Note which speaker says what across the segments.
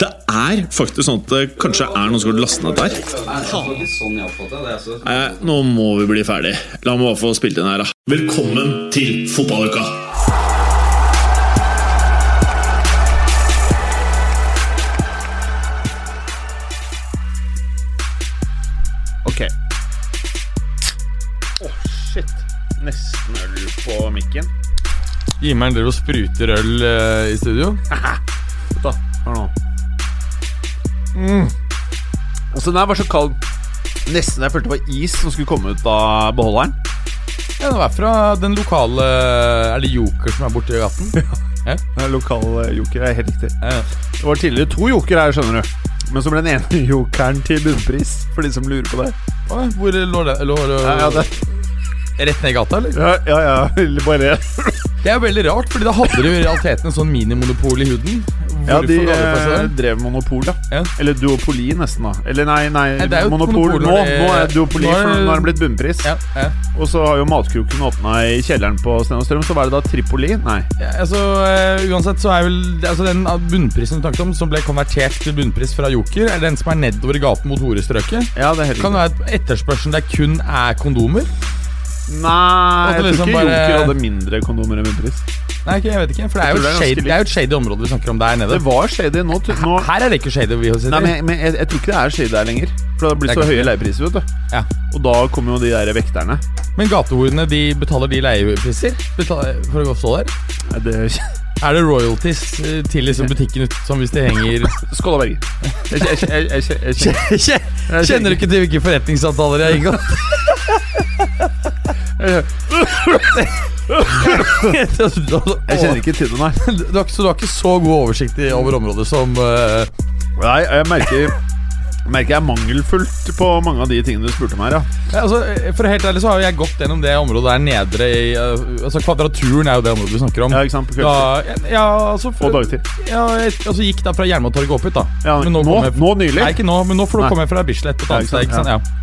Speaker 1: Det er faktisk sånn at det kanskje er noen som har lastet ned der. Nei, nå må vi bli ferdig. La meg bare få spilt inn her, da. Velkommen til fotballuka! Ok. Å, shit. Nesten øl på mikken.
Speaker 2: Jimmer'n driver og spruter øl eh, i studio. da.
Speaker 1: Hør nå. Mm.
Speaker 2: Altså, den her var så kald.
Speaker 1: Nesten jeg følte det var is som skulle komme ut av beholderen.
Speaker 2: Ja, den er fra den lokale eh, Er det Joker som er borti gaten? Eh, ja.
Speaker 1: Lokal eh, joker er helt riktig.
Speaker 2: ja.
Speaker 1: Det var tidligere to joker her, skjønner du. Men så ble den ene jokeren til bunnpris, for de som lurer på det.
Speaker 2: Oi, Hvor lå det? Lå, lå,
Speaker 1: Ja, ja, det,
Speaker 2: Rett ned i gata, eller?
Speaker 1: ja, ja, ja eller bare
Speaker 2: Det er jo veldig rart, fordi da hadde de jo i realiteten en sånn minimonopol i huden. Hvorfor
Speaker 1: Ja, de
Speaker 2: ga fra seg
Speaker 1: eh,
Speaker 2: det?
Speaker 1: drev monopol, da.
Speaker 2: Ja.
Speaker 1: Eller duopoli, nesten, da. Eller nei, nei,
Speaker 2: Nei, det er jo
Speaker 1: monopol
Speaker 2: monopol
Speaker 1: nå.
Speaker 2: når det-
Speaker 1: Nå er det duopoli,
Speaker 2: Nå er
Speaker 1: for
Speaker 2: det-
Speaker 1: nå har den blitt bunnpris.
Speaker 2: Ja, ja.
Speaker 1: Og så har jo matkroken åpna i kjelleren på Sten og Strøm, så var det da Tripoli? Nei.
Speaker 2: Ja, altså, eh, uansett så er vel altså, Den bunnprisen du snakket om, som ble konvertert til bunnpris fra Joker, er den som er nedover i gaten mot horestrøket.
Speaker 1: Ja, det er helt
Speaker 2: Kan det
Speaker 1: riktig.
Speaker 2: være at etterspørselen der kun er kondomer?
Speaker 1: Nei, jeg
Speaker 2: At det
Speaker 1: tror
Speaker 2: liksom
Speaker 1: ikke
Speaker 2: bare-
Speaker 1: Joker hadde mindre kondomer enn bunnpris.
Speaker 2: Nei, ikke, jeg vet ikke. For
Speaker 1: Jeg
Speaker 2: det er, jo
Speaker 1: tror det
Speaker 2: et
Speaker 1: er ganske
Speaker 2: shady, det er jo et shady område vi snakker om der nede.
Speaker 1: Det var shady nå. tu- nå
Speaker 2: Her er det ikke shady. Vi sitter.
Speaker 1: Nei, men, jeg- men jeg, jeg tror ikke det er shady der lenger. For det har blitt
Speaker 2: Det er
Speaker 1: så
Speaker 2: ikke
Speaker 1: høye leiepriser, vet du.
Speaker 2: ja.
Speaker 1: Og da kommer jo de der vekterne.
Speaker 2: men gatehorene de betaler de leiepriser Betal- for å gå og stå der?
Speaker 1: Nei, Det
Speaker 2: Er det royalties eh, til liksom butikken ut, som hvis de henger
Speaker 1: Skål og berger. Jeg, jeg, jeg, jeg, jeg, jeg, jeg,
Speaker 2: Kjenner du ikke til hvilke forretningsavtaler jeg har inngått?
Speaker 1: jeg kjenner ikke til den her.
Speaker 2: Du har, ikke- så du har ikke så god oversikt i- over området som eh,
Speaker 1: Nei, jeg merker Merker jeg er mangelfullt på mange av de tingene du spurte om her. Ja.
Speaker 2: Ja, altså, For å være helt ærlig så har jo jeg gått gjennom det området der nedre i eh, Altså Kvadraturen er jo det området vi snakker om.
Speaker 1: Ja, ikke sant, på
Speaker 2: ja,
Speaker 1: kveldstid.
Speaker 2: ja, ja, altså, for-
Speaker 1: Og dagtid.
Speaker 2: Ja, jeg, altså gikk da fra Jernbanetorget opp hit, da.
Speaker 1: Ja, nå-
Speaker 2: kommer jeg-
Speaker 1: nå nylig?
Speaker 2: Nei, ikke nå, men nå for
Speaker 1: Nei.
Speaker 2: nå kommer jeg fra Bislett et
Speaker 1: Ja,
Speaker 2: annet
Speaker 1: ikke
Speaker 2: sted.
Speaker 1: sant,
Speaker 2: ikke sant? Ja.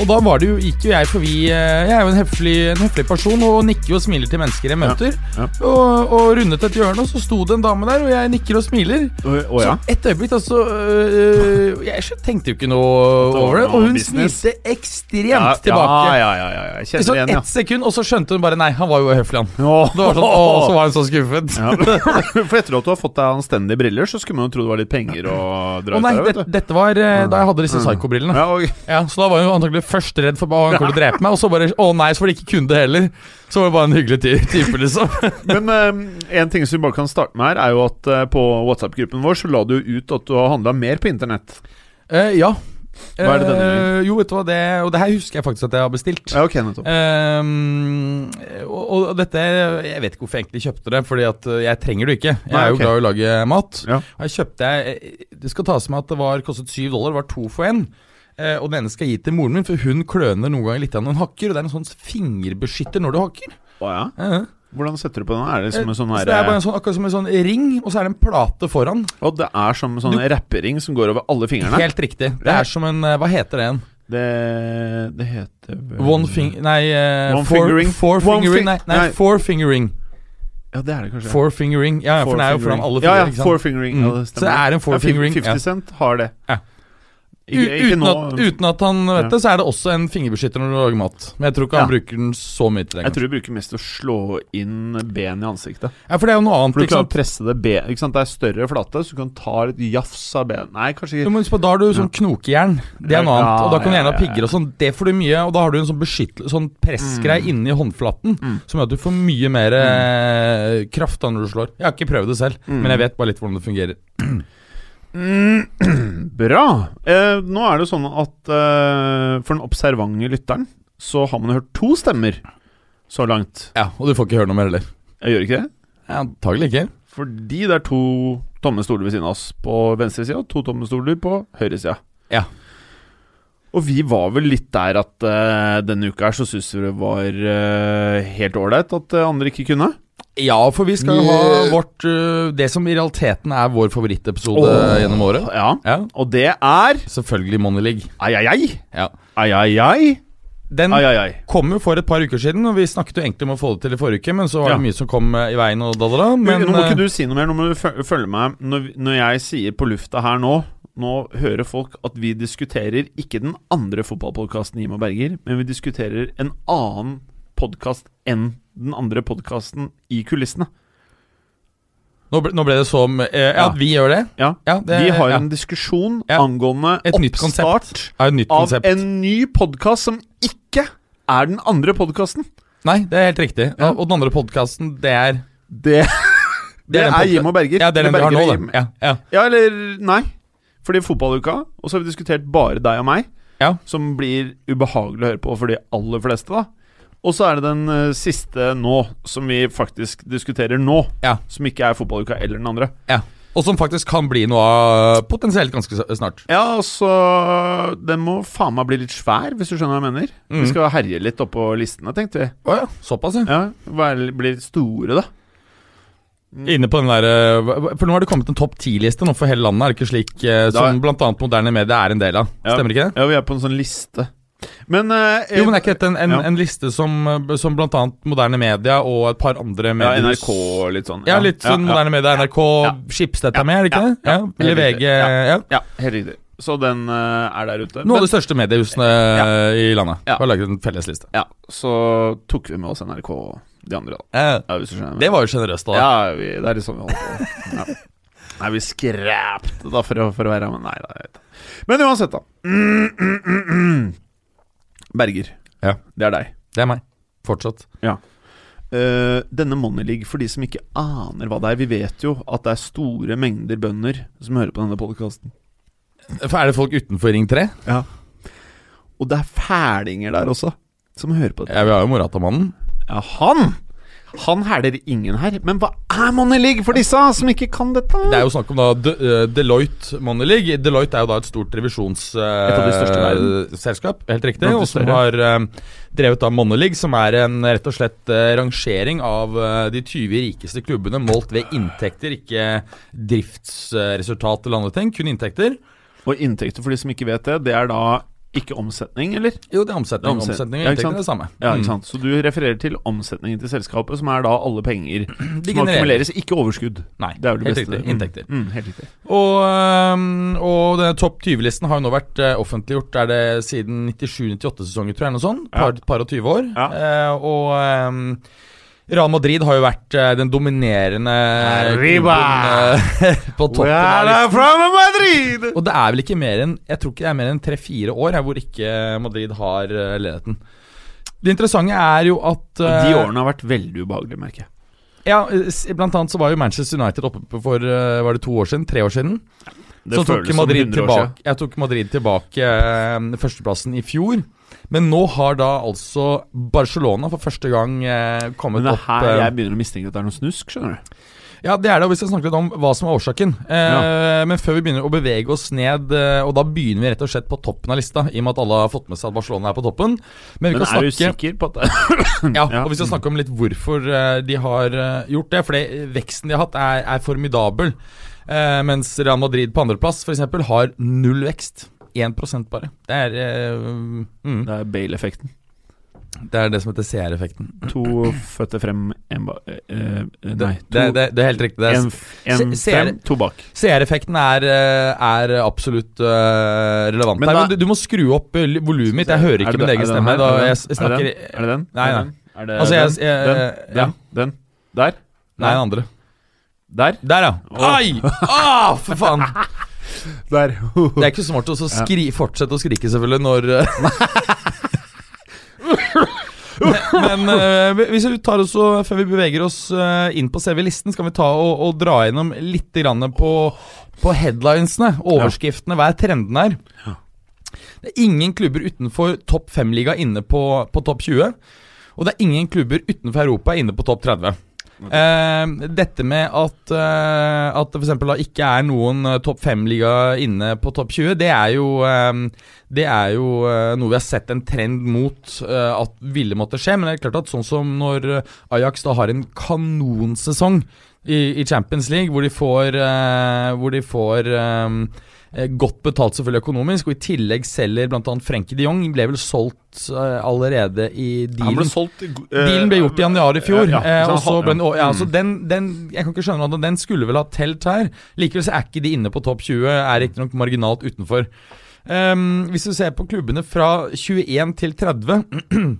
Speaker 2: Og da var det jo, gikk jo jeg forbi eh, Jeg er jo en høflig, en høflig person og nikker og smiler til mennesker jeg møter.
Speaker 1: ja.
Speaker 2: Og, og rundet et hjørne, og så sto det en dame der, og jeg nikker og smiler.
Speaker 1: Å å, ja.
Speaker 2: Så et øyeblikk, altså øh, øh, Jeg tenkte jo ikke noe
Speaker 1: Det var
Speaker 2: over det.
Speaker 1: noe
Speaker 2: Og hun
Speaker 1: business.
Speaker 2: smilte ekstremt
Speaker 1: Ja,
Speaker 2: tilbake.
Speaker 1: Ja, ja, ja, ja, ja. Jeg
Speaker 2: I
Speaker 1: kjenner
Speaker 2: sånn
Speaker 1: igjen, ja.
Speaker 2: ett sekund, og så skjønte hun bare Nei, han var jo høflig, han.
Speaker 1: Åh.
Speaker 2: Det var sånn, å, så var hun så skuffet.
Speaker 1: Ja. For etter at du har fått deg anstendige briller, så skulle man jo tro det var litt penger å
Speaker 2: Å
Speaker 1: dra ut
Speaker 2: nei,
Speaker 1: der,
Speaker 2: det,
Speaker 1: vet du. Mm.
Speaker 2: dette var eh, da jeg hadde disse psykobrillene.
Speaker 1: Ja, og,
Speaker 2: Ja, så da var hun antakelig først redd for at han kommer til å drepe meg, og så bare Å nei, så var det ikke kunde heller. Så var det bare en hyggelig ty- type, liksom.
Speaker 1: Men eh, en ting som vi bare kan starte med her, er jo at eh, på WhatsApp-gruppen vår så la du jo ut at du har handla mer på internett.
Speaker 2: Eh, ja.
Speaker 1: Hva er det denne
Speaker 2: Eh, jo, vet du hva, det Og det her husker jeg faktisk at jeg har bestilt.
Speaker 1: Ja, ok, nettopp.
Speaker 2: Eh, og, og dette Jeg vet ikke hvorfor jeg egentlig kjøpte det, Fordi at eh, jeg trenger det jo ikke. Jeg
Speaker 1: Nei,
Speaker 2: er jo
Speaker 1: ok.
Speaker 2: glad i å lage mat.
Speaker 1: Ja.
Speaker 2: Og jeg kjøpte jeg, eh, Det skal tas med at det var kostet syv dollar, det var to for én. Eh, og den ene skal jeg gi til moren min, for hun kløner noen ganger litt når hun hakker. Og det er en sånn fingerbeskytter når du hakker.
Speaker 1: Å, ja.
Speaker 2: Eh, eh.
Speaker 1: Hvordan setter du på den? Er det
Speaker 2: Eh,
Speaker 1: som en sånn
Speaker 2: så
Speaker 1: her,
Speaker 2: det er bare en sånn, akkurat som en sånn ring, og så er det en plate foran.
Speaker 1: Og det er som en sånn rappering som går over alle fingrene?
Speaker 2: Helt riktig. Det er som en eh, Hva heter det igjen?
Speaker 1: Det, det heter vel-
Speaker 2: One fing... Nei, eh,
Speaker 1: One
Speaker 2: four,
Speaker 1: fingering.
Speaker 2: Four
Speaker 1: One
Speaker 2: fingering.
Speaker 1: fi-
Speaker 2: Nei, nei,
Speaker 1: nei.
Speaker 2: four fingering.
Speaker 1: Ja, det er det kanskje.
Speaker 2: Four fingering. Ja, ja, for den er jo foran alle
Speaker 1: fingre.
Speaker 2: fingre.
Speaker 1: Ja,
Speaker 2: ikke
Speaker 1: ja,
Speaker 2: sant?
Speaker 1: four fingering.
Speaker 2: Mm.
Speaker 1: Ja, det
Speaker 2: Så
Speaker 1: stemmer.
Speaker 2: det er en four
Speaker 1: Ja, fif-
Speaker 2: fingering,
Speaker 1: 50
Speaker 2: ja.
Speaker 1: Cent har det.
Speaker 2: Ja.
Speaker 1: Ikke,
Speaker 2: U-
Speaker 1: ikke
Speaker 2: uten,
Speaker 1: nå.
Speaker 2: at, uten at han vet
Speaker 1: Ja.
Speaker 2: det, så er det også en fingerbeskytter når du lager mat. Men jeg tror ikke han
Speaker 1: Ja.
Speaker 2: bruker den så mye til det.
Speaker 1: Jeg tror du bruker mest å slå inn ben i ansiktet.
Speaker 2: Ja, for det er jo noe annet.
Speaker 1: For du
Speaker 2: ikke
Speaker 1: klarer å
Speaker 2: sant?
Speaker 1: presse det ben ikke sant? Det er større flate, så du kan ta litt jafs av ben Nei, kanskje
Speaker 2: Jo,
Speaker 1: ikke.
Speaker 2: men husk på, Da har du sånn knokejern. Det er noe
Speaker 1: Ja,
Speaker 2: annet. Og da kan du
Speaker 1: ja,
Speaker 2: gjerne
Speaker 1: ja,
Speaker 2: ha pigger og sånn. Det får du mye. Og da har du en sånn, beskytt- sånn
Speaker 1: Mm.
Speaker 2: pressgreie inni håndflaten som gjør at du får mye mer
Speaker 1: Mm.
Speaker 2: eh, kraft da når du slår. Jeg har ikke prøvd det selv, men jeg vet bare litt hvordan det fungerer.
Speaker 1: Mm. Bra! Eh, nå er det jo sånn at eh, for den observante lytteren så har man hørt to stemmer så langt.
Speaker 2: Ja, Og du får ikke høre noe mer heller.
Speaker 1: Jeg gjør ikke det?
Speaker 2: Ja, Antagelig ikke.
Speaker 1: Fordi det er to tomme stoler ved siden av oss på venstre side og to tomme stoler på høyre side.
Speaker 2: Ja.
Speaker 1: Og vi var vel litt der at eh, denne uka her så syns vi det var eh, helt ålreit at eh, andre ikke kunne.
Speaker 2: Ja, for vi skal jo ha vårt øh, Det som i realiteten er vår favorittepisode
Speaker 1: Åh.
Speaker 2: gjennom året.
Speaker 1: Ja.
Speaker 2: Ja,
Speaker 1: Og det er
Speaker 2: Selvfølgelig Money League.
Speaker 1: Ai, ai, ai.
Speaker 2: Ja.
Speaker 1: Ai, ai, ai.
Speaker 2: Den
Speaker 1: Ai, ai, ai.
Speaker 2: kom jo for et par uker siden, og vi snakket jo egentlig om å få det til i forrige uke, men så var
Speaker 1: Ja.
Speaker 2: det mye som kom eh, i veien og da, da, da. Men
Speaker 1: nå må ikke
Speaker 2: eh,
Speaker 1: du si noe mer. Nå må du føl- følge meg når, vi- når jeg sier på lufta her nå Nå hører folk at vi diskuterer ikke den andre fotballpodkasten Jim og Berger, men vi diskuterer en annen podkast enn den andre podkasten i kulissene.
Speaker 2: nå, ble, nå ble det som eh, ja,
Speaker 1: Ja.
Speaker 2: at vi gjør det.
Speaker 1: Ja.
Speaker 2: Ja, det
Speaker 1: vi har
Speaker 2: ja.
Speaker 1: en diskusjon
Speaker 2: Ja.
Speaker 1: angående
Speaker 2: Et nytt
Speaker 1: oppstart
Speaker 2: er jo et nytt
Speaker 1: av
Speaker 2: konsept.
Speaker 1: en ny podkast som ikke er den andre podkasten.
Speaker 2: Nei, det er helt riktig. Ja. Og den andre podkasten, det er
Speaker 1: Det, det
Speaker 2: den
Speaker 1: er Jim
Speaker 2: podca-
Speaker 1: og Berger.
Speaker 2: Ja, det er den vi har
Speaker 1: Berger
Speaker 2: nå,
Speaker 1: og
Speaker 2: da.
Speaker 1: Jim.
Speaker 2: Ja, ja.
Speaker 1: Ja, eller nei. Fordi fotballuka, og så har vi diskutert bare deg og meg,
Speaker 2: Ja.
Speaker 1: som blir ubehagelig å høre på for de aller fleste, da. Og så er det den eh, siste nå, som vi faktisk diskuterer nå,
Speaker 2: Ja.
Speaker 1: som ikke er fotballuka eller den andre.
Speaker 2: ja. Og som faktisk kan bli noe av potensielt ganske s- snart.
Speaker 1: Ja, altså Den må faen meg bli litt svær, hvis du skjønner hva jeg mener.
Speaker 2: Mm.
Speaker 1: Vi skal herje litt oppå listene, tenkte vi.
Speaker 2: Å ja. Såpass, ja.
Speaker 1: Ja, være- Bli litt store, da.
Speaker 2: Mm. Inne på den der, eh, hva- For nå har det kommet en topp ti-liste nå for hele landet, er det ikke slik? eh, Som bl.a. moderne medier er en del av.
Speaker 1: Ja.
Speaker 2: Stemmer ikke det?
Speaker 1: Ja, vi er på en sånn liste. Men, eh,
Speaker 2: Jo, men er ikke dette en, en,
Speaker 1: Ja.
Speaker 2: en liste som, eh, som bl.a. moderne media og et par andre
Speaker 1: ja,
Speaker 2: medier
Speaker 1: NRK og litt sånn.
Speaker 2: Ja, litt sånn
Speaker 1: ja, ja.
Speaker 2: moderne media, NRK,
Speaker 1: ja.
Speaker 2: Schibsted
Speaker 1: Ja,
Speaker 2: er med, er det ikke
Speaker 1: ja,
Speaker 2: det? Ja,
Speaker 1: ja.
Speaker 2: Eller
Speaker 1: Helt
Speaker 2: VG
Speaker 1: riktig, ja.
Speaker 2: ja.
Speaker 1: Ja, helt riktig. Så den eh, er der ute.
Speaker 2: Noe av
Speaker 1: Men,
Speaker 2: de største mediehusene i landet
Speaker 1: Ja.
Speaker 2: har laget en felles liste.
Speaker 1: ja, så tok vi med oss NRK og de andre, da. Ja, hvis du skjønner.
Speaker 2: Det var jo sjenerøst, da.
Speaker 1: ja, vi, det er litt sånn vi holder på. Ja. Nei, vi skrapte da for å, for å være med. Nei, da, jeg vet. ikke. Men uansett, da. Mm, mm, mm, mm. Berger,
Speaker 2: Ja.
Speaker 1: det er deg.
Speaker 2: Det er meg. Fortsatt.
Speaker 1: Eh, denne Money League, for de som ikke aner hva det er Vi vet jo at det er store mengder bønder som hører på denne podkasten.
Speaker 2: For er det folk utenfor Ring 3?
Speaker 1: Og det er fælinger der også, som hører på dette.
Speaker 2: Ja, vi har jo Morata-mannen.
Speaker 1: Ja, han Han hæler ingen her. Men hva er Money League for disse som ikke kan dette?
Speaker 2: Det er jo snakk om da De, eh, Deloitte Money League. Deloitte er jo da et stort revisjonsselskap.
Speaker 1: Et av de største i verden.
Speaker 2: Helt
Speaker 1: Blant
Speaker 2: riktig.
Speaker 1: de
Speaker 2: Og som har
Speaker 1: større.
Speaker 2: eh, drevet da Money League, som er en rett og slett eh, rangering av eh, de 20 rikeste klubbene målt ved inntekter, ikke driftsresultat eller andre ting. Kun inntekter.
Speaker 1: Og inntekter for de som ikke vet det, det er da ikke omsetning, eller?
Speaker 2: Jo, det er omsetning.
Speaker 1: Det er omset-
Speaker 2: Omsetning
Speaker 1: Ja,
Speaker 2: og
Speaker 1: ikke sant?
Speaker 2: inntekter er det samme.
Speaker 1: Ja, ikke
Speaker 2: Mm.
Speaker 1: sant? Så du refererer til omsetningen til selskapet, som er da alle penger som
Speaker 2: genererer.
Speaker 1: akkumuleres, ikke overskudd.
Speaker 2: Nei,
Speaker 1: Det er vel det
Speaker 2: helt
Speaker 1: beste.
Speaker 2: riktig. Inntekter.
Speaker 1: Mm, mm, helt riktig.
Speaker 2: Og, øhm, og denne topp 20-listen har jo nå vært eh, offentliggjort Er det siden 97-98-sesongen, tror jeg. Noe sånt, par, par og 20 år.
Speaker 1: Ja.
Speaker 2: Eh, og øhm, Real Madrid har jo vært eh, den dominerende
Speaker 1: Arriba!
Speaker 2: klubben, eh, på toppen. av listen.
Speaker 1: from Madrid!
Speaker 2: Og det er vel ikke mer enn Jeg tror ikke det er mer enn tre-fire år her hvor ikke Madrid har eh, ledigheten. Det interessante er jo
Speaker 1: Og
Speaker 2: at
Speaker 1: de
Speaker 2: eh,
Speaker 1: årene har vært veldig ubehagelige, merker jeg.
Speaker 2: ja, s- Blant annet så var jo Manchester United oppe for eh, Var det to år siden? Tre år siden? så tok Madrid tilbake, jeg tok Madrid tilbake eh, førsteplassen i fjor. Men nå har da altså Barcelona for første gang eh, kommet
Speaker 1: Men det er
Speaker 2: opp
Speaker 1: her
Speaker 2: eh,
Speaker 1: jeg begynner å mistenke at det er noe snusk, skjønner du.
Speaker 2: Ja, det er det, og vi skal snakke litt om hva som er årsaken. Eh, Men før vi begynner å bevege oss ned, eh, og da begynner vi rett og slett på toppen av lista, i og med at alle har fått med seg at Barcelona er på toppen. Men vi
Speaker 1: Men
Speaker 2: kan
Speaker 1: er du
Speaker 2: snakke
Speaker 1: sikker på at det
Speaker 2: ja,
Speaker 1: Ja.
Speaker 2: og vi skal snakke om litt hvorfor eh, de har eh, gjort det. For veksten de har hatt, er, er formidabel. Eh, mens Real Madrid på andreplass f.eks. har null vekst. 1 bare. Det er, eh, mm,
Speaker 1: Det er Bale-effekten.
Speaker 2: det er det som heter CR-effekten.
Speaker 1: To føtter frem, en ba... eh, eh, nei, to,
Speaker 2: Det, det, det er helt riktig. Det er,
Speaker 1: en, f- en
Speaker 2: Se- ser-
Speaker 1: frem, to bak.
Speaker 2: CR-effekten er, eh, er absolutt eh, relevant.
Speaker 1: Men
Speaker 2: her,
Speaker 1: da-
Speaker 2: men du, du må skru opp eh, volumet mitt. Jeg hører
Speaker 1: Er det
Speaker 2: ikke min
Speaker 1: den- er
Speaker 2: egen
Speaker 1: det den
Speaker 2: stemme.
Speaker 1: her?
Speaker 2: Da,
Speaker 1: Er det
Speaker 2: jeg,
Speaker 1: den?
Speaker 2: jeg
Speaker 1: er,
Speaker 2: snakker,
Speaker 1: det den? er det den?
Speaker 2: Nei,
Speaker 1: Er det
Speaker 2: nei.
Speaker 1: den? Er det
Speaker 2: Altså, jeg,
Speaker 1: den?
Speaker 2: jeg,
Speaker 1: den?
Speaker 2: ja.
Speaker 1: Den? Den? Der?
Speaker 2: Nei, den andre.
Speaker 1: Der?
Speaker 2: Der, ja.
Speaker 1: Åh.
Speaker 2: Ai! Ah, for faen!
Speaker 1: Der.
Speaker 2: Det er ikke smart å så skri, fortsette å skrike, selvfølgelig, når eh. Men eh, hvis vi tar oss og, før vi beveger oss eh, inn på selve listen, skal vi ta og, og dra gjennom litt grann på, på headlinesene, overskriftene, hva er trenden her? Det er ingen klubber utenfor topp fem-liga inne på, på topp 20. Og det er ingen klubber utenfor Europa inne på topp 30. Eh, dette med at, eh, at det for eksempel da ikke er noen eh, topp fem-liga inne på topp 20, det er jo, eh, det er jo eh, noe vi har sett en trend mot eh, at ville måtte skje. Men det er klart at sånn som når eh, Ajax da har en kanonsesong i, i Champions League, hvor de får, eh, hvor de får eh, eh, godt betalt selvfølgelig økonomisk, og i tillegg selger bl.a. Frenkie de Jong, ble vel solgt eh, allerede i
Speaker 1: Han ble
Speaker 2: dealen
Speaker 1: solgt i go- eh,
Speaker 2: Dealen ble gjort i januar i fjor.
Speaker 1: Ja, ja. Mm.
Speaker 2: eh, og så
Speaker 1: han-
Speaker 2: ble den, og, ja, så den, den, jeg kan ikke skjønne at den skulle vel ha telt her. Likevel så er ikke de inne på topp 20, er riktignok marginalt utenfor. Ehm, hvis du ser på klubbene fra 21 til 30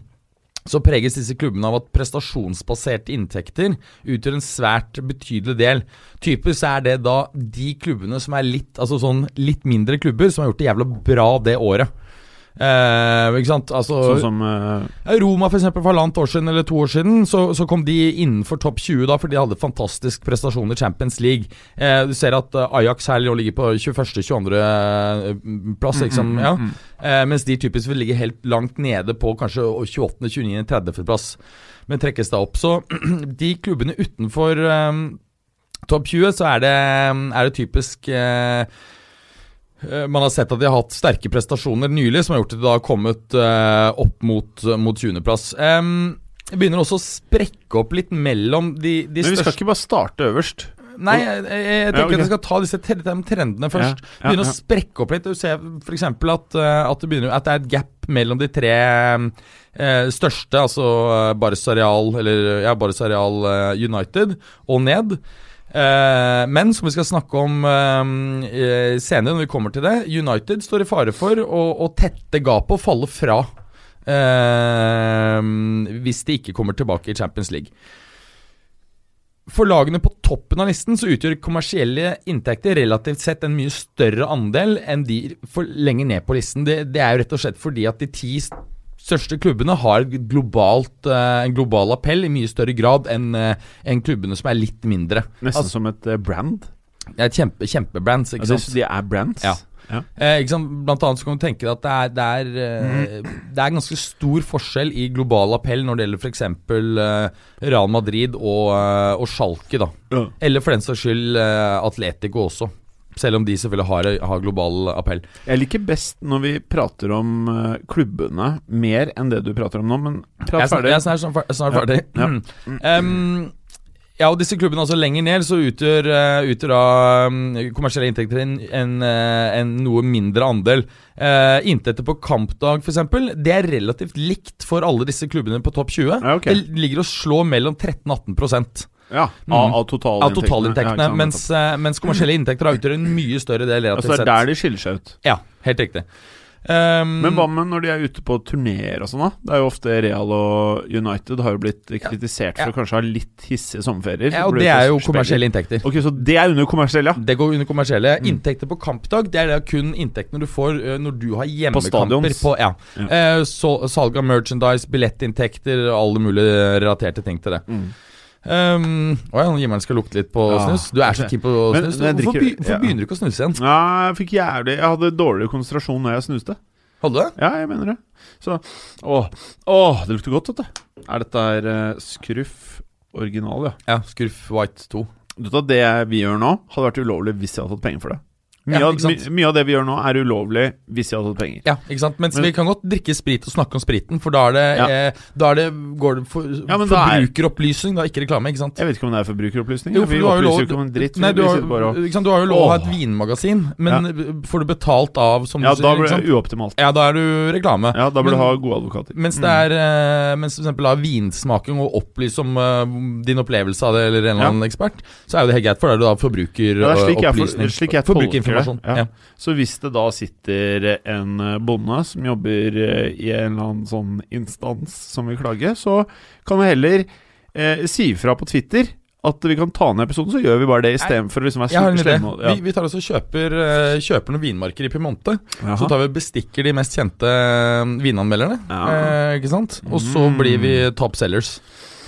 Speaker 2: så preges disse klubbene av at prestasjonsbaserte inntekter utgjør en svært betydelig del. Typisk er det da de klubbene som er litt, altså sånn litt mindre klubber, som har gjort det jævla bra det året. Eh, ikke sant? Altså,
Speaker 1: Sånn som eh,
Speaker 2: ja, Roma for, eksempel, for halvannet år siden eller to år siden så, så kom de innenfor topp 20 da, for de hadde fantastisk prestasjon i Champions League. Eh, du ser at eh, Ajax her nå ligger på 21.-22. plass, liksom, ja. eh, mens de typisk vil ligge helt langt nede på kanskje 28.-29.-30. plass, men trekkes da opp. Så de klubbene utenfor eh, topp 20, så er det, ehm, er det typisk eh, eh, man har sett at de har hatt sterke prestasjoner nylig, som har gjort at de da har kommet eh, opp mot, mot 20.-plass. Um, det begynner også å sprekke opp litt mellom de, de
Speaker 1: Men vi skal
Speaker 2: største
Speaker 1: ikke bare starte øverst.
Speaker 2: Nei, jeg, jeg, jeg tenker
Speaker 1: Ja, ok.
Speaker 2: at jeg skal ta disse tre- de trendene først.
Speaker 1: Ja, ja,
Speaker 2: begynne
Speaker 1: ja.
Speaker 2: å sprekke opp litt. Du ser f.eks. At, eh, at, det begynner- at det er et gap mellom de tre eh, største, altså eh, Barca Real, eller, ja, Barca Real eh, United, og ned. Eh, men som vi skal snakke om eh, eh, senere, når vi kommer til det United står i fare for å, å tette gapet og falle fra. eh, hvis de ikke kommer tilbake i Champions League. For lagene på toppen av listen så utgjør kommersielle inntekter relativt sett en mye større andel enn de for lenger ned på listen. Det, det er jo rett og slett fordi at de ti s- største klubbene har et globalt, eh, en global appell i mye større grad enn eh, enn klubbene som er litt mindre.
Speaker 1: Nesten
Speaker 2: Altså,
Speaker 1: som et eh, brand.
Speaker 2: det er kjempe, kjempebrands, ikke
Speaker 1: Altså,
Speaker 2: sant?
Speaker 1: de er brands.
Speaker 2: Ja.
Speaker 1: Ja.
Speaker 2: Eh, ikke sant? Blant annet så kan du tenke deg at det er, det, er,
Speaker 1: Mm.
Speaker 2: eh, det er ganske stor forskjell i global appell når det gjelder f.eks. Eh, Real Madrid og, eh, og Schalke. da.
Speaker 1: Ja.
Speaker 2: Eller for den saks skyld eh, Atletico også. Selv om de selvfølgelig har, har global appell.
Speaker 1: Jeg liker best når vi prater om eh, klubbene mer enn det du prater om nå, men
Speaker 2: Jeg
Speaker 1: prat
Speaker 2: er snart,
Speaker 1: ferdig.
Speaker 2: jeg er snart, snart fer- snart ferdig.
Speaker 1: Ja.
Speaker 2: Em, ja, og disse klubbene altså lenger ned så utgjør, eh, utgjør da mm, kommersielle inntekter en, en, eh, en noe mindre andel. Eh, inntekter på kampdag f.eks. Det er relativt likt for alle disse klubbene på topp 20.
Speaker 1: Ja, ok.
Speaker 2: Det ligger og slår mellom 13 og 18
Speaker 1: Ja,
Speaker 2: Mm.
Speaker 1: av, av
Speaker 2: av
Speaker 1: totalinntektene.
Speaker 2: totalinntektene.
Speaker 1: Ja, ikke sant,
Speaker 2: mens, eh, mens kommersielle inntekter da utgjør en mye større del
Speaker 1: nettopp.
Speaker 2: relativt
Speaker 1: altså, det er
Speaker 2: sett.
Speaker 1: der de skiller seg ut.
Speaker 2: Ja, helt riktig. Ehm, Em,
Speaker 1: Men hva med når de er ute på turneer og sånn, da? Det er jo ofte Real og United har jo blitt eh, kritisert
Speaker 2: Ja.
Speaker 1: for å kanskje ha litt hissige sommerferier.
Speaker 2: ja,
Speaker 1: Hvor
Speaker 2: og
Speaker 1: de
Speaker 2: det
Speaker 1: ute
Speaker 2: er
Speaker 1: og Mm.
Speaker 2: jo
Speaker 1: spiller.
Speaker 2: kommersielle inntekter.
Speaker 1: Ok, så det er under kommersiell, ja.
Speaker 2: Det går under kommersielle. Inntekter på kampdag det er da kun inntektene du får eh, når du har hjemmekamper.
Speaker 1: stadions.
Speaker 2: På, ja.
Speaker 1: Ja.
Speaker 2: Eh, så, salg av merchandise, billettinntekter og alle mulige relaterte ting til det.
Speaker 1: Mm.
Speaker 2: Um, Å ja, himmelen skal lukte litt på
Speaker 1: Ja.
Speaker 2: snus. Du er så keen på
Speaker 1: Men-
Speaker 2: snus.
Speaker 1: men jeg
Speaker 2: hvorfor
Speaker 1: drikker-
Speaker 2: be- hvorfor
Speaker 1: ja.
Speaker 2: begynner du ikke å snuse igjen?
Speaker 1: Ja, jeg fikk jævlig Jeg hadde dårligere konsentrasjon når jeg snuste.
Speaker 2: Hadde du det?
Speaker 1: Ja, jeg mener det. Så Åh, åh det lukter godt, vet du. Er dette her eh, skruff original, ja?
Speaker 2: Ja. Skurf White 2.
Speaker 1: Du vet at Det vi gjør nå, hadde vært ulovlig hvis jeg hadde tatt penger for det. Mye, av,
Speaker 2: Ja, ikke
Speaker 1: my,
Speaker 2: sant?
Speaker 1: mye av det vi gjør nå, er ulovlig hvis jeg hadde tatt penger.
Speaker 2: Ja, ikke sant? Mens
Speaker 1: Men-
Speaker 2: vi kan godt drikke sprit og snakke om spriten, for da er det,
Speaker 1: Ja.
Speaker 2: eh, da er det, går det for,
Speaker 1: Ja, men da er-
Speaker 2: forbrukeropplysning, da, ikke reklame. ikke sant?
Speaker 1: Jeg vet ikke om det er forbrukeropplysninger.
Speaker 2: Jo, for
Speaker 1: vi
Speaker 2: du har jo
Speaker 1: opplyser
Speaker 2: lov
Speaker 1: ikke om en dritt.
Speaker 2: Nei,
Speaker 1: vi-
Speaker 2: du
Speaker 1: vi
Speaker 2: har, Mm,
Speaker 1: sitter bare og
Speaker 2: ikke sant, du har jo lov å ha et
Speaker 1: Åh.
Speaker 2: vinmagasin, men får du betalt av som
Speaker 1: Ja,
Speaker 2: du
Speaker 1: da
Speaker 2: sier,
Speaker 1: blir
Speaker 2: ikke sant?
Speaker 1: det uoptimalt.
Speaker 2: Ja, da er du reklame.
Speaker 1: Ja, da bør
Speaker 2: Men-
Speaker 1: du ha gode advokater. Mm.
Speaker 2: Mens det er eh, Mens for eksempel da vinsmaking og opplyse om eh, din opplevelse av det, eller en
Speaker 1: Ja.
Speaker 2: eller annen ekspert, så er jo det helt greit, for da er du da forbruker eh,
Speaker 1: Ja, det er slik jeg for-
Speaker 2: opplysning.
Speaker 1: slik jeg tolker det.
Speaker 2: Forbrukerinformasjon.
Speaker 1: Ja.
Speaker 2: Ja.
Speaker 1: Så hvis det da sitter en eh, bonde som jobber eh, i en eller annen sånn instans som vil klage, så kan vi heller eh, si ifra på Twitter at vi kan ta ned episoden, så gjør vi bare det istedenfor å liksom være
Speaker 2: Jeg har en
Speaker 1: sl-
Speaker 2: idé.
Speaker 1: slemme. og- Ja.
Speaker 2: Vi, vi tar oss og kjøper, eh, kjøper noen vinmarker i Piemonte.
Speaker 1: Jaha.
Speaker 2: Så tar vi og bestikker de mest kjente eh, vinanmelderne.
Speaker 1: Ja. Mm.
Speaker 2: Eh, ikke sant? Og så blir vi top sellers.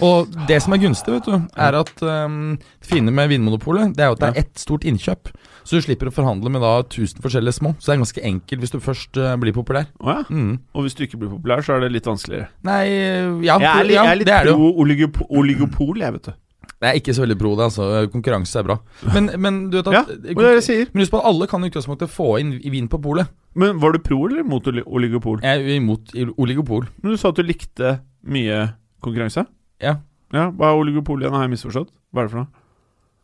Speaker 2: Og det som er gunstig, vet du, er at eh, det fine med Vinmonopolet Det er jo at det er ett stort innkjøp. Så du slipper å forhandle med da 1000 forskjellige små. Så det er ganske enkelt hvis du først eh, blir populær.
Speaker 1: Å ja.
Speaker 2: Mm.
Speaker 1: Og hvis du ikke blir populær, så er det litt vanskeligere.
Speaker 2: Nei eh, ja,
Speaker 1: Jeg er litt,
Speaker 2: ja,
Speaker 1: jeg er litt
Speaker 2: det er det jo.
Speaker 1: pro oligopo- oligopol, jeg, vet du.
Speaker 2: Jeg er ikke så veldig pro det. altså Konkurranse er bra. Men, men du vet at
Speaker 1: Ja, det er det jeg sier.
Speaker 2: Men husk på at alle kan i utgangspunktet få inn vin på polet.
Speaker 1: Men var du pro eller mot oli- oligopol?
Speaker 2: Jeg er imot oligopol.
Speaker 1: Men du sa at du likte mye konkurranse.
Speaker 2: Ja.
Speaker 1: Ja, Hva er oligopol igjen? Har jeg misforstått? Hva er det for noe?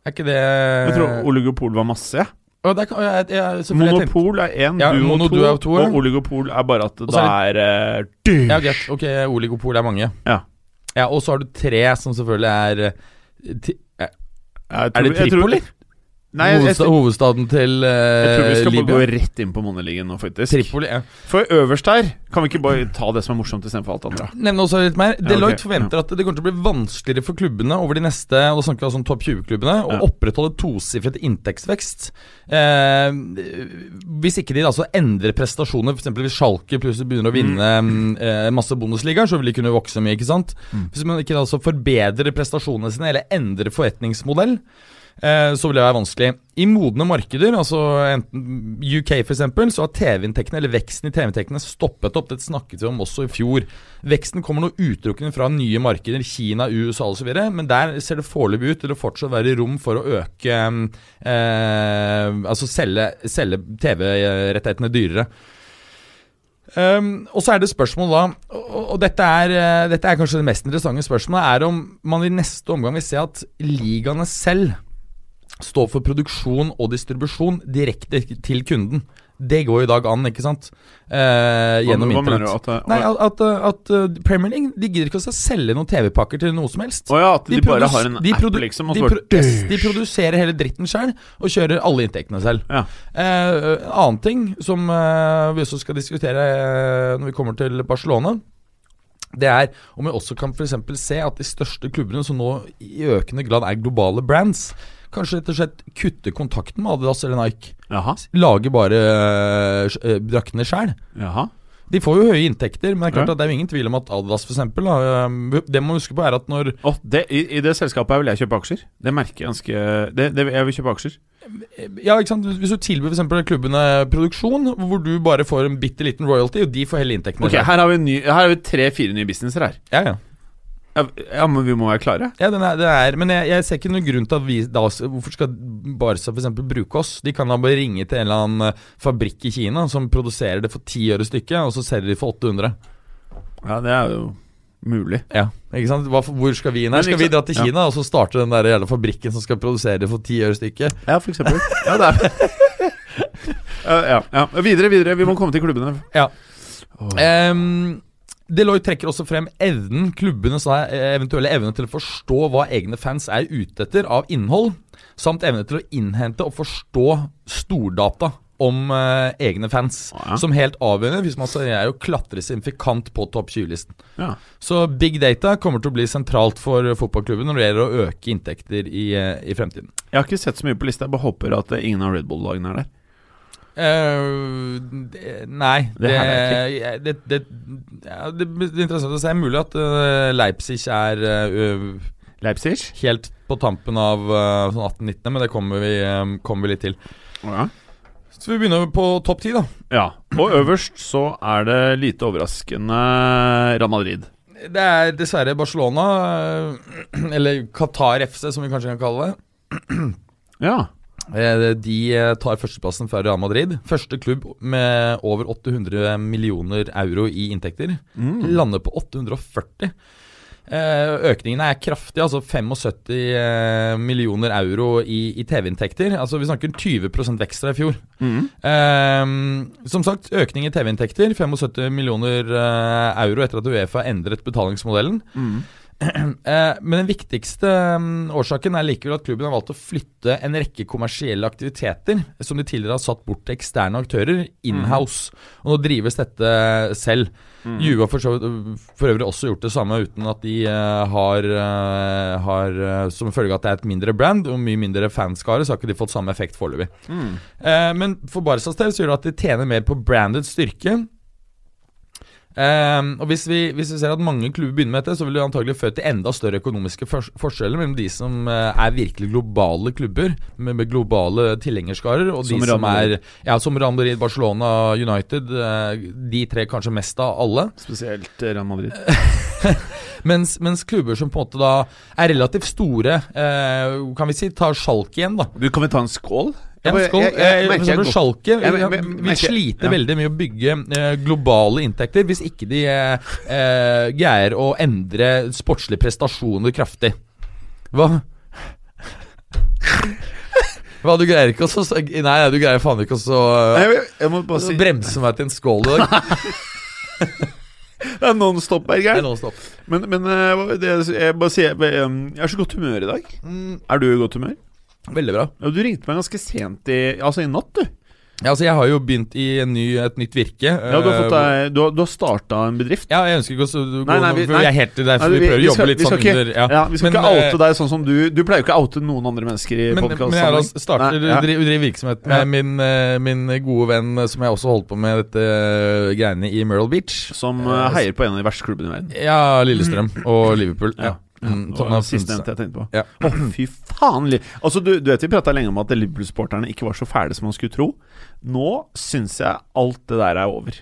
Speaker 2: Er ikke det
Speaker 1: Jeg tror oligopol var masse. jeg.
Speaker 2: Å, der kan- jeg, jeg, Eh. jeg, selvfølgelig, jeg tenkte-
Speaker 1: Monopol er én,
Speaker 2: Ja,
Speaker 1: duo
Speaker 2: mono,
Speaker 1: to,
Speaker 2: duo er to, ja.
Speaker 1: og oligopol er bare at det
Speaker 2: Og så
Speaker 1: da
Speaker 2: er
Speaker 1: er eh, dyr.
Speaker 2: Ja, greit. Ok, oligopol er mange.
Speaker 1: Ja.
Speaker 2: ja Og så har du tre som selvfølgelig er eh, ti, eh,
Speaker 1: Jeg
Speaker 2: Er det
Speaker 1: jeg
Speaker 2: Tripoli?
Speaker 1: Nei, jeg, jeg,
Speaker 2: hovedsta-
Speaker 1: jeg,
Speaker 2: hovedstaden til
Speaker 1: tror vi
Speaker 2: eh,
Speaker 1: skal bare
Speaker 2: Libya.
Speaker 1: gå rett inn på Moneligaen nå, faktisk.
Speaker 2: Tripoli. Ja.
Speaker 1: For øverst her kan vi ikke bare ta det som er morsomt, istedenfor alt andre.
Speaker 2: Nevne også litt mer. Deloitte
Speaker 1: ok.
Speaker 2: forventer at det kommer til å bli vanskeligere for klubbene over de neste og da snakker vi altså om topp 20-klubbene å
Speaker 1: Ja.
Speaker 2: opprettholde tosifret inntektsvekst. Eh, hvis ikke de altså endrer prestasjoner, f.eks. hvis Schalke plutselig begynner å vinne
Speaker 1: Mm.
Speaker 2: eh, masse Bundesligaer, så vil de kunne vokse mye. ikke sant? Hvis man ikke da altså forbedrer prestasjonene sine eller endrer forretningsmodell, eh, så vil det være vanskelig. I modne markeder, altså enten UK f.eks., så har TV-inntektene eller veksten i TV-inntektene stoppet opp. Det snakket vi om også i fjor. Veksten kommer nå utelukkende fra nye markeder, Kina, USA osv., men der ser det foreløpig ut til å fortsatt være rom for å øke eh, Altså selge, selge TV-rettighetene dyrere. Um, og så er det spørsmål da, og, og dette, er, eh, dette er kanskje det mest interessante spørsmålet, er om man i neste omgang vil se at ligaene selv står for produksjon og distribusjon direkte til kunden. Det går i dag an, ikke sant? Eh,
Speaker 1: Hva, hva
Speaker 2: gjennom
Speaker 1: mener du?
Speaker 2: internett.
Speaker 1: At, det-
Speaker 2: Nei, at, at, at eh, Premier League de gidder ikke å selge noen TV-pakker til noe som helst.
Speaker 1: Å ja, at de, bare
Speaker 2: produs-
Speaker 1: har en
Speaker 2: de
Speaker 1: app,
Speaker 2: produ-
Speaker 1: liksom? Og
Speaker 2: De,
Speaker 1: så bare
Speaker 2: pro yes, de produserer hele dritten selv og kjører alle inntektene selv.
Speaker 1: Ja.
Speaker 2: Eh, en annen ting som eh, vi også skal diskutere eh, når vi kommer til Barcelona, det er om vi også kan for eksempel se at de største klubbene, som nå i økende grad er globale brands, kanskje rett og slett kutter kontakten med Adidas eller Nike.
Speaker 1: Jaha.
Speaker 2: Lager bare eh, sj- eh, draktene sjøl.
Speaker 1: Jaha.
Speaker 2: De får jo høye inntekter, men det er klart
Speaker 1: Ja.
Speaker 2: at det er jo ingen tvil om at Adidas for eksempel, da, eh, Det man må huske på, er at når
Speaker 1: Og det, i, I det selskapet her vil jeg kjøpe aksjer. Det merker jeg ganske det, det, Jeg vil kjøpe aksjer.
Speaker 2: Ja, ikke sant? Hvis du tilbyr for eksempel klubbene produksjon, hvor du bare får en bitte liten royalty, og de får hele inntektene.
Speaker 1: Ok, Her har vi, en ny- her har vi tre-fire nye businesser her.
Speaker 2: Ja, ja.
Speaker 1: Ja, ja, men vi må være klare.
Speaker 2: Ja, den er, det er, men jeg, jeg ser ikke noen grunn til at vi da, Hvorfor skal Barca for eksempel bruke oss? De kan da bare ringe til en eller annen eh, fabrikk i Kina som produserer det for 10 øre stykket, og så selger de for 800.
Speaker 1: Ja, det er jo mulig.
Speaker 2: Ja, ikke sant? Hva, hvor skal vi inn
Speaker 1: Men
Speaker 2: her? Skal
Speaker 1: ikke
Speaker 2: vi dra
Speaker 1: sant-
Speaker 2: til
Speaker 1: ja.
Speaker 2: Kina og så starte den der jævla fabrikken som skal produsere det for 10 øre stykket?
Speaker 1: Ja, for eksempel. Ja, det er. ja, ja, ja. Videre, videre. Vi må komme til klubbene.
Speaker 2: Ja.
Speaker 1: Åh.
Speaker 2: Ehm, Deloitte trekker også frem evnen klubbenes da, eh, eventuelle evne til å forstå hva egne fans er ute etter av innhold, samt evne til å innhente og forstå stordata om eh, egne fans.
Speaker 1: Ja.
Speaker 2: Som helt avgjørende hvis man skal greie å klatre signifikant på topp 20-listen.
Speaker 1: Ja.
Speaker 2: Så big data kommer til å bli sentralt for fotballklubben når det gjelder å øke inntekter i, eh, i fremtiden.
Speaker 1: Jeg har ikke sett så mye på lista. Jeg bare håper at eh, ingen av Red Bull-lagene er der.
Speaker 2: Eh, det- nei
Speaker 1: Det
Speaker 2: det,
Speaker 1: her
Speaker 2: jeg- det, det, ja, det blir interessant å se. Mulig at eh, Leipzig er eh, ø-
Speaker 1: Leipzig?
Speaker 2: helt på tampen av eh, sånn 18-19, men det kommer vi, eh, kommer vi litt til.
Speaker 1: Ja.
Speaker 2: Så vi begynner på topp ti, da.
Speaker 1: ja. Og øverst så er det lite overraskende Real Madrid.
Speaker 2: Det er dessverre Barcelona, eh, eller Qatar FC, som vi kanskje kan kalle det.
Speaker 1: Ja.
Speaker 2: Eh, De eh, tar førsteplassen fra Real Madrid. Første klubb med over 800 millioner euro i inntekter. Lander på 840. Eh, Økningen er kraftig, altså 75 eh, millioner euro i, i TV-inntekter. Altså Vi snakker 20 vekst fra i fjor. Ehm, som sagt, økning i TV-inntekter. 75 millioner eh, euro etter at Uefa endret betalingsmodellen. Eh, men den viktigste mm, årsaken er likevel at klubben har valgt å flytte en rekke kommersielle aktiviteter som de tidligere har satt bort til eksterne aktører, inhouse. Og nå drives dette selv. Juve har for, så, vidt- for øvrig også gjort det samme, uten at de eh, har, eh, har eh, Som følge av at det er et mindre brand og mye mindre fanskare, så har ikke de fått samme effekt foreløpig. Eh, men for Barcas del så gjør det at de tjener mer på branded styrke. Ehm, og hvis vi, hvis vi ser at mange klubber begynner med dette, så vil det antagelig føre til enda større økonomiske fors forskjeller mellom de som eh, er virkelig globale klubber, med, med globale tilhengerskarer, og de
Speaker 1: Som
Speaker 2: som,
Speaker 1: Real Madrid.
Speaker 2: er ja, som Real Madrid, Barcelona, United. eh, de tre kanskje mest av alle.
Speaker 1: Spesielt Real Madrid.
Speaker 2: mens, mens klubber som på en måte da er relativt store, eh, kan vi si, tar sjalk igjen, da.
Speaker 1: Du, kan vi ta en skål?
Speaker 2: En
Speaker 1: bare-
Speaker 2: skål,
Speaker 1: jeg- jeg
Speaker 2: eh,
Speaker 1: merker
Speaker 2: for
Speaker 1: jeg
Speaker 2: eksempel
Speaker 1: godt-
Speaker 2: Schalke
Speaker 1: Jeg mer- mer-
Speaker 2: eh, vil
Speaker 1: merker-
Speaker 2: slite
Speaker 1: ja.
Speaker 2: veldig med å bygge eh, globale inntekter hvis ikke de eh, eh, greier å endre sportslige prestasjoner kraftig. Hva? Hva, du greier ikke å så Nei, nei, du greier faen ikke å så
Speaker 1: Nei, jeg, jeg må bare si
Speaker 2: bremse meg til en skål i dag.
Speaker 1: Det er nonstop,
Speaker 2: Det er
Speaker 1: Berger.
Speaker 2: noe stopp.
Speaker 1: Men, men eh, det, jeg bare sier eh, Jeg er så godt humør i dag.
Speaker 2: Mm.
Speaker 1: Er du i godt humør?
Speaker 2: Veldig bra.
Speaker 1: Ja, du ringte meg ganske sent i Altså i natt, du.
Speaker 2: Ja, altså, jeg har jo begynt i en ny, et nytt virke.
Speaker 1: Ja, du har, fått
Speaker 2: eh,
Speaker 1: deg- du har, du har starta en bedrift.
Speaker 2: Ja, jeg ønsker ikke å så- gå
Speaker 1: Nei, nei,
Speaker 2: noe-
Speaker 1: vi-
Speaker 2: for
Speaker 1: nei.
Speaker 2: jeg er helt derfor
Speaker 1: Nei,
Speaker 2: vi, prøver å jobbe
Speaker 1: skal-
Speaker 2: litt
Speaker 1: vi skal
Speaker 2: sånn
Speaker 1: ikke-
Speaker 2: under
Speaker 1: ja, Vi skal
Speaker 2: Men,
Speaker 1: ikke
Speaker 2: eh,
Speaker 1: oute deg sånn som du Du pleier jo ikke å oute noen andre mennesker i
Speaker 2: men,
Speaker 1: podkast.
Speaker 2: men jeg har altså starter,
Speaker 1: Nei, ja.
Speaker 2: dri- driver virksomhet med
Speaker 1: Ja.
Speaker 2: min, eh, min gode venn eh, som jeg også holdt på med dette eh, greiene i Myrtle Beach.
Speaker 1: Som eh, heier på en av de verste klubbene i verden.
Speaker 2: Ja, Lillestrøm og Liverpool. Ja. Mm,
Speaker 1: Det var
Speaker 2: sånn har-
Speaker 1: det sistnevnte jeg tenkte på.
Speaker 2: Ja.
Speaker 1: Å, fy faen! Li- Altså, du, du vet Vi prata lenge om at Liverpool-sporterne ikke var så fæle som man skulle tro. Nå syns jeg alt det der er over.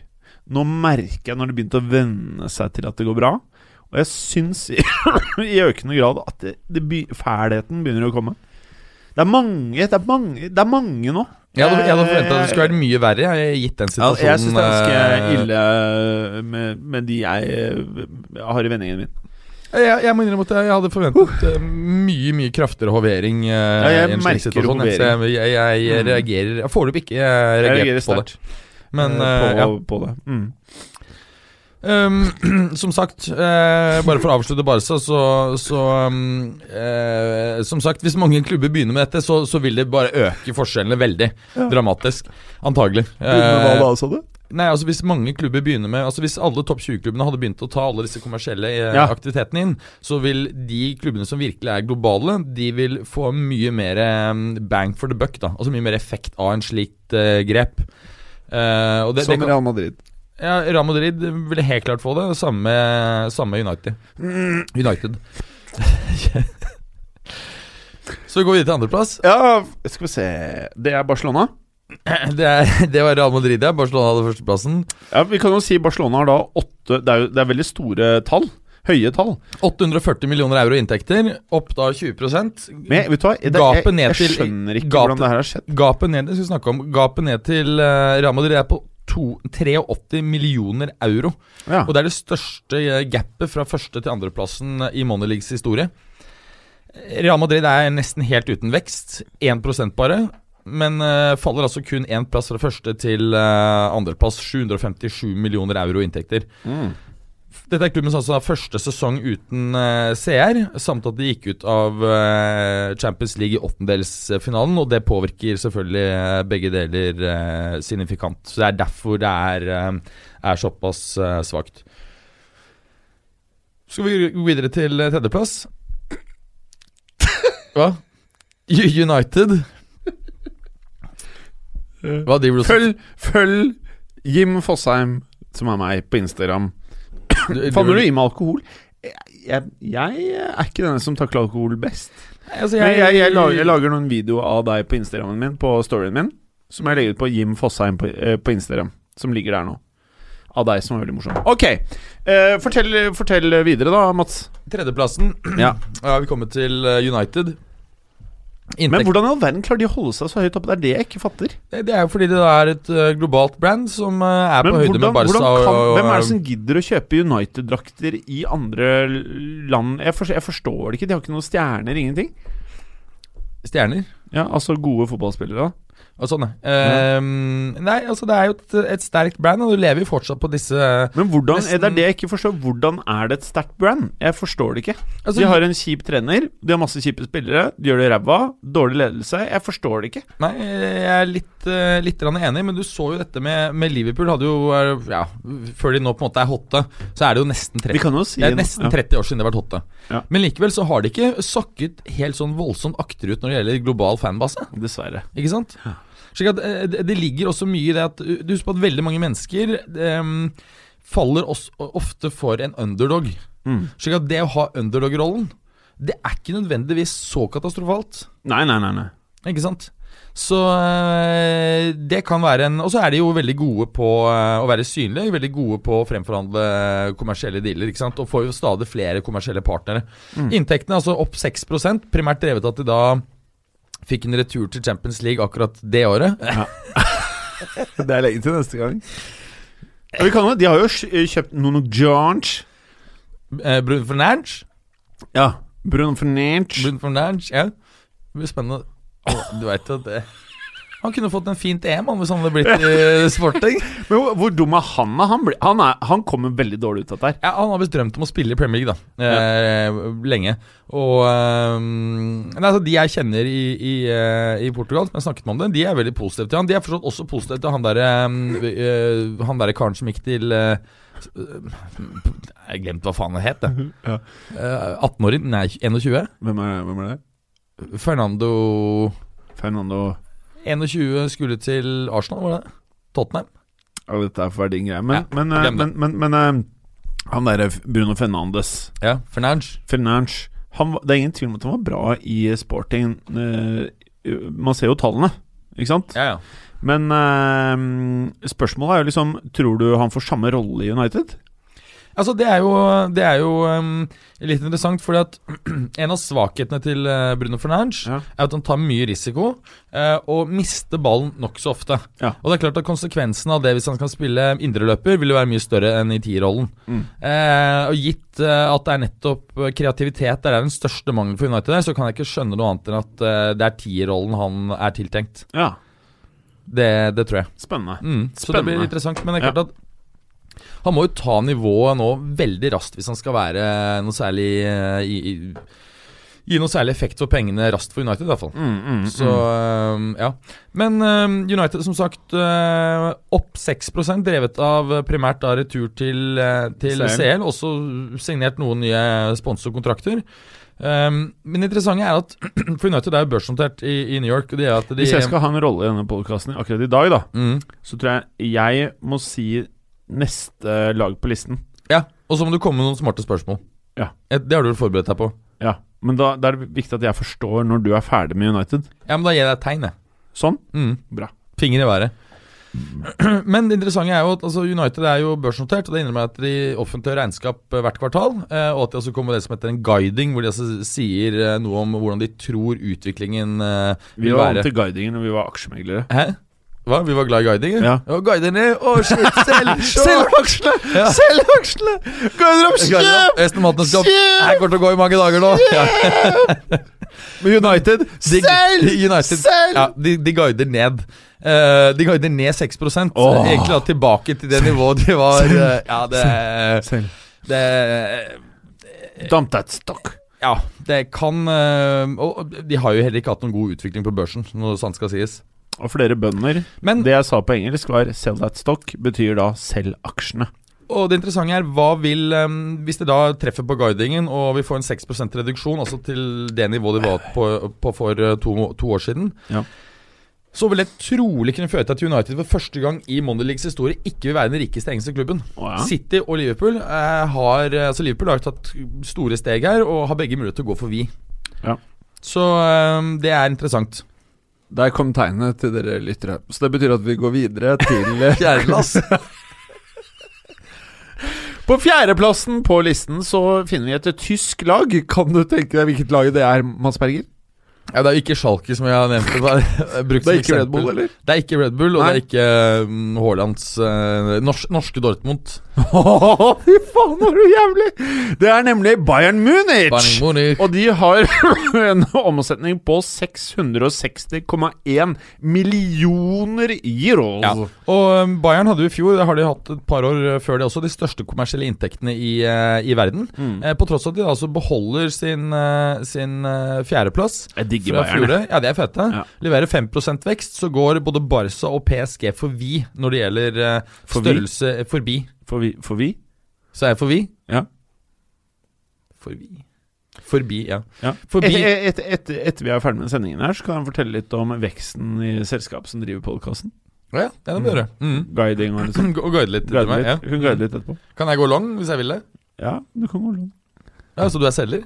Speaker 1: Nå merker jeg, når det begynte å venne seg til at det går bra Og jeg syns i, i økende grad at det, det by, fælheten begynner å komme. Det er mange, det er mange, det er mange nå.
Speaker 2: Jeg hadde, jeg hadde forventa at det skulle vært mye verre, jeg, gitt
Speaker 1: Ja,
Speaker 2: den
Speaker 1: Eh,
Speaker 2: situasjonen.
Speaker 1: altså, jeg syns det er ganske
Speaker 2: eh,
Speaker 1: ille med, med de jeg eh, har i vendingen min.
Speaker 2: Jeg, jeg må innrømme at jeg, jeg hadde forventet eh, mye mye kraftigere hovering. eh,
Speaker 1: Uh. jeg
Speaker 2: i en slik
Speaker 1: merker
Speaker 2: situasjon,
Speaker 1: hovering.
Speaker 2: så Jeg, jeg, jeg
Speaker 1: Mm.
Speaker 2: reagerer Jeg foreløpig ikke jeg
Speaker 1: Jeg
Speaker 2: reagert
Speaker 1: reagerer
Speaker 2: på
Speaker 1: sterkt
Speaker 2: det. Men
Speaker 1: eh,
Speaker 2: eh,
Speaker 1: på,
Speaker 2: ja.
Speaker 1: på det. Mm.
Speaker 2: Um, som sagt, eh, bare for å avslutte Barca, så, så um, eh, Som sagt, hvis mange klubber begynner med dette, så, så vil det bare øke forskjellene veldig.
Speaker 1: Ja.
Speaker 2: Dramatisk. Antagelig.
Speaker 1: Hva
Speaker 2: Eh,
Speaker 1: da, sa du?
Speaker 2: Nei, altså Hvis mange klubber begynner med Altså hvis alle topp 20-klubbene hadde begynt å ta alle disse kommersielle eh,
Speaker 1: Ja.
Speaker 2: aktivitetene inn, så vil de klubbene som virkelig er globale, de vil få mye mer eh, bang for the buck. da Altså mye mer effekt av en slikt eh, grep. Eh, og det, det
Speaker 1: Som
Speaker 2: kan,
Speaker 1: Real Madrid.
Speaker 2: ja, Real Madrid ville helt klart få det. og Samme, samme United. United. så vi går videre til andreplass.
Speaker 1: Ja, skal vi se Det er Barcelona.
Speaker 2: Det, er- det var Real Madrid, ja. Barcelona hadde førsteplassen.
Speaker 1: Ja, Vi kan jo si Barcelona har da åtte Det er, jo, det er veldig store tall. Høye tall.
Speaker 2: 840 millioner euro i inntekter, opp da 20
Speaker 1: Men jeg, vet du hva, det,
Speaker 2: Gapet
Speaker 1: jeg,
Speaker 2: ned
Speaker 1: jeg,
Speaker 2: til-
Speaker 1: skjønner ikke
Speaker 2: gapet-
Speaker 1: hvordan det her har skjedd.
Speaker 2: Gapet ned, det skal vi snakke om Gapet ned til eh, Real Madrid er på to- 83 millioner euro.
Speaker 1: Ja.
Speaker 2: Og det er det største eh, gapet fra første til andreplassen eh, i Money Leagues historie. Eh, Real Madrid er nesten helt uten vekst. 1 bare. Men eh, faller altså kun én plass fra første til eh, andreplass. 757 millioner euro i inntekter.
Speaker 1: Mm.
Speaker 2: Dette er klubbens altså første sesong uten eh, CR, samt at de gikk ut av eh, Champions League i åttendelsfinalen, og det påvirker selvfølgelig eh, begge deler eh, signifikant. Så det er derfor det er, eh, er såpass eh, svakt. Skal vi gå videre til eh, tredjeplass? Hva? U- United? Hva driver du og
Speaker 1: Følg, følg Jim Fosheim, som er meg, på Instagram.
Speaker 2: Du-
Speaker 1: Faller
Speaker 2: driver-
Speaker 1: du i med alkohol? Jeg, jeg, jeg er ikke den som takler alkohol best.
Speaker 2: Altså,
Speaker 1: Men jeg, jeg, lager, jeg lager noen videoer av deg på Instagrammen min, på storyen min, som jeg legger ut på Jim Fosheim på, eh, på Instagram, som ligger der nå. Av deg, som er veldig morsom. Ok, eh, fortell, fortell videre da, Mats.
Speaker 2: Tredjeplassen.
Speaker 1: Ja.
Speaker 2: Ja, vi kommer til eh, United.
Speaker 1: Men
Speaker 2: Inntekter
Speaker 1: hvordan i all verden klarer de å holde seg så høyt oppe? Det er det jeg ikke fatter.
Speaker 2: Eh, Det det er jo fordi det er et ø, globalt brand som ø, er
Speaker 1: Men
Speaker 2: på høyde
Speaker 1: hvordan,
Speaker 2: med Barca.
Speaker 1: hvordan kan,
Speaker 2: og- eh, og-
Speaker 1: hvem er det som gidder å kjøpe United-drakter i andre land? Jeg forstår, jeg forstår det ikke. De har ikke noen stjerner, ingenting.
Speaker 2: Stjerner?
Speaker 1: Ja, Altså gode fotballspillere, da.
Speaker 2: Og sånn, ja. Ehm, nei, altså det er jo et, et sterkt brand, og du lever jo fortsatt på disse altså,
Speaker 1: Men hvordan,
Speaker 2: Nesten-
Speaker 1: det er det jeg ikke forstår. Hvordan er det et sterkt brand? Jeg forstår det ikke.
Speaker 2: altså,
Speaker 1: de har en kjip trener, de har masse kjipe spillere, de gjør det ræva, dårlig ledelse. Jeg forstår det ikke.
Speaker 2: Nei, jeg er litt, ø, litt grann enig, men du så jo dette med, med Liverpool. Hadde jo, ø, ja, Før de nå på en måte er hotte, så er det jo nesten 30
Speaker 1: Vi kan jo si
Speaker 2: Det er nesten 30 år siden det har vært hotte.
Speaker 1: Ja.
Speaker 2: Men likevel så har de ikke sakket helt sånn voldsomt akterut når det gjelder global fanbase.
Speaker 1: ja, Dessverre.
Speaker 2: Ikke sant? Slik at eh, det, det ligger også mye i det at uh, Du husker på at veldig mange mennesker em, faller også, ofte for en underdog.
Speaker 1: Mm.
Speaker 2: Slik at det å ha underdog-rollen, det er ikke nødvendigvis så katastrofalt.
Speaker 1: Nei, nei, nei. nei.
Speaker 2: Ikke sant? Så eh, eh, det kan være en Og så er de jo veldig gode på eh, å være synlige. Veldig gode på å fremforhandle kommersielle dealer. ikke sant? Og får jo stadig flere kommersielle partnere. Inntektene altså opp 6 primært drevet av at de da fikk en retur til Champions League akkurat det året.
Speaker 3: Det er lenge til neste gang.
Speaker 1: Ja, vi kan, jo- de har jo sj- kjøpt Nono George.
Speaker 2: Eh, Brun Fernandes.
Speaker 1: Ja. Bruno Fernandes.
Speaker 2: Brun Fernandes, ja. Det blir spennende. Å, Du vet at det Han kunne fått en fint EM han, hvis han hadde blitt eh, sporting.
Speaker 1: Men hvor, hvor dum er han? da? Han, ble, han, er, han kommer veldig dårlig ut av dette. her
Speaker 2: Ja, han har visst drømt om å spille i Premier League, da. Eh, Lenge. Og eh, nei, altså, De jeg kjenner i, i, eh, i Portugal, som jeg snakket med om det, de er veldig positive til han. De er forstått også positive til han derre eh, Han derre karen som gikk til eh, s- eh, Jeg glemte hva faen han het, jeg.
Speaker 3: Ja.
Speaker 2: Eh, 18-åring? Nei, 21?
Speaker 3: Hvem er, hvem er det?
Speaker 2: Fernando
Speaker 3: Fernando
Speaker 2: 21 skulle til Arsenal, var det det? Tottenham?
Speaker 3: Ja, dette er for din greie. Men,
Speaker 2: Ja,
Speaker 3: men, eh,
Speaker 2: glem det.
Speaker 3: men, men, men eh, han derre Bruno Fernandes
Speaker 2: Ja, Fernandes.
Speaker 3: Fernandes
Speaker 1: han, var- Det er ingen tvil om at han var bra i sporting. eh, Man ser jo tallene, ikke sant?
Speaker 2: Ja, ja.
Speaker 1: Men eh, spørsmålet er jo liksom Tror du han får samme rolle i United?
Speaker 2: Altså, det er jo, det er jo um, litt interessant, fordi at en av svakhetene til eh, Bruno Fernandes
Speaker 1: Ja.
Speaker 2: er at han tar mye risiko eh, og mister ballen nokså ofte.
Speaker 1: Ja.
Speaker 2: Og det er klart at konsekvensen av det hvis han skal spille indreløper, vil jo være mye større enn i tierrollen.
Speaker 1: Mm.
Speaker 2: Eh, og gitt eh, at det er nettopp eh, kreativitet der er den største mangelen for United, der, så kan jeg ikke skjønne noe annet enn at eh, det er tierrollen han er tiltenkt.
Speaker 1: Ja,
Speaker 2: Det, det tror jeg.
Speaker 1: spennende.
Speaker 2: Mm, så det blir
Speaker 1: Spennende.
Speaker 2: interessant. Men det er klart at han må jo ta nivået nå veldig raskt hvis han skal være noe særlig eh, i, i, Gi noe særlig effekt for pengene raskt for United, i hvert fall.
Speaker 1: Mm, mm,
Speaker 2: Så eh, ja. Men eh, United, som sagt, eh, opp 6 drevet av eh, primært da retur til, eh, til
Speaker 1: CL.
Speaker 2: CL. Også signert noen nye sponsorkontrakter. Um, men det interessante er at For United er jo børsnotert i, i New York. Og det er at de
Speaker 1: Hvis jeg skal ha en rolle i denne podkasten akkurat i dag, da,
Speaker 2: mm,
Speaker 1: så tror jeg jeg må si neste lag på listen.
Speaker 2: Ja, og så må du komme med noen smarte spørsmål.
Speaker 1: Ja.
Speaker 2: Et- Det har du vel forberedt deg på.
Speaker 1: Ja, Men da, da er det viktig at jeg forstår når du er ferdig med United.
Speaker 2: Ja, men da gir jeg deg et tegn, jeg.
Speaker 1: Sånn.
Speaker 2: Mm.
Speaker 1: Bra.
Speaker 2: Finger i været. Men det interessante er jo at altså, United er jo børsnotert, og det innebærer at de offentliggjør regnskap eh, hvert kvartal. eh, Og at de også kommer med det som heter en guiding, hvor de altså sier eh, noe om hvordan de tror utviklingen eh,
Speaker 1: Vi
Speaker 2: vil
Speaker 1: var vant
Speaker 2: være.
Speaker 1: til guidingen når vi var aksjemeglere.
Speaker 2: Hæ? Hva? Vi var glad i guidinger?
Speaker 1: Ja.
Speaker 2: guiderne! Å, shit! Selv, selv aksjene! Ja.
Speaker 1: Selg aksjene! Guider opp
Speaker 2: Resten av maten skal Jeg kommer til å gå i mange dager nå. Ja.
Speaker 1: Med United!
Speaker 2: De,
Speaker 1: Selg!
Speaker 2: United,
Speaker 1: Selv!
Speaker 2: Ja, de, de guider ned. Eh, de guider ned 6
Speaker 1: Åh.
Speaker 2: Egentlig da tilbake til det nivået de var eh, Ja, det,
Speaker 3: Selv.
Speaker 2: det
Speaker 1: Dump that stock.
Speaker 2: Ja, det kan eh, Og de har jo heller ikke hatt noen god utvikling på børsen, når sant skal sies.
Speaker 1: Og flere bønder.
Speaker 2: Men
Speaker 1: Det jeg sa på engelsk, var 'sell that stock', betyr da 'selg aksjene'.
Speaker 2: og det interessante er, hva vil eh, Hvis de da treffer på guidingen og vi får en 6 reduksjon, altså til det nivået de var på, på for eh, to, to år siden,
Speaker 1: Ja.
Speaker 2: så vil det trolig kunne føre til at United for første gang i Monday Leagues historie ikke vil være den rikeste engelske klubben.
Speaker 1: Å, ja.
Speaker 2: City og Liverpool eh, har Altså Liverpool har tatt store steg her og har begge mulighet til å gå forbi.
Speaker 1: Ja.
Speaker 2: Så eh, det er interessant.
Speaker 3: Der kom tegnet til dere lyttere. Så det betyr at vi går videre til eh,
Speaker 2: Fjerdeplass.
Speaker 3: På fjerdeplassen på listen så finner vi et tysk lag. Kan du tenke deg hvilket lag det er, Mads Berger?
Speaker 2: Ja, det er jo ikke Schalke, som jeg har nevnt. Det, bare, brukt
Speaker 3: Det
Speaker 2: som
Speaker 3: er ikke Red
Speaker 2: eksempel.
Speaker 3: Bull, eller?
Speaker 2: Det er ikke Red Bull, og
Speaker 3: Nei.
Speaker 2: det er ikke mm, Haalands eh, nors norske Dortmund.
Speaker 3: Fy faen, er du jævlig! Det er nemlig Bayern Munich!
Speaker 2: Bayern Munich.
Speaker 3: Og de har en omsetning på 660,1 millioner euro.
Speaker 2: Ja. Og um, Bayern hadde jo i fjor, det har de hatt et par år uh, før det også, de største kommersielle inntektene i, uh, i verden.
Speaker 3: Mm.
Speaker 2: Eh, På tross av at de da altså beholder sin, uh, sin uh, fjerdeplass.
Speaker 1: Jeg digger
Speaker 2: Fra
Speaker 1: Bayern. jeg.
Speaker 2: fjoråret. Ja, de er fete.
Speaker 1: Ja.
Speaker 2: Leverer 5 vekst, så går både Barca og PSG forbi når det gjelder eh,
Speaker 1: Forbi?
Speaker 2: størrelse forbi.
Speaker 1: For vi, for vi?
Speaker 2: Så er jeg forbi?
Speaker 1: Ja.
Speaker 2: Forbi Forbi, ja.
Speaker 1: Ja.
Speaker 2: Forbi
Speaker 1: Etter, etter, etter, etter vi er ferdig med sendingen her, så kan han fortelle litt om veksten i selskapet som driver podkasten.
Speaker 2: Ja, ja, det må du gjøre. Mm.
Speaker 1: Guiding og liksom.
Speaker 2: Og guide litt etter
Speaker 1: Guide
Speaker 2: meg.
Speaker 1: litt.
Speaker 2: Ja.
Speaker 1: Hun guider litt etterpå.
Speaker 2: Kan jeg gå long hvis jeg vil det?
Speaker 1: Ja, du kan gå lang.
Speaker 2: Ja, Så du er selger?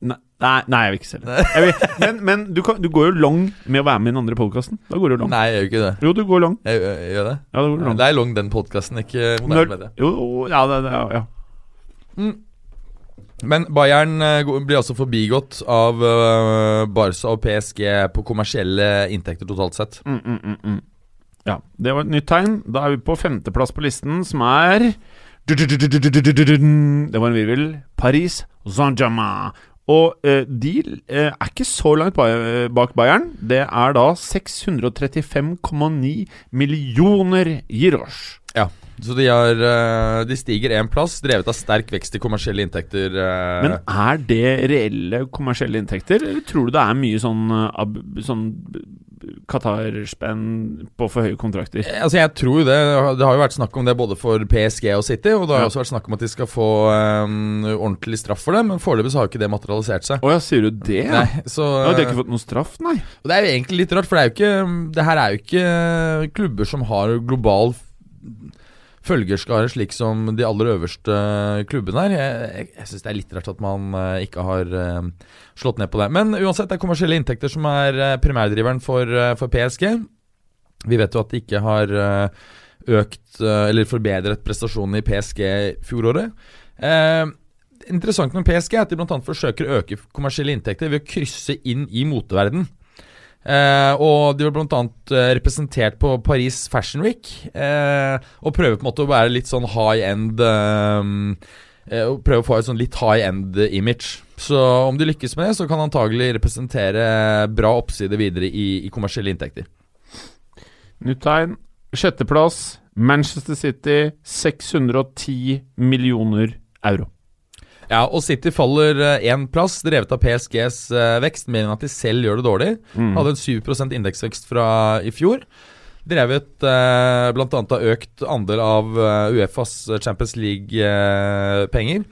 Speaker 1: Nei, nei, nei, jeg vil ikke selge. Jeg vil, men men du, kan, du går jo lang med å være med i den andre podkasten. Da går du lang.
Speaker 2: Nei, jeg gjør jo ikke det.
Speaker 1: Jo, du går lang.
Speaker 2: Jeg, gjør- jeg gjør det.
Speaker 1: Ja, da går du lang.
Speaker 2: Det er long den podkasten, ikke moderne
Speaker 1: Når,
Speaker 2: medie.
Speaker 1: jo, jo, ja, det, det, ja, ja.
Speaker 2: Men Bayern eh, går- blir altså forbigått av eh, Barca og PSG på kommersielle inntekter totalt sett.
Speaker 1: Mm, mm, mm, mm. ja. Det var et nytt tegn. Da er vi på femteplass på listen, som er Det var en virvel. Paris Saint-Germain. Og eh, de eh, er ikke så langt ba- bak Bayern. Det er da 635,9 millioner euros.
Speaker 2: Ja, så de, har, eh, de stiger én plass, drevet av sterk vekst i kommersielle inntekter. eh,
Speaker 1: Men er det reelle kommersielle inntekter, eller tror du det er mye sånn, eh, ab, sånn Qatar-spenn på for høye kontrakter?
Speaker 2: Altså jeg tror jo det. Det har jo vært snakk om det både for PSG og City. Og det
Speaker 1: Ja.
Speaker 2: har jo også vært snakk om at de skal få eh, ordentlig straff for det, men foreløpig så har jo ikke det materialisert seg.
Speaker 1: Å ja, sier du det? ja?
Speaker 2: Nei, så,
Speaker 1: Ja, de har ikke fått noen straff, nei?
Speaker 2: og det er jo egentlig litt rart, for det, er jo ikke, det her er jo ikke eh, klubber som har global f- følgerskare, slik som de aller øverste klubbene her. Jeg, jeg, jeg syns det er litt rart at man eh, ikke har eh, slått ned på det. Men uansett, det er kommersielle inntekter som er eh, primærdriveren for, eh, for PSG. Vi vet jo at de ikke har eh, økt eh, eller forbedret prestasjonene i PSG fjoråret. Eh, interessant med PSG er at de bl.a. forsøker å øke kommersielle inntekter ved å krysse inn i moteverden. Eh, og de var bl.a. Eh, representert på Paris Fashion Week. Eh, og prøver på en måte å være litt sånn high end eh, eh, og Prøve å få et sånn litt high end image. Så om de lykkes med det, så kan de antagelig representere bra oppside videre i, i kommersielle inntekter.
Speaker 1: Nytt tegn. Sjetteplass, Manchester City, 610 millioner euro.
Speaker 2: Ja, og City faller én plass, drevet av PSGs eh, vekst, mer enn at de selv gjør det dårlig. Hadde en 7 indeksvekst fra i fjor. Drevet eh, bl.a. av økt andel av eh, Uefas Champions League-penger.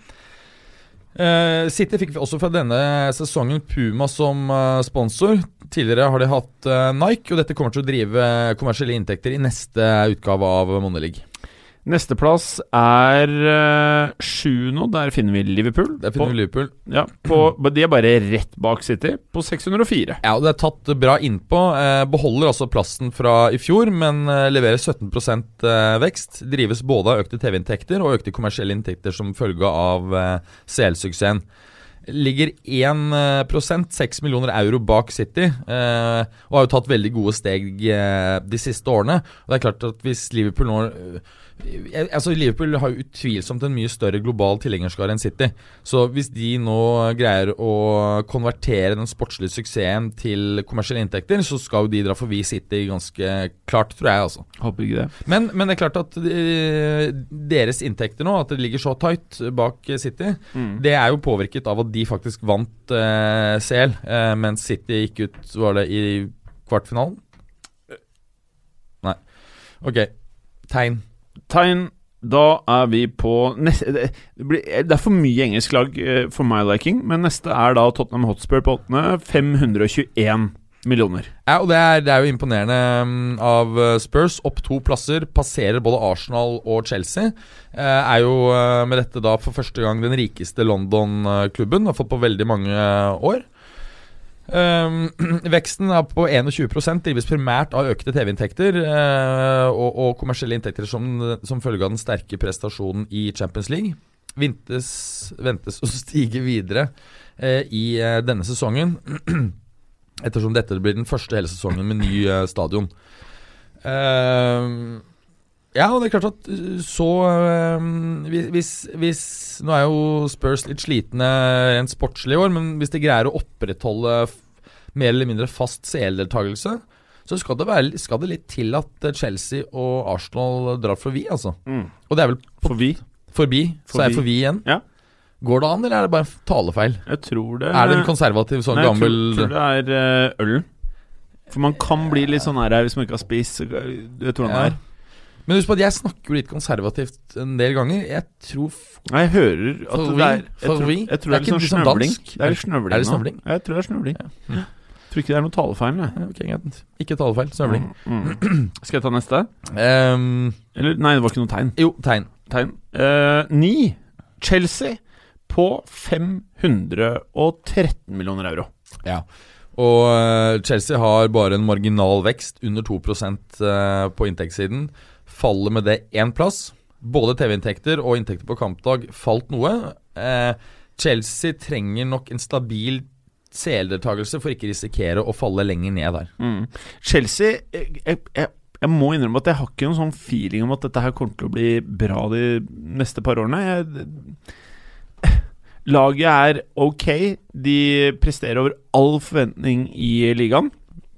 Speaker 2: Eh, City fikk også fra denne sesongen Puma som eh, sponsor. Tidligere har de hatt eh, Nike, og dette kommer til å drive eh, kommersielle inntekter i neste utgave av Monelig.
Speaker 1: Nesteplass er eh, sjuende, og der finner vi Liverpool.
Speaker 2: Der finner vi Liverpool.
Speaker 1: på, ja, på, men de er bare rett bak City, på 604.
Speaker 2: Ja, og det er tatt bra innpå. Eh, beholder altså plassen fra i fjor, men eh, leverer 17 eh, vekst. Drives både av økte TV-inntekter og økte kommersielle inntekter som følge av eh, CL-suksessen. Ligger 1 6 millioner euro bak City, eh, og har jo tatt veldig gode steg eh, de siste årene. Og det er klart at hvis Liverpool nå eh, eh, Altså Liverpool har jo utvilsomt en mye større global tilhengerskare enn City. Så hvis de nå greier å konvertere den sportslige suksessen til kommersielle inntekter, så skal jo de dra forbi City ganske klart, tror jeg, altså.
Speaker 1: Håper ikke det.
Speaker 2: Men, men det er klart at eh, deres inntekter nå, at det ligger så tight bak eh, City, det er jo påvirket av at de faktisk vant eh, CL, eh, mens City gikk ut, var det i kvartfinalen? Nei. Ok. Tegn.
Speaker 1: Tegn. Da er vi på neste, det, det blir, det er for mye engelsk lag eh, for my liking, men neste er da Tottenham Hotspur på åttende. 521 millioner.
Speaker 2: Ja, og det er, det er jo imponerende mm, av eh, Spurs. Opp to plasser, passerer både Arsenal og Chelsea. Eh, Er jo eh, med dette da for første gang den rikeste London-klubben. Har fått på veldig mange eh, år. Ehm, veksten er på 21 drives primært av økte TV-inntekter eh, og, og kommersielle inntekter som, som følge av den sterke prestasjonen i Champions League. Vintes, ventes å stige videre eh, i eh, denne sesongen. Ettersom dette blir den første hele sesongen med ny eh, stadion. Ehm, ja, og det er klart at eh, så ehm, hvis, hvis, hvis Nå er jo Spurs litt slitne rent sportslig i år, men hvis de greier å opprettholde f- mer eller mindre fast CL-deltakelse, så skal det, være, skal det litt til at eh, Chelsea og Arsenal drar forbi, altså.
Speaker 1: Mm.
Speaker 2: Og det er vel
Speaker 1: For vi
Speaker 2: forbi, så er
Speaker 1: Forbi.
Speaker 2: jeg forbi igjen.
Speaker 1: Ja.
Speaker 2: Går det an, eller er det bare en talefeil?
Speaker 1: Jeg tror det
Speaker 2: Er det en konservativ sånn
Speaker 1: eh, Nei,
Speaker 2: gammel
Speaker 1: Jeg tror, tror det er eh, ølen. For man kan bli litt sånn her hvis man ikke har spist. så- Jeg tror han
Speaker 2: Ja.
Speaker 1: er
Speaker 2: Men husk på at jeg snakker jo litt konservativt en del ganger. Jeg tror f-
Speaker 1: Nei, jeg hører at
Speaker 2: Favori?
Speaker 1: det er jeg tror,
Speaker 2: Favori?
Speaker 1: jeg tror det
Speaker 2: Det er
Speaker 1: er
Speaker 2: ikke
Speaker 1: litt sånn
Speaker 2: liksom
Speaker 1: snøvling.
Speaker 2: dansk.
Speaker 1: Det er litt snøvling.
Speaker 2: Er det
Speaker 1: nå.
Speaker 2: snøvling?
Speaker 1: Ja, Jeg tror det er snøvling.
Speaker 2: Ja. Mm.
Speaker 1: Tror ikke det er noe talefeil. Jeg.
Speaker 2: ja, ok, greit. Ikke talefeil. Søvling.
Speaker 1: Mm. Skal jeg ta neste?
Speaker 2: Ehm,
Speaker 1: Eller nei, det var ikke noe tegn.
Speaker 2: jo, tegn.
Speaker 1: Tegn. Eh, ni. Chelsea på 513 millioner euro.
Speaker 2: Ja. Og eh, Chelsea har bare en marginal vekst, under 2 eh, på inntektssiden. Faller med det én plass. Både TV-inntekter og inntekter på kampdag falt noe. Eh, Chelsea trenger nok en stabil seerdeltakelse for ikke risikere å falle lenger ned der.
Speaker 1: Mm. Chelsea jeg, jeg, jeg, jeg må innrømme at jeg har ikke noen sånn feeling om at dette her kommer til å bli bra de neste par årene. Jeg, laget er ok. De presterer over all forventning i ligaen.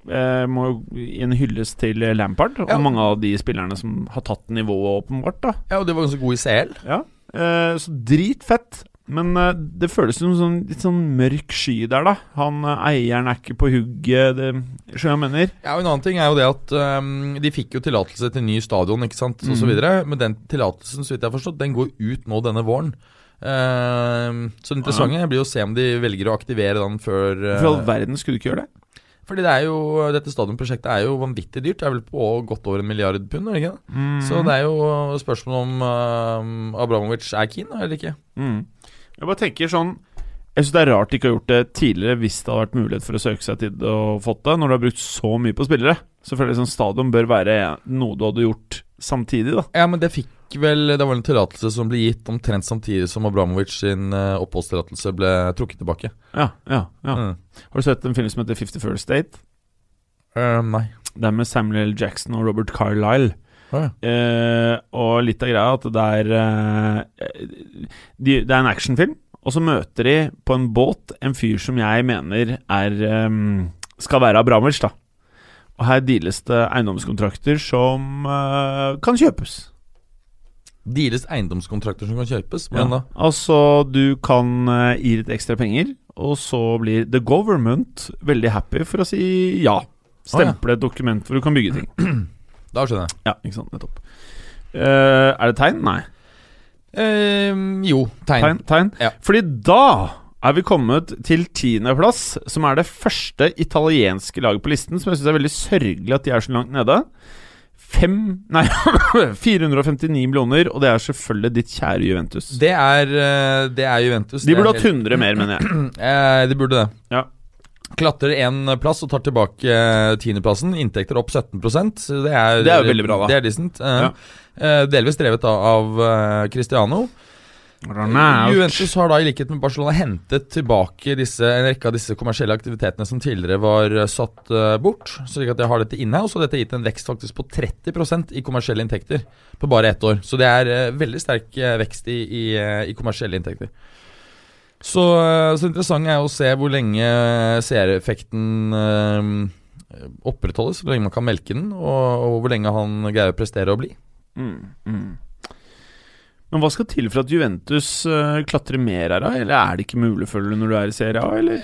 Speaker 1: Eh, må jo gi en hyllest til Lampard og
Speaker 2: Ja.
Speaker 1: mange av de spillerne som har tatt nivået, åpenbart. da
Speaker 2: Ja, og de var ganske gode i CL.
Speaker 1: ja. eh, Så dritfett. Men eh, det føles som en sånn, litt sånn mørk sky der, da. Han eh, eieren er ikke på hugget, det skjønner jeg mener.
Speaker 2: Ja, og En annen ting er jo det at ehm, de fikk jo tillatelse til ny stadion, ikke sant, og så
Speaker 1: Mhm.
Speaker 2: videre. Men den tillatelsen, så vidt jeg har forstått, den går ut nå denne våren. Ehm, så det interessante blir jo å se om de velger å aktivere den før eh,
Speaker 1: For all verden skulle du ikke gjøre det?
Speaker 2: Fordi det er jo, dette stadionprosjektet er jo vanvittig dyrt. Det er vel på godt over en milliard pund, er det ikke det? Så det er jo spørsmål om ehm, Abramovic er keen eller ikke.
Speaker 1: Mm. Jeg bare tenker sånn Jeg syns det er rart de ikke har gjort det tidligere, hvis det hadde vært mulighet for å søke seg til det og fått det, når du har brukt så mye på spillere. Selvfølgelig sånn stadion bør være noe du hadde gjort samtidig, da.
Speaker 2: Ja, men det fikk vel Det var en tillatelse som ble gitt omtrent samtidig som Abramovic sin eh, oppholdstillatelse ble trukket tilbake.
Speaker 1: Ja, ja, ja.
Speaker 2: Mm.
Speaker 1: Har du sett en film som heter Fifty First Date?
Speaker 2: Ehm, nei.
Speaker 1: Det er med Samuel L. Jackson og Robert Carlyle.
Speaker 2: Å, ja.
Speaker 1: Eh, og litt av greia er at det er eh, de, Det er en actionfilm, og så møter de på en båt en fyr som jeg mener er eh, skal være Abramovic, da. Og her deales det eiendomskontrakter som eh, kan kjøpes.
Speaker 2: Deales eiendomskontrakter som kan kjøpes. Men da
Speaker 1: Altså, du kan eh, gi litt ekstra penger, og så blir the government veldig happy for å si ja. Stemple et dokument hvor du kan bygge ting.
Speaker 2: Da skjønner jeg.
Speaker 1: Ja, ikke sant, nettopp. Eh, er det tegn? Nei.
Speaker 2: Ehm, jo, tegn.
Speaker 1: Tegn, tegn.
Speaker 2: Ja.
Speaker 1: Fordi da er vi kommet til tiendeplass, som er det første italienske laget på listen, som jeg syns er veldig sørgelig at de er så langt nede. Fem Nei, 459 millioner, og det er selvfølgelig ditt kjære Juventus.
Speaker 2: Det er, eh, det er Juventus.
Speaker 1: De burde
Speaker 2: det
Speaker 1: hatt
Speaker 2: er
Speaker 1: 100 mer, mener jeg.
Speaker 2: helt- Eh, de burde det.
Speaker 1: Ja.
Speaker 2: Klatrer én plass og tar tilbake eh, tiendeplassen. Inntekter opp 17 så Det er,
Speaker 1: Det er jo veldig bra, da.
Speaker 2: Det er decent. Eh,
Speaker 1: Ja.
Speaker 2: eh, delvis drevet da av eh, Cristiano. Juventus har da i likhet med Barcelona hentet tilbake disse, en rekke av disse kommersielle aktivitetene som tidligere var eh, satt eh, bort. Slik at de har dette inne, og så har dette gitt en vekst faktisk på 30 i kommersielle inntekter på bare ett år. Så det er eh, veldig sterk eh, vekst i, i, eh, i kommersielle inntekter. Så, eh, så interessant er jo å se hvor lenge eh, seereffekten eh, opprettholdes, hvor lenge man kan melke den, og, og hvor lenge han greier å prestere og bli.
Speaker 1: Mm, mm. Men hva skal til for at Juventus eh, klatrer mer her, da? Eller er det ikke mulig, føler du, når du er i Serie A, eller?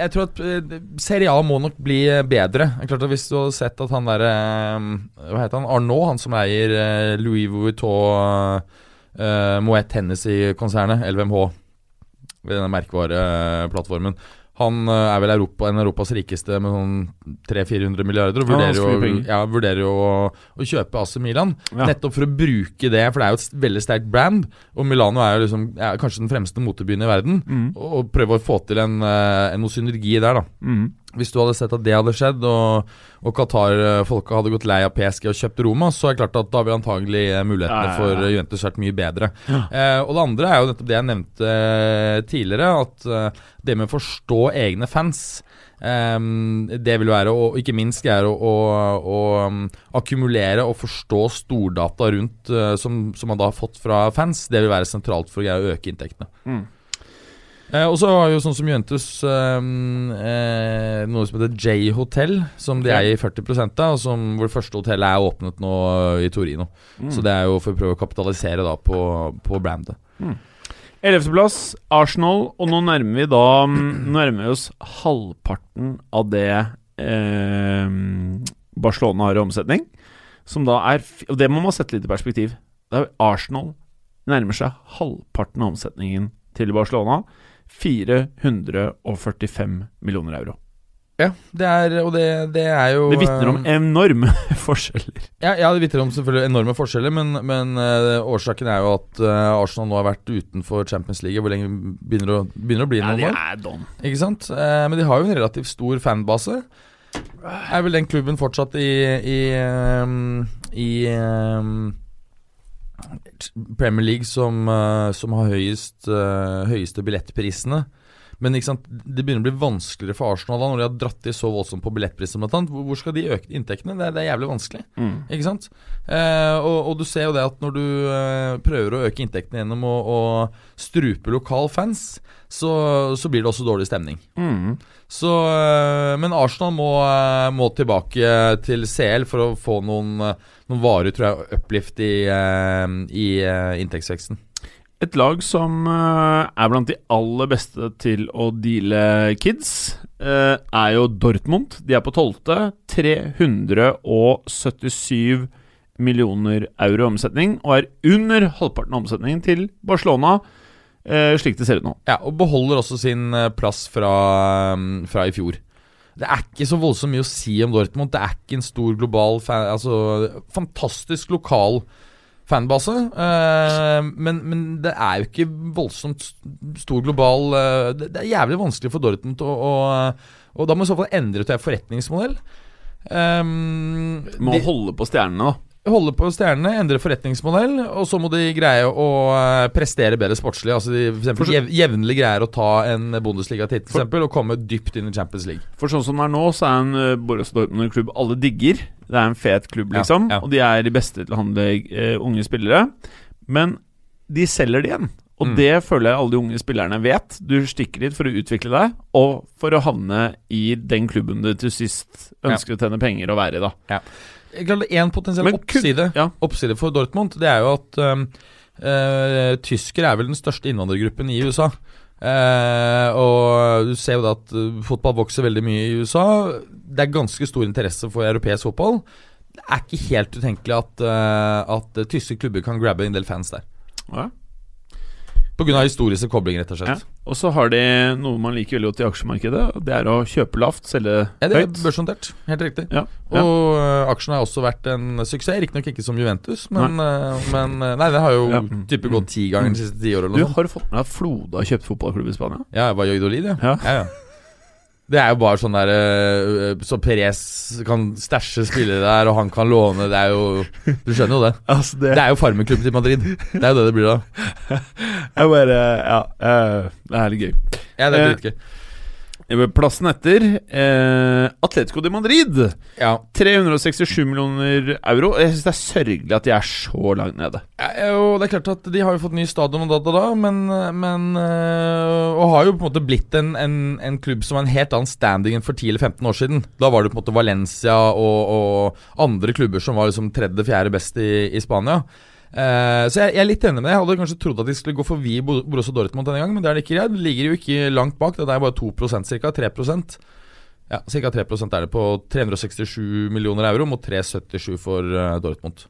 Speaker 2: Jeg tror at eh, Serie A må nok bli eh, bedre. Det er klart at Hvis du hadde sett at han der eh, Hva heter han? Arnault, han som eier eh, Louis Vuitton eh, Moet Hennessy-konsernet, LVMH, ved denne merkevareplattformen Han eh, er vel Europa, en av Europas rikeste med sånn 300-400 milliarder, og
Speaker 1: Ja,
Speaker 2: vurderer
Speaker 1: så
Speaker 2: jo,
Speaker 1: mye penger.
Speaker 2: ja, vurderer jo å, å kjøpe AC Milan.
Speaker 1: Ja.
Speaker 2: Nettopp for å bruke det, for det er jo et s- veldig sterkt brand. Og Milano er jo liksom, er kanskje den fremste motebyen i verden.
Speaker 1: Mm.
Speaker 2: Og og prøve å få til en, eh, en noe synergi der, da.
Speaker 1: Mm.
Speaker 2: Hvis du hadde sett at det hadde skjedd, og, og Qatar-folka hadde gått lei av PSG og kjøpt Roma, så er det klart at da ville antagelig eh,
Speaker 1: Ja,
Speaker 2: mulighetene
Speaker 1: ja, ja.
Speaker 2: for eh, Juventus vært mye bedre.
Speaker 1: Ja.
Speaker 2: Eh, og det andre er jo nettopp det jeg nevnte eh, tidligere, at eh, det med å forstå egne fans eh, det vil være, og ikke minst er å, å, å um, akkumulere og forstå stordata rundt eh, som, som man da har fått fra fans. Det vil være sentralt for å greie å øke inntektene.
Speaker 1: Mm.
Speaker 2: Eh, og så har jo sånn som Juventus ehm, eh, noe som heter J Hotel, som de
Speaker 1: Ja.
Speaker 2: eier 40 av, og som, hvor det første hotellet er åpnet nå eh, i Torino.
Speaker 1: Mm.
Speaker 2: Så det er jo for å prøve å kapitalisere da på, på brandet.
Speaker 1: Ellevteplass, Arsenal. Og nå nærmer vi da mm, Nå nærmer vi oss halvparten av det eh, Barcelona har i omsetning. Som da er f- Og det må man sette litt i perspektiv. Det er Arsenal nærmer seg halvparten av omsetningen til Barcelona. 445 millioner euro.
Speaker 2: Ja, det er, og det, det er jo
Speaker 1: Det vitner om
Speaker 2: eh,
Speaker 1: enorme forskjeller.
Speaker 2: Ja, ja, det vitner om selvfølgelig enorme forskjeller, men, men eh, årsaken er jo at eh, Arsenal nå har vært utenfor Champions League. Hvor lenge begynner å, begynner å bli noen år?
Speaker 1: er don.
Speaker 2: Ikke sant? Eh, men de har jo en relativt stor fanbase. Er vel den klubben fortsatt i I, ehm, i ehm, Premier League som, eh, som har høyest, eh, høyeste billettprisene. Men ikke sant? det begynner å bli vanskeligere for Arsenal da, når de har dratt i så voldsomt på billettprisene blant annet. Hvor- Hvor skal de øke inntektene? Det er, det er jævlig vanskelig. Ikke sant? Eh, og, og du ser jo det at når du eh, prøver å øke inntektene gjennom å, å strupe lokal fans, så, så blir det også dårlig stemning. Så, øh, men Arsenal må, øh, må tilbake til CL for å få noen, øh, noen varig tror jeg, uplift i, øh, i øh, inntektsveksten.
Speaker 1: Et lag som eh, er blant de aller beste til å deale kids, eh, er jo Dortmund. De er på tolvte. 377 millioner euro i omsetning, og er under halvparten av omsetningen til Barcelona, eh, slik det ser ut nå.
Speaker 2: Ja, og beholder også sin øh, plass fra, øh, fra i fjor. Det er ikke så voldsomt mye å si om Dortmund. Det er ikke en stor global fan, altså, Fantastisk lokal fanbase. øh, men, men det er jo ikke voldsomt st- stor global øh, det, det er jævlig vanskelig for Dortmund å, å Og da må i så fall endre til en forretningsmodell. Ehm,
Speaker 1: Må
Speaker 2: de
Speaker 1: holde på stjernene, da.
Speaker 2: holder på stjernene, endrer forretningsmodell, og så må de greie å eh, prestere bedre sportslig. Altså de for eksempel, jev jevnlig greier å ta en Bundesliga-titt for eksempel, og komme dypt inn i Champions League.
Speaker 1: For sånn som det er nå, så er en eh, Borussia Dortmund en klubb alle digger. Det er en fet klubb,
Speaker 2: Ja,
Speaker 1: liksom.
Speaker 2: ja.
Speaker 1: Og de er de beste til å handle eh, unge spillere. Men de selger det igjen. Og
Speaker 2: Mm.
Speaker 1: det føler jeg alle de unge spillerne vet. Du stikker dit for å utvikle deg, og for å havne i den klubben du til sist ønsker å tjene penger og være i, da.
Speaker 2: Klart, en potensiell
Speaker 1: Men kun-
Speaker 2: oppside,
Speaker 1: ja.
Speaker 2: oppside for Dortmund, det er jo at um, eh, tyskere er vel den største innvandrergruppen i USA. Eh, og du ser jo da at eh, fotball vokser veldig mye i USA. Det er ganske stor interesse for europeisk fotball. Det er ikke helt utenkelig at, eh, at tyske klubber kan grabbe en del fans der.
Speaker 1: Ja.
Speaker 2: Pga. historiske koblinger, rett og slett.
Speaker 1: Og så har de noe man liker veldig godt i aksjemarkedet. og Det er å kjøpe lavt, selge
Speaker 2: Ja, det er
Speaker 1: høyt.
Speaker 2: børsnotert. Helt riktig.
Speaker 1: Ja, ja.
Speaker 2: Og uh, aksjen har også vært en suksess. Riktignok ikke som Juventus, men, eh, men eh, Nei, det har jo
Speaker 1: Ja. Mm.
Speaker 2: type gått ti ganger de siste ti årene.
Speaker 1: Du
Speaker 2: eller noe sånt.
Speaker 1: har du fått med deg at Flode har kjøpt fotballklubb i Spania.
Speaker 2: Ja, jeg var joidolid, ja.
Speaker 1: Ja.
Speaker 2: ja, ja. Det er jo bare sånn der eh, Så Perez kan stæsje spillere der, og han kan låne. Det er jo Du skjønner jo det.
Speaker 1: Altså,
Speaker 2: Det er jo farmeklubben til Madrid. Det er jo det det blir da.
Speaker 1: Jeg bare Ja. eh, det er litt gøy.
Speaker 2: Ja, det er
Speaker 1: Eh,
Speaker 2: dritgøy.
Speaker 1: Plassen etter eh, Atletico de Madrid.
Speaker 2: Ja.
Speaker 1: 367 millioner euro. Jeg syns det er sørgelig at de er så langt nede.
Speaker 2: Ja, og det er klart at De har jo fått ny stadion, og da, da, da men, men øh, Og har jo på en måte blitt en, en, en klubb som har en helt annen standing enn for 10 eller 15 år siden. Da var det på en måte Valencia og, og andre klubber som var liksom tredje-fjerde best i, i Spania. Eh, så jeg, jeg er litt enig med deg. Jeg hadde kanskje trodd at de skulle gå forbi Bo- Borussia Dortmund denne gangen, men det er det ikke. De ligger jo ikke langt bak. Det er bare 2 cirka, 3 Ja, Ca. 3 er det på 367 millioner euro mot 377 for eh, Dortmund.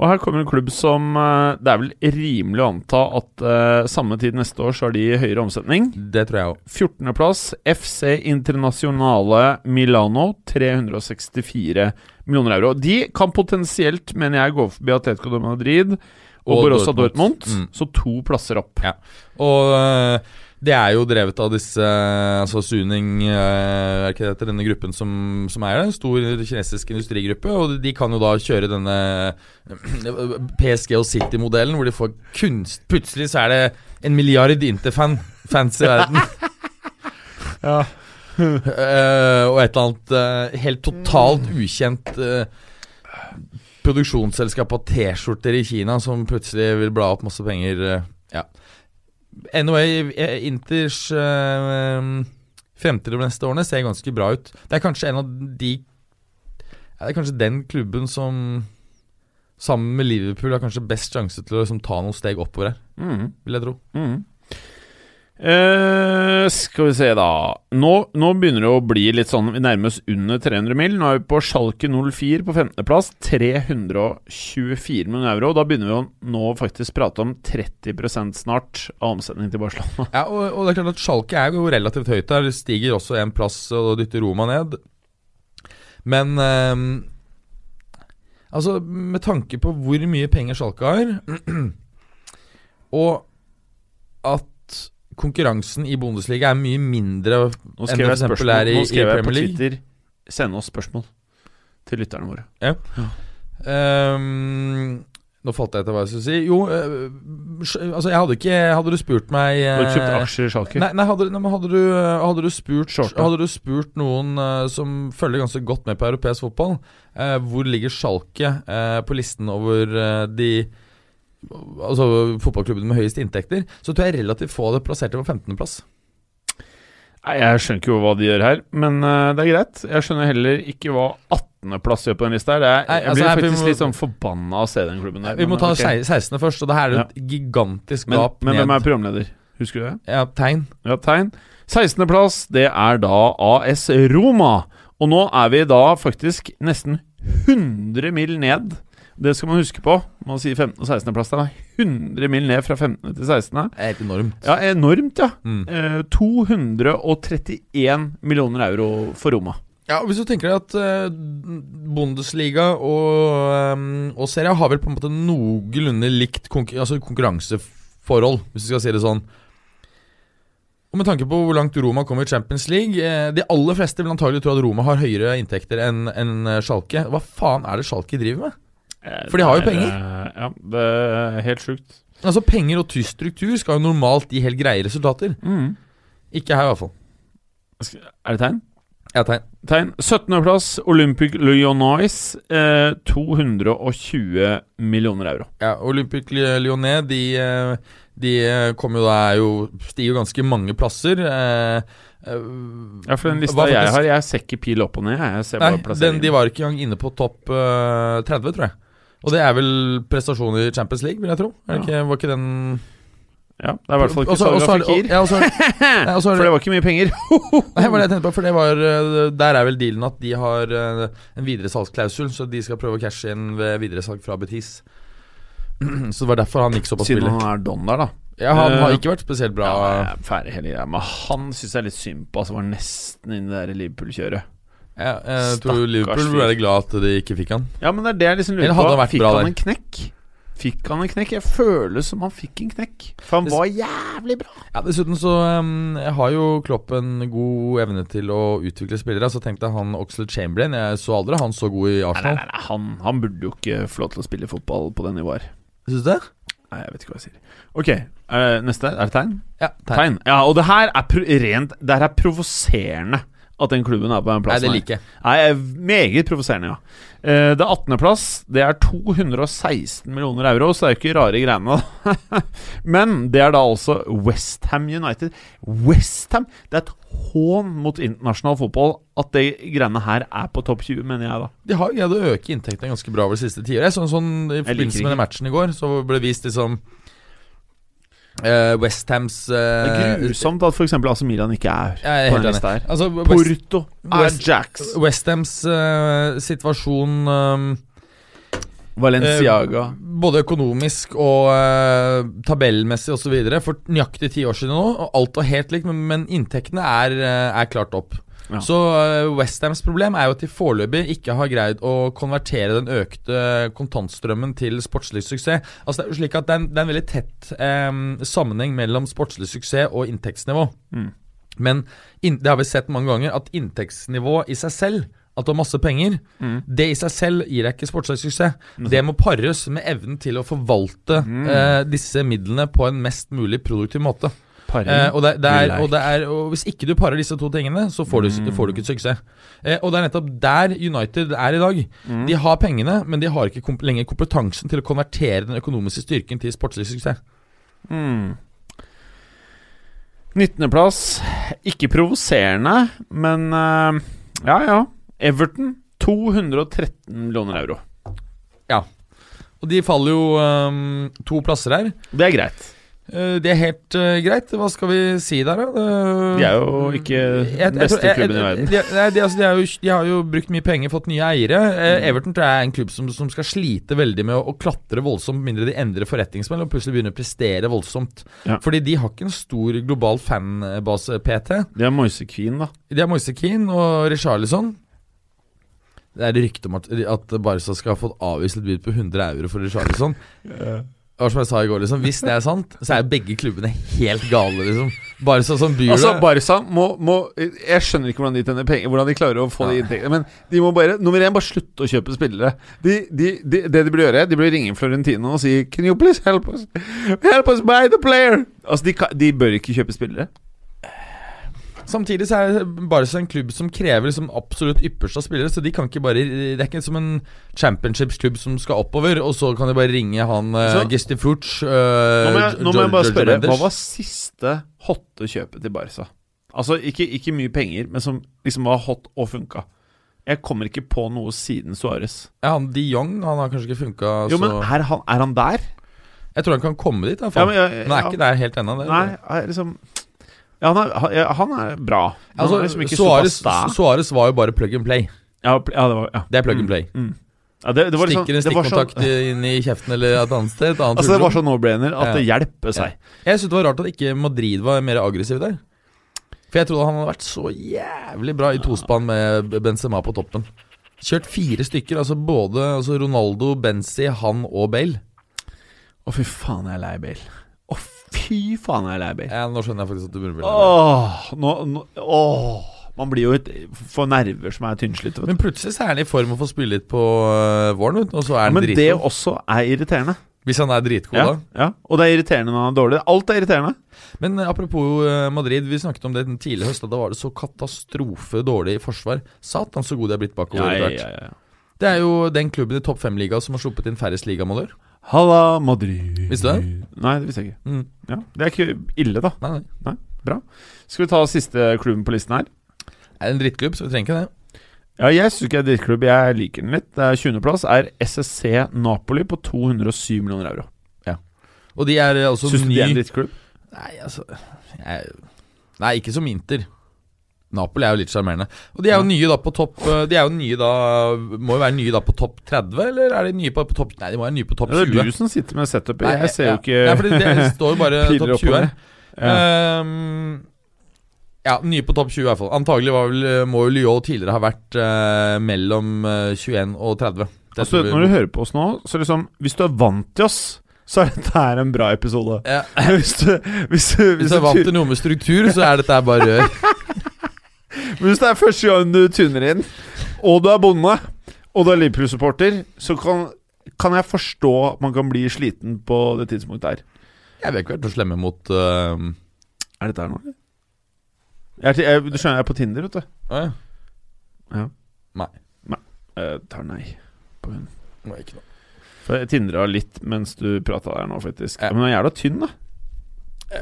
Speaker 1: Og her kommer en klubb som eh, Det er vel rimelig å anta at eh, samme tid neste år så har de høyere omsetning.
Speaker 2: Det tror jeg òg.
Speaker 1: 14.plass FC Internasjonale Milano. 364 millioner euro. De kan potensielt, mener jeg, gå forbi Atletico de Madrid og,
Speaker 2: Og
Speaker 1: Borussia
Speaker 2: Dortmund.
Speaker 1: Dortmund.
Speaker 2: Mm.
Speaker 1: Så to plasser opp.
Speaker 2: Ja. Og øh, det er jo drevet av disse øh, Altså Suning øh, Er ikke det heter denne gruppen som, som eier det? En stor kinesisk industrigruppe. Og de kan jo da kjøre denne øh, PSG og City-modellen, hvor de får kunst Plutselig så er det en milliard Interfan-fans i verden. Eh, og et eller annet eh, helt totalt ukjent eh, produksjonsselskap av T-skjorter i Kina som plutselig vil bla opp masse penger. eh, ja. Anyway, eh, Inters eh, fremtid de neste årene ser ganske bra ut. Det er kanskje en av de ja, Det er kanskje den klubben som Sammen med Liverpool har kanskje best sjanse til å liksom, ta noen steg oppover her,
Speaker 1: Mm.
Speaker 2: vil jeg tro.
Speaker 1: Mm. Eh, skal vi se, da. Nå, nå begynner det å bli litt sånn Vi nærmer oss under 300 mil. Nå er vi på Schalke 04 på 15.-plass. 324 millioner euro. Og da begynner vi å nå faktisk prate om 30 snart av omsetningen til Barcelona.
Speaker 2: Ja, og, og det er klart at Schalke er jo relativt høyt der. Stiger også en plass og dytter Roma ned. Men ehm, Altså, med tanke på hvor mye penger Schalke har, og at konkurransen i Bundesliga er mye mindre
Speaker 1: Nå skrev
Speaker 2: enn det
Speaker 1: jeg,
Speaker 2: for eksempel er
Speaker 1: spørsmål,
Speaker 2: i,
Speaker 1: nå
Speaker 2: i
Speaker 1: skrev jeg på
Speaker 2: Premier League.
Speaker 1: Twitter Send oss spørsmål til lytterne våre.
Speaker 2: Ehm, nå falt jeg etter hva jeg skulle si. Jo, eh, sj- altså jeg hadde ikke Hadde du spurt meg
Speaker 1: Har du kjøpt
Speaker 2: eh,
Speaker 1: aksjer i Schalke?
Speaker 2: Nei, nei, hadde, nei men hadde, du, eh, hadde, du spurt,
Speaker 1: Short, ja.
Speaker 2: hadde du spurt noen eh, som følger ganske godt med på europeisk fotball, eh, hvor ligger Schalke eh, på listen over eh, de Altså fotballklubbene med høyest inntekter, så tror jeg relativt få hadde plassert det på 15.-plass.
Speaker 1: Nei, jeg skjønner ikke hva de gjør her, men eh, det er greit. Jeg skjønner heller ikke hva 18.-plass gjør på den lista her. Det er,
Speaker 2: Nei,
Speaker 1: jeg blir
Speaker 2: altså, her- vi
Speaker 1: faktisk
Speaker 2: må-
Speaker 1: litt sånn forbanna av å se den klubben der.
Speaker 2: Vi må
Speaker 1: men
Speaker 2: ta
Speaker 1: ok.
Speaker 2: 16. først, og det her er jo et gigantisk
Speaker 1: Men,
Speaker 2: gap
Speaker 1: men hvem er
Speaker 2: ned.
Speaker 1: programleder? Husker du det?
Speaker 2: Ja, tegn.
Speaker 1: Ja, tegn. 16.-plass, det er da AS Roma. Og nå er vi da faktisk nesten 100 mil ned. Det skal man huske på. Man sier 15. og 16.-plass. Det er 100 mil ned fra 15. til 16.
Speaker 2: Det er helt enormt.
Speaker 1: Ja, enormt, ja.
Speaker 2: Mm.
Speaker 1: Eh, 231 millioner euro for Roma.
Speaker 2: Ja, og Hvis du tenker deg at eh, Bundesliga og, um, og Serie A har vel på en måte noenlunde likt konkur altså konkurranseforhold, hvis du skal si det sånn. Og Med tanke på hvor langt Roma kommer i Champions League eh, De aller fleste vil antagelig tro at Roma har høyere inntekter enn enn eh, Schalke. Hva faen er det Schalke driver med? For de har jo
Speaker 1: Det er,
Speaker 2: penger.
Speaker 1: eh, Ja, det er helt sjukt.
Speaker 2: Altså Penger og tysk struktur skal jo normalt gi helt greie resultater. Ikke her, i hvert fall.
Speaker 1: Er det tegn?
Speaker 2: Jeg Mm. tegn.
Speaker 1: Tegn. 17.-plass, Olympic Lyonnais. Eh, 220 millioner euro.
Speaker 2: Ja, Olympic Lyonnais de, eh, de eh, kommer jo da er jo, stiger jo ganske mange plasser. eh, eh,
Speaker 1: Ja, for den lista
Speaker 2: Hva faktisk-
Speaker 1: jeg har, jeg ser ikke pil opp og ned. Jeg ser
Speaker 2: Nei,
Speaker 1: bare
Speaker 2: den,
Speaker 1: plasseringen.
Speaker 2: de var ikke engang inne på topp eh, 30, tror jeg. Og det er vel prestasjon i Champions League, vil jeg tro. Er det ikke, var ikke den
Speaker 1: Ja, det er i hvert fall ikke
Speaker 2: Også- også
Speaker 1: Saga
Speaker 2: er det-
Speaker 1: Fikir.
Speaker 2: ja, også er det- Nei, også er
Speaker 1: For det var ikke mye penger.
Speaker 2: Nei, det var det jeg tenkte på, for det var, eh, der er vel dealen at de har eh, en videresalgsklausul, så de skal prøve å cashe inn ved videresalg fra Betis. Så det var derfor han gikk såpass
Speaker 1: Siden
Speaker 2: billig.
Speaker 1: han er don der, da.
Speaker 2: Ja, han har
Speaker 1: Eh,
Speaker 2: ikke vært spesielt bra.
Speaker 1: Ja, jeg er ferdig hele greia. Men han syns jeg er litt synd på, altså. Var nesten inne i det der Liverpool-kjøret.
Speaker 2: Ja, eh, jeg tror
Speaker 1: Stakkars
Speaker 2: Liverpool
Speaker 1: fyr.
Speaker 2: ble veldig glad at de ikke fikk han.
Speaker 1: Ja, men det er det jeg liksom
Speaker 2: Eller
Speaker 1: lurer
Speaker 2: hadde
Speaker 1: på.
Speaker 2: han vært
Speaker 1: fikk
Speaker 2: bra
Speaker 1: han
Speaker 2: der?
Speaker 1: en knekk? Fikk han en knekk? Jeg føler som han fikk en knekk. For han
Speaker 2: Det-
Speaker 1: var jævlig bra.
Speaker 2: Ja, Dessuten så um, har jo Klopp en god evne til å utvikle spillere. Så tenkte jeg han Oxlade Chamberlain. Jeg så aldri han så god i
Speaker 1: Nei, nei,
Speaker 2: Arsenal.
Speaker 1: nei, nei. Han, han burde jo ikke få lov til å spille fotball på det nivået her.
Speaker 2: Syns du det?
Speaker 1: Nei, jeg vet ikke hva jeg sier. Ok, er det neste er det tegn?
Speaker 2: Ja, tegn.
Speaker 1: Tegn. Ja, og det her er pro rent Det her er provoserende at den klubben er på den
Speaker 2: Nei,
Speaker 1: plassen.
Speaker 2: det
Speaker 1: her.
Speaker 2: liker jeg.
Speaker 1: Nei, jeg er meget provoserende, ja. Eh, Det er 18. plass. Det er 216 millioner euro, så det er jo ikke rare greiene. da. Men det er da altså Westham United. Westham! Det er et hån mot internasjonal fotball at de greiene her er på topp 20, mener jeg, da.
Speaker 2: De har greid å øke inntektene ganske bra over det siste tiåret. Jeg så en Sånn, I forbindelse
Speaker 1: ikke.
Speaker 2: med den matchen i går så ble det vist liksom uh, Westhams
Speaker 1: Det er grusomt at f.eks. AC Milan ikke er
Speaker 2: Eh, Jeg er
Speaker 1: på
Speaker 2: helt
Speaker 1: den
Speaker 2: enig.
Speaker 1: lista her.
Speaker 2: Altså, West,
Speaker 1: Porto,
Speaker 2: West-
Speaker 1: Ajax,
Speaker 2: Westhams eh, situasjon um,
Speaker 1: Valenciaga
Speaker 2: Eh, både økonomisk og eh, tabellmessig osv. for nøyaktig ti år siden nå. Og alt var helt likt, men, men inntektene er, eh, er klart opp.
Speaker 1: Ja.
Speaker 2: Så eh, West Hams problem er jo at de foreløpig ikke har greid å konvertere den økte kontantstrømmen til sportslig suksess. Altså Det er jo slik at det er en, det er en veldig tett eh, sammenheng mellom sportslig suksess og inntektsnivå. Men inn- det har vi sett mange ganger, at inntektsnivå i seg selv at du har masse penger, det i seg selv gir deg ikke sportslig suksess. Det må pares med evnen til å forvalte eh, disse midlene på en mest mulig produktiv måte.
Speaker 1: Paris.
Speaker 2: Eh, og, det, det er,
Speaker 1: Like.
Speaker 2: og, det er, og hvis ikke du parer disse to tingene, så får du, får du ikke et suksess. Eh, og det er nettopp der United er i dag. De har pengene, men de har ikke komp lenger kompetansen til å konvertere den økonomiske styrken til sportslig suksess.
Speaker 1: Mm. 19.-plass. Ikke provoserende, men eh, ja, ja. Everton. 213 millioner euro.
Speaker 2: Og de faller jo ehm, to plasser her.
Speaker 1: Det er greit.
Speaker 2: Eh, Det er helt eh, greit. Hva skal vi si der, da? Eh,
Speaker 1: De er
Speaker 3: Mm.
Speaker 1: jo ikke den
Speaker 2: jeg- jeg tror-
Speaker 1: beste
Speaker 2: jeg-
Speaker 1: klubben i
Speaker 2: jeg-
Speaker 1: verden.
Speaker 2: De, nei, de, altså, de, er jo, de har jo brukt mye penger, fått nye
Speaker 1: Mm.
Speaker 2: eiere. Eh, Everton tror jeg er en klubb som, som skal slite veldig med å, å klatre voldsomt, mindre de endrer forretningsmodell og plutselig begynner å prestere voldsomt.
Speaker 1: Ja.
Speaker 2: Fordi de har ikke en stor global fanbase, PT.
Speaker 1: De er Moise-Queen, da.
Speaker 2: De har Moise Keane og Richarlison. Det er rykte om at, at Barca skal ha fått avvist et bud på 100 euro for Richarlison. Det var som jeg sa i går, liksom. Hvis det er sant, så er begge klubbene helt gale, liksom. Barca som byr
Speaker 3: Altså,
Speaker 2: det.
Speaker 3: Barca må, må Jeg skjønner ikke hvordan de tjener penger Hvordan de klarer å få de inntektene. Men de må bare nummer én, bare slutte å kjøpe spillere. De, de, de, det de burde gjøre, de burde ringe Florentino og si Can you please help us? Help us buy the player!
Speaker 1: Altså, de, ka- de bør ikke kjøpe spillere.
Speaker 2: Samtidig så er Barca en klubb som krever liksom absolutt ypperste av spillere, så de kan ikke bare Det er ikke som en championshipsklubb som skal oppover, og så kan de bare ringe han uh,
Speaker 1: Så-
Speaker 2: Gisti Fruch
Speaker 1: Altså, Nå må jeg, nå må jeg bare spørre, hva var siste hotte kjøpet til Barca? Altså, ikke, ikke mye penger, men som liksom var hot og funka. Jeg kommer ikke på noe siden Suárez. Altså-
Speaker 2: Ja, han De Jong han har kanskje ikke funka så
Speaker 1: Jo, men er han, er han der?
Speaker 2: Jeg tror han kan komme dit, i hvert fall.
Speaker 1: Ja, men jeg- jeg-
Speaker 2: men han er
Speaker 1: ja.
Speaker 2: ikke der helt ennå. det-
Speaker 1: Nei, er liksom Ja, han er, han- ja, han er bra. Men han er liksom
Speaker 2: Altså,
Speaker 1: ikke
Speaker 2: Suárez-
Speaker 1: superstar.
Speaker 2: Suárez var jo bare plug and play.
Speaker 1: Ja, pl- ja, det var ja.
Speaker 2: Det er plug and play.
Speaker 1: ja Mm. det, det var liksom,
Speaker 2: Stikker en
Speaker 1: det var sånn,
Speaker 2: stikkontakt inn i kjeften eller et annet sted. Et annet
Speaker 1: altså, det var sånn
Speaker 2: hulrom.
Speaker 1: no-brainer at det hjelper
Speaker 2: Ja.
Speaker 1: seg.
Speaker 2: Jeg syntes det var rart at ikke Madrid var mer aggressiv der. For jeg trodde han hadde vært så jævlig bra i tospann med Benzema på toppen. Kjørt fire stykker, altså både altså Ronaldo, Benzi, han og Bale.
Speaker 1: Å, fy faen, jeg er lei bil. Å, fy faen, jeg er lei bil.
Speaker 2: Ja, nå skjønner jeg faktisk at du burde bli lei.
Speaker 1: Åh, nå, nå Åh. Man blir jo et, for nerver som er tynnslitte. vet du.
Speaker 2: Men plutselig så er han i form og får spille litt på øh, våren, vet du, og så er han
Speaker 1: Men det
Speaker 2: dritgod.
Speaker 1: også er irriterende.
Speaker 2: Hvis han er dritgod,
Speaker 1: Ja,
Speaker 2: da.
Speaker 1: ja. Og det er irriterende når han er dårlig. Alt er irriterende.
Speaker 2: Men eh, apropos eh, Madrid, vi snakket om det den tidligere høsten. Da var det så katastrofe dårlig i forsvar. Satan, så god de er blitt bakover. etter hvert. Det er jo den klubben i topp fem-liga som har sluppet inn færrest ligamåler.
Speaker 1: Halla, Madrid.
Speaker 2: Visste du
Speaker 1: Nei, det visste jeg ikke.
Speaker 2: Mm.
Speaker 1: Ja. Det er ikke ille, da.
Speaker 2: Nei, nei.
Speaker 1: Skal vi ta siste klubben på listen her?
Speaker 2: Det er en drittklubb, så vi trenger ikke det.
Speaker 1: Ja, jeg syns ikke det er drittklubb. Jeg liker den litt. Det er 20.-plass er SSC Napoli på 207 millioner euro.
Speaker 2: Og de er eh, altså
Speaker 1: Syns du
Speaker 2: ny
Speaker 1: det er en drittklubb?
Speaker 2: Nei, altså jeg... Nei, ikke som Inter. Napoli er jo litt sjarmerende. Og de er jo nye da på topp eh, De er jo nye da Må jo være nye da på topp 30, eller er de nye på, på topp Nei, de må være nye på topp
Speaker 1: Ja,
Speaker 2: 20.
Speaker 1: det er du som sitter med setupet.
Speaker 2: Nei,
Speaker 1: jeg ser jo
Speaker 2: ja.
Speaker 1: ikke
Speaker 2: Nei, fordi det står jo bare
Speaker 1: piler
Speaker 2: topp 20
Speaker 1: oppover.
Speaker 2: her. Ehm, ja, nye på topp 20 i hvert fall. Antagelig var vel, eh, må jo Lyon tidligere ha vært eh, mellom eh, 21 og 30. Det
Speaker 1: Altså,
Speaker 2: tror vi-
Speaker 1: når du hører på oss nå, så liksom Hvis du er vant til oss, så er dette her en bra episode.
Speaker 2: ja,
Speaker 1: Men Hvis du, hvis du,
Speaker 2: Hvis
Speaker 1: hvis
Speaker 2: du er
Speaker 1: du,
Speaker 2: vant
Speaker 1: tu-
Speaker 2: til noe med struktur, så er dette her bare rør.
Speaker 1: men hvis det er første gang du tuner inn, og du er bonde, og du er Liverpool-supporter, så kan, kan jeg forstå at man kan bli sliten på det tidspunktet her.
Speaker 2: Jeg vil ikke vært så slemme mot ehm,
Speaker 1: Er dette her nå? Jeg er til, jeg, du skjønner, jeg er på Tinder, vet du.
Speaker 2: Å ja.
Speaker 1: Jeg tar nei på hun.
Speaker 2: Nå er det ikke noe.
Speaker 1: For jeg tindra litt mens du prata der nå, faktisk.
Speaker 2: Ja.
Speaker 1: Men hun er jævla tynn, da.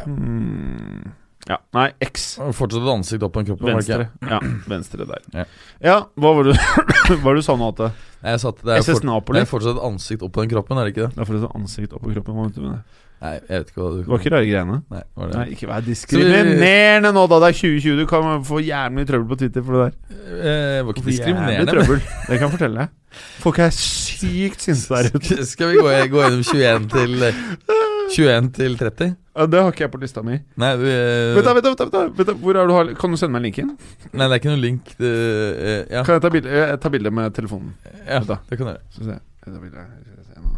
Speaker 1: Mm. Ja. Nei, X.
Speaker 2: Og Fortsatt et ansikt opp på en kropp. var det ikke?
Speaker 1: Venstre. Ja, venstre der.
Speaker 2: Ja.
Speaker 1: Ja, hva var det hva var det du sa nå, Atte?
Speaker 2: Nei, Jeg sa at det er,
Speaker 1: SS
Speaker 2: fort,
Speaker 1: Napoli?
Speaker 2: det er fortsatt et ansikt opp på den kroppen, er det ikke det?
Speaker 1: Da får du så ansikt opp på kroppen. hva mente du med Det
Speaker 2: Nei, jeg vet ikke hva du
Speaker 1: Det var ikke rare greiene.
Speaker 2: Nei, var det?
Speaker 1: Nei, ikke vær diskriminerende nå, da! Det er 2020, du kan få jævlig mye trøbbel på Twitter for det der.
Speaker 2: Eh, var ikke
Speaker 1: Jævlig
Speaker 2: diskriminerende. men-
Speaker 1: trøbbel, det kan jeg fortelle deg. Folk er sykt sinte der ute.
Speaker 2: Skal vi gå, gå gjennom 21 til 21 til 30?
Speaker 1: Ja, det har ikke jeg på lista mi.
Speaker 2: Nei, vi, eh,
Speaker 1: Vent da, vent da, vent da, vent da, vent da. Hvor er du har, Kan du sende meg linken?
Speaker 2: nei, det er ikke noen link det, eh, Ja,
Speaker 1: Kan jeg ta bilde jeg tar bilde med telefonen?
Speaker 2: ja
Speaker 1: da.
Speaker 2: det kan du gjøre.
Speaker 1: Så ser jeg. Jeg tar bilde. Skal vi se nå.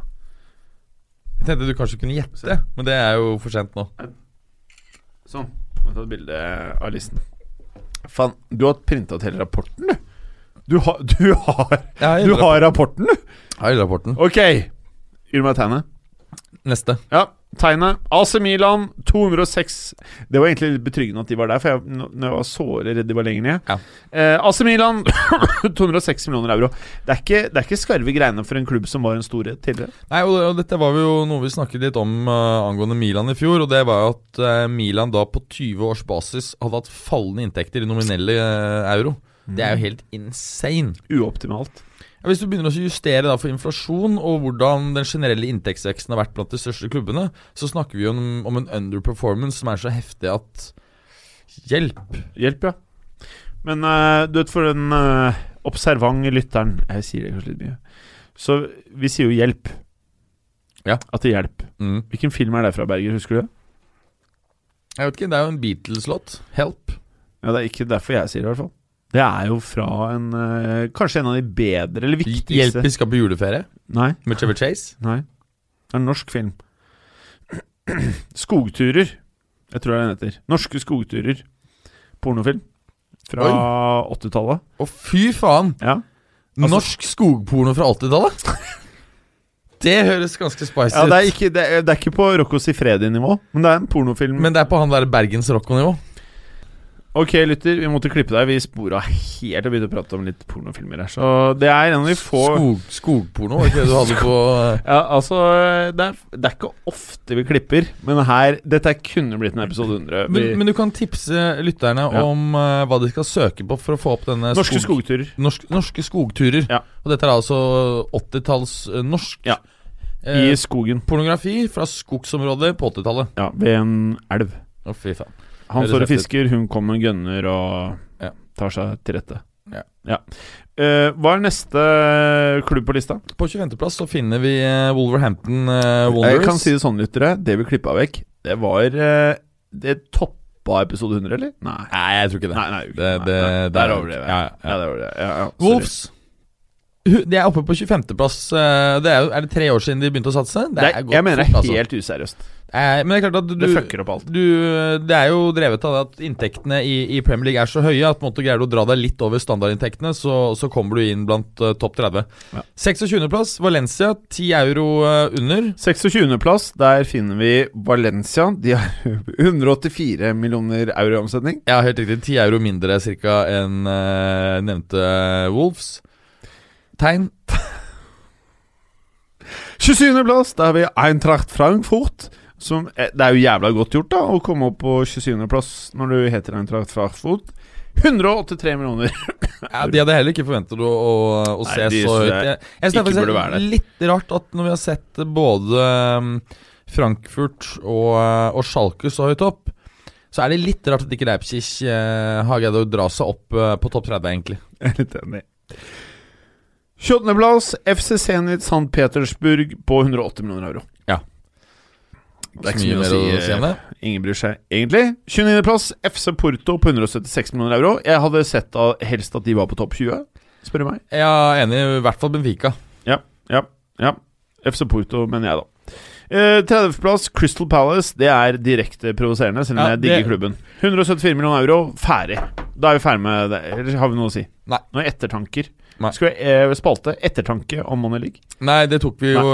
Speaker 2: Jeg tenkte du kanskje kunne gjette, men det er jo for sent nå.
Speaker 1: Sånn. Jeg har tatt bilde av listen. Faen, du har printa ut hele rapporten, du. Du har, du har,
Speaker 2: Ja,
Speaker 1: du har rapporten, du!
Speaker 2: Her er rapporten.
Speaker 1: Ok! Gir du meg tegnet?
Speaker 2: Neste.
Speaker 1: Ja, tegnet. AC Milan 206 Det var egentlig litt betryggende at de var der, for jeg, n- når jeg var såre redd de var lenger ned.
Speaker 2: Ja.
Speaker 1: Eh, AC Milan 206 millioner euro. Det er, ikke, det er ikke skarve greiene for en klubb som var en storhet tidligere.
Speaker 2: Nei, og, og dette var jo noe vi snakket litt om eh, angående Milan i fjor, og det var jo at eh, Milan da på 20 års basis hadde hatt fallende inntekter i nominelle eh, euro. Det er jo helt insane.
Speaker 1: Uoptimalt.
Speaker 2: Ja, hvis du begynner å justere da for inflasjon og hvordan den generelle inntektsveksten har vært blant de største klubbene, så snakker vi jo om, om en underperformance som er så heftig at Hjelp!
Speaker 1: Hjelp, ja. Men eh, du vet, for den eh, observant lytteren Jeg sier det kanskje litt mye. Så vi sier jo 'hjelp'.
Speaker 2: Ja.
Speaker 1: At det hjelper.
Speaker 2: Mm.
Speaker 1: Hvilken film er det fra, Berger? Husker du det?
Speaker 2: Jeg vet ikke, det er jo en Beatles-låt. Help.
Speaker 1: Ja, Det er ikke derfor jeg sier det, i hvert fall. Det er jo fra en eh, Kanskje en av de bedre eller
Speaker 2: Hjelp,
Speaker 1: viktigste
Speaker 2: vi skal på juleferie.
Speaker 1: Nei,
Speaker 2: Med Trevor Chase.
Speaker 1: nei. Det er en norsk film. 'Skogturer'. Jeg tror det er den heter. 'Norske skogturer'. Pornofilm. Fra 80-tallet.
Speaker 2: Å, fy faen!
Speaker 1: Ja.
Speaker 2: Norsk skogporno fra 80-tallet? det høres ganske spicy
Speaker 1: Ja, det er
Speaker 2: ut.
Speaker 1: ikke, det er, det er ikke på Roccos i Freddy-nivå, men det er en pornofilm.
Speaker 2: Men det er på han der Bergens Rocco-nivå.
Speaker 1: ok, lytter, vi måtte klippe deg. Vi spora helt og begynte å prate om litt pornofilmer her. Så det er en av de få
Speaker 2: Skog, skogporno, var ikke det du hadde på eh?
Speaker 1: ja, altså, det er, det er ikke ofte vi klipper, men her Dette kunne blitt en episode 100. Vi,
Speaker 2: men, men du kan tipse lytterne
Speaker 1: Ja.
Speaker 2: om eh, hva de skal søke på for å få opp denne
Speaker 1: norske
Speaker 2: skog-
Speaker 1: skogturer.
Speaker 2: norsk, norske skogturer.
Speaker 1: Ja.
Speaker 2: Og dette er altså 80-talls eh, norsk
Speaker 1: Ja.
Speaker 2: eh,
Speaker 1: I skogen.
Speaker 2: pornografi fra skogsområder på 80-tallet.
Speaker 1: Ja, ved en elv.
Speaker 2: Å, fy faen.
Speaker 1: Han
Speaker 2: Høres
Speaker 1: står og
Speaker 2: heftig ut.
Speaker 1: fisker, hun kommer og gønner og
Speaker 2: Ja.
Speaker 1: tar seg til rette.
Speaker 2: Ja.
Speaker 1: Eh, hva er neste klubb på lista?
Speaker 2: På 25.-plass så finner vi eh, Wolverhampton eh, Wanderers.
Speaker 1: Jeg kan si det sånn, lyttere. Det vi klippa vekk, det var eh, Det toppa episode 100, eller? Nei.
Speaker 2: Nei, jeg tror ikke det.
Speaker 1: Nei, nei,
Speaker 2: det, det,
Speaker 1: nei,
Speaker 2: det
Speaker 1: der
Speaker 2: er-
Speaker 1: overdrev jeg.
Speaker 2: Ja,
Speaker 1: Ja,
Speaker 2: ja, ja.
Speaker 1: det var det. Ja, ja, sorry.
Speaker 2: Wolves. Hu- De er oppe på 25.-plass. eh, Det er, jo- er det tre år siden de begynte å satse?
Speaker 1: Det er,
Speaker 2: gått
Speaker 1: jeg mener det
Speaker 2: fort,
Speaker 1: er
Speaker 2: altså.
Speaker 1: helt useriøst.
Speaker 2: Eh, Men det er klart at du
Speaker 1: Det fucker opp alt.
Speaker 2: du, det er jo drevet av det at inntektene i, i Premier League er så høye at på en måte greier du å dra deg litt over standardinntektene, så, så kommer du inn blant eh, topp 30.
Speaker 1: Ja.
Speaker 2: 26.-plass Valencia, 10 euro eh, under.
Speaker 1: 26.-plass, der finner vi Valencia. De har 184 millioner euro i omsetning.
Speaker 2: Ja, helt riktig. 10 euro mindre cirka enn eh, nevnte Wolves. Tegn.
Speaker 1: 27.-plass, der har vi Eintracht Frankfurt. Som, eh, det er jo jævla godt gjort da å komme opp på 27.-plass når du heter Eintracht Frankfurt. 183 millioner.
Speaker 2: Ja, de hadde heller ikke forventet å, å, å
Speaker 1: Nei,
Speaker 2: se
Speaker 1: de
Speaker 2: så
Speaker 1: synes
Speaker 2: høyt.
Speaker 1: jeg
Speaker 2: Jeg, jeg synes
Speaker 1: ikke
Speaker 2: det er
Speaker 1: burde være der.
Speaker 2: faktisk litt rart at når vi har sett både um, Frankfurt og, uh, og Schalke så høyt opp, så er det litt rart at ikke Leipzig eh, har greid å dra seg opp eh, på topp 30, egentlig.
Speaker 1: Jeg er litt enig. 28.-plass, FC Zenit St. Petersburg på 180 millioner euro.
Speaker 2: Ja.
Speaker 1: Det er ikke så mye, mer å si eh,
Speaker 2: om det.
Speaker 1: Ingen bryr seg, egentlig. 29.-plass, FC Porto på 176 millioner euro. Jeg hadde sett da, helst at de var på topp 20, spør du meg.
Speaker 2: Jeg er enig, i hvert fall Benfica.
Speaker 1: Ja, ja, ja. FC Porto, mener jeg, da. Eh, 30.-plass, Crystal Palace. Det er direkte provoserende, selv om
Speaker 2: Ja,
Speaker 1: jeg digger
Speaker 2: det-
Speaker 1: klubben. 174 millioner euro, ferdig. Da er vi ferdig med det. Eller har vi noe å si?
Speaker 2: Nei.
Speaker 1: Nå er ettertanker.
Speaker 2: Nei.
Speaker 1: Skal vi eh, spalte ettertanke om Money League?
Speaker 2: Nei, det tok vi jo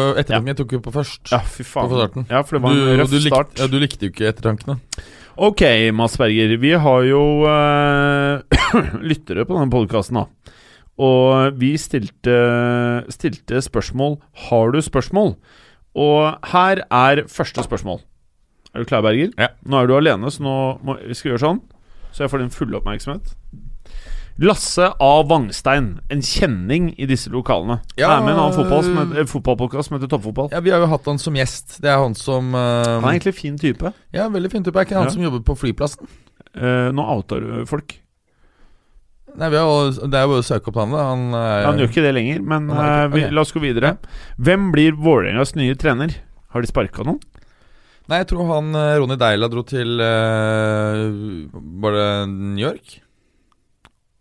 Speaker 1: Ja.
Speaker 2: ettertanken. Jeg tok jo på først.
Speaker 1: Ja, fy faen.
Speaker 2: På starten.
Speaker 1: Ja, for det
Speaker 2: Du,
Speaker 1: var en røff
Speaker 2: du, likte,
Speaker 1: start.
Speaker 2: ja, du likte jo ikke ettertankene.
Speaker 1: Ok, Mads Berger. Vi har jo eh, lyttere på denne podkasten, da. Og vi stilte, stilte spørsmål Har du spørsmål? Og her er første spørsmål. Er du klar, Berger?
Speaker 2: Ja.
Speaker 1: Nå er du alene, så nå må, vi skal gjøre sånn. Så jeg får din fulle oppmerksomhet. Lasse A. Vangstein, en kjenning i disse lokalene.
Speaker 2: Ja.
Speaker 1: er med i en annen fotball som heter- eh, fotballpodkast som heter Toppfotball.
Speaker 2: Ja, Vi har jo hatt han som gjest. Det er han som eh,
Speaker 1: Han er egentlig fin type.
Speaker 2: Ja, veldig fin type. Er ikke han
Speaker 1: Ja.
Speaker 2: som jobber på flyplassen?
Speaker 1: Eh, nå outer du folk.
Speaker 2: Nei, vi har, jo- Det er jo bare å søke opp han, da. Han, eh,
Speaker 1: Han gjør ikke det lenger, men
Speaker 2: Han har ikke-
Speaker 1: eh, vi,
Speaker 2: ok.
Speaker 1: la oss gå videre. Hvem blir Vålerengas nye trener? Har de sparka noen?
Speaker 2: Nei, jeg tror han eh, Ronny Deila dro til eh, Var det New York?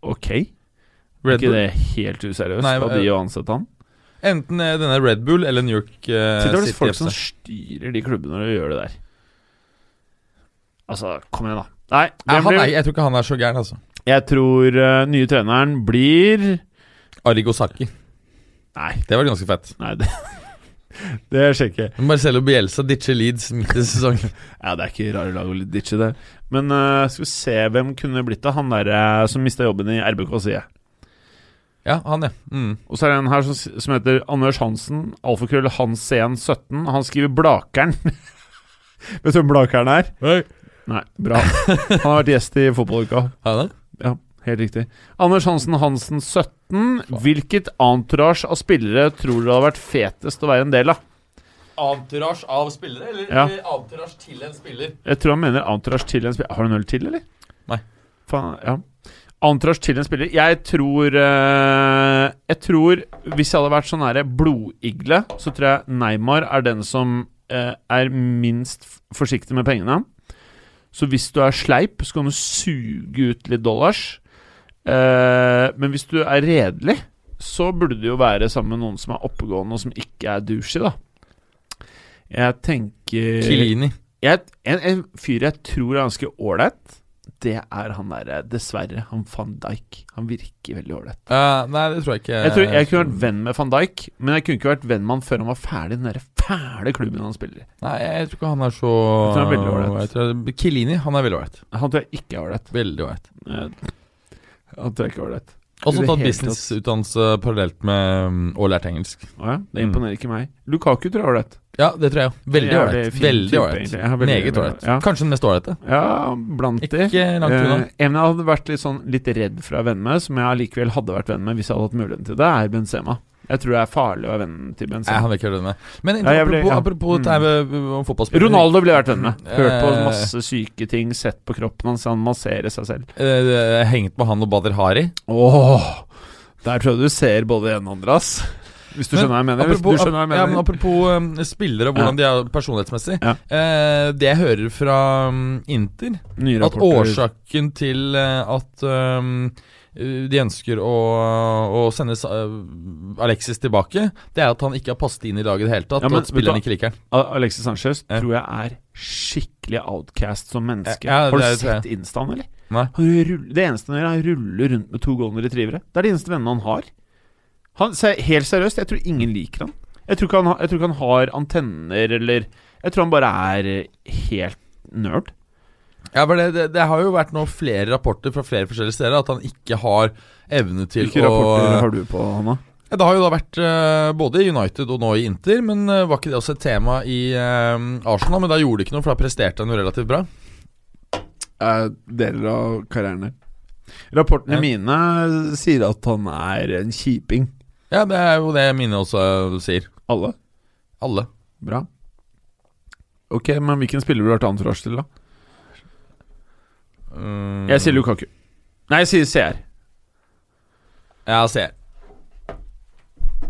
Speaker 1: Ok. Er
Speaker 2: Red
Speaker 1: ikke
Speaker 2: Bull.
Speaker 1: det helt useriøst
Speaker 2: Nei,
Speaker 1: av
Speaker 2: men-
Speaker 1: de å ansette han?
Speaker 2: Enten eh, denne Red Bull eller New York eh,
Speaker 1: Sitter det
Speaker 2: City
Speaker 1: folk
Speaker 2: FC.
Speaker 1: som styrer de klubbene når de gjør det der? Altså, kom igjen, da. Nei,
Speaker 2: Nei,
Speaker 1: hvem
Speaker 2: han er,
Speaker 1: blir
Speaker 2: jeg tror ikke han er så gæren, altså.
Speaker 1: Jeg tror eh, nye treneren blir
Speaker 2: Arigosaki.
Speaker 1: Nei,
Speaker 2: Det var ganske fett.
Speaker 1: nei det, det sjekker jeg.
Speaker 2: Marcelo Bielsa ditcher Leeds midt i sesongen.
Speaker 1: Ja, det er ikke rare lag å ditche det. Men eh, skal vi se hvem kunne det blitt da Han der eh, som mista jobben i RBK, sier jeg.
Speaker 2: ja, han, ja. Mm.
Speaker 1: Og så er det en her som, som heter Anders Hansen, alfakrøll Hansen17. Han skriver Blakeren. Vet du hvem Blakeren er?
Speaker 2: Hey.
Speaker 1: Nei, bra. Han har vært gjest i fotballuka.
Speaker 2: Han, er det?
Speaker 1: Ja. Helt riktig. Anders Hansen Hansen 17. Hvilket entourage av spillere tror du det hadde vært fetest å være en del av?
Speaker 4: Entourage av spillere, eller
Speaker 1: Ja.
Speaker 4: eller entourage til en spiller?
Speaker 1: Jeg tror han mener entourage til en spiller. Har du en øl til, eller?
Speaker 2: Nei.
Speaker 1: Faen, ja. Entourage til en spiller. Jeg tror eh, Jeg tror Hvis jeg hadde vært sånn her blodigle, så tror jeg Neymar er den som eh, er minst f- forsiktig med pengene. Så hvis du er sleip, så kan du suge ut litt dollars. Eh, men hvis du er redelig, så burde du jo være sammen med noen som er oppegående, og som ikke er douchey, da. Jeg tenker
Speaker 2: Kilini.
Speaker 1: jeg, en, en fyr jeg tror er ganske ålreit, det er han derre Dessverre, han van Dijk. Han virker veldig ålreit.
Speaker 2: Eh, nei, det tror jeg ikke.
Speaker 1: Jeg tror jeg kunne
Speaker 2: Eh.
Speaker 1: vært venn med van Dijk, men jeg kunne ikke vært venn med han før han var ferdig i den derre fæle klubben han spiller i.
Speaker 2: Nei, jeg tror ikke han er så
Speaker 1: Jeg tror han er veldig ålreit.
Speaker 2: Jeg tror- Kilini, han er veldig ålreit.
Speaker 1: Han tror jeg ikke er ålreit.
Speaker 2: Veldig ålreit.
Speaker 1: Eh, Han tror jeg ikke er ålreit. I
Speaker 2: Også
Speaker 1: det
Speaker 2: tatt
Speaker 1: hele
Speaker 2: businessutdannelse parallelt med
Speaker 1: mm,
Speaker 2: um, og lært engelsk.
Speaker 1: Å ja, det
Speaker 2: Mm.
Speaker 1: imponerer ikke meg. Lukaku tror jeg er ålreit.
Speaker 2: Ja, det tror jeg òg. Veldig
Speaker 1: Ja, det er
Speaker 2: ålreit.
Speaker 1: fin
Speaker 2: Veldig
Speaker 1: type,
Speaker 2: ålreit.
Speaker 1: egentlig. Ja, veldig-
Speaker 2: Meget ålreit.
Speaker 1: ja.
Speaker 2: Kanskje den mest ålreite.
Speaker 1: Ja, blant de.
Speaker 2: Ikke langt unna.
Speaker 1: Eh, en jeg hadde vært litt sånn litt redd for å være venn med, som jeg allikevel hadde vært venn med hvis jeg hadde hatt muligheten til det, er Benzema. Jeg tror det er farlig å være vennen til
Speaker 2: Nei,
Speaker 1: Benzema.
Speaker 2: han vil ikke gjøre det med. Men
Speaker 1: Ja, jeg ble- ja.
Speaker 2: apropos,
Speaker 1: Mm.
Speaker 2: apropos det her med- om fotballspillere
Speaker 1: Ronaldo ville jeg vært venn med. Hørt på
Speaker 2: Eh.
Speaker 1: masse syke ting, sett på kroppen hans, han masserer seg selv.
Speaker 2: eh, Hengt med han og Bader Hari.
Speaker 1: Åh, der tror jeg du ser både det ene og andre, ass. Hvis du
Speaker 2: Men
Speaker 1: skjønner hva jeg mener. Hvis
Speaker 2: Apropos,
Speaker 1: du skjønner hva jeg
Speaker 2: ja, men
Speaker 1: mener.
Speaker 2: apropos um, spillere og hvordan de er personlighetsmessig.
Speaker 1: Ja.
Speaker 2: Eh, det jeg hører fra um, Inter,
Speaker 1: Nye
Speaker 2: at
Speaker 1: rapporter.
Speaker 2: årsaken til eh, at um, eh, de ønsker å, å sende Sa- eh, Alexis tilbake, det er at han ikke har passet inn i laget i det hele tatt.
Speaker 1: Ja, men
Speaker 2: og at spillerne
Speaker 1: vet
Speaker 2: ikke liker han.
Speaker 1: A- Alexis Sanchez
Speaker 2: Ja.
Speaker 1: tror jeg er skikkelig outcast som menneske.
Speaker 2: Ja,
Speaker 1: Har
Speaker 2: ja,
Speaker 1: du
Speaker 2: det tror jeg.
Speaker 1: sett Instaen, eller?
Speaker 2: Nei.
Speaker 1: Han rull- det eneste han gjør, er å rulle rundt med to golden retrievere. Det er de eneste vennene han har. Han, se- helt seriøst, jeg tror ingen liker han. Jeg tror ikke han, har- jeg tror ikke han har antenner eller Jeg tror han bare er eh, helt nerd.
Speaker 2: Ja, for det, det, det har jo vært nå flere rapporter fra flere forskjellige steder at han ikke har evne til
Speaker 1: Hvilke
Speaker 2: å
Speaker 1: rapporter har du på, Hanna?
Speaker 2: Ja, Det har jo da vært eh, både i United og nå i Inter, men eh, var ikke det også et tema i eh, Arsenal? Men da gjorde det ikke noe, for da presterte han jo relativt bra.
Speaker 1: eh, deler av karrieren her. Rapportene
Speaker 2: Ja.
Speaker 1: mine sier at han er en kjiping.
Speaker 2: Ja, det er jo det mine også eh, sier.
Speaker 1: Alle.
Speaker 2: Alle.
Speaker 1: Bra. Ok, men hvilken spiller burde vært anfører til, da?
Speaker 2: Mm,
Speaker 1: Jeg sier Lukaku. Nei, jeg sier CR.
Speaker 2: Ja, se.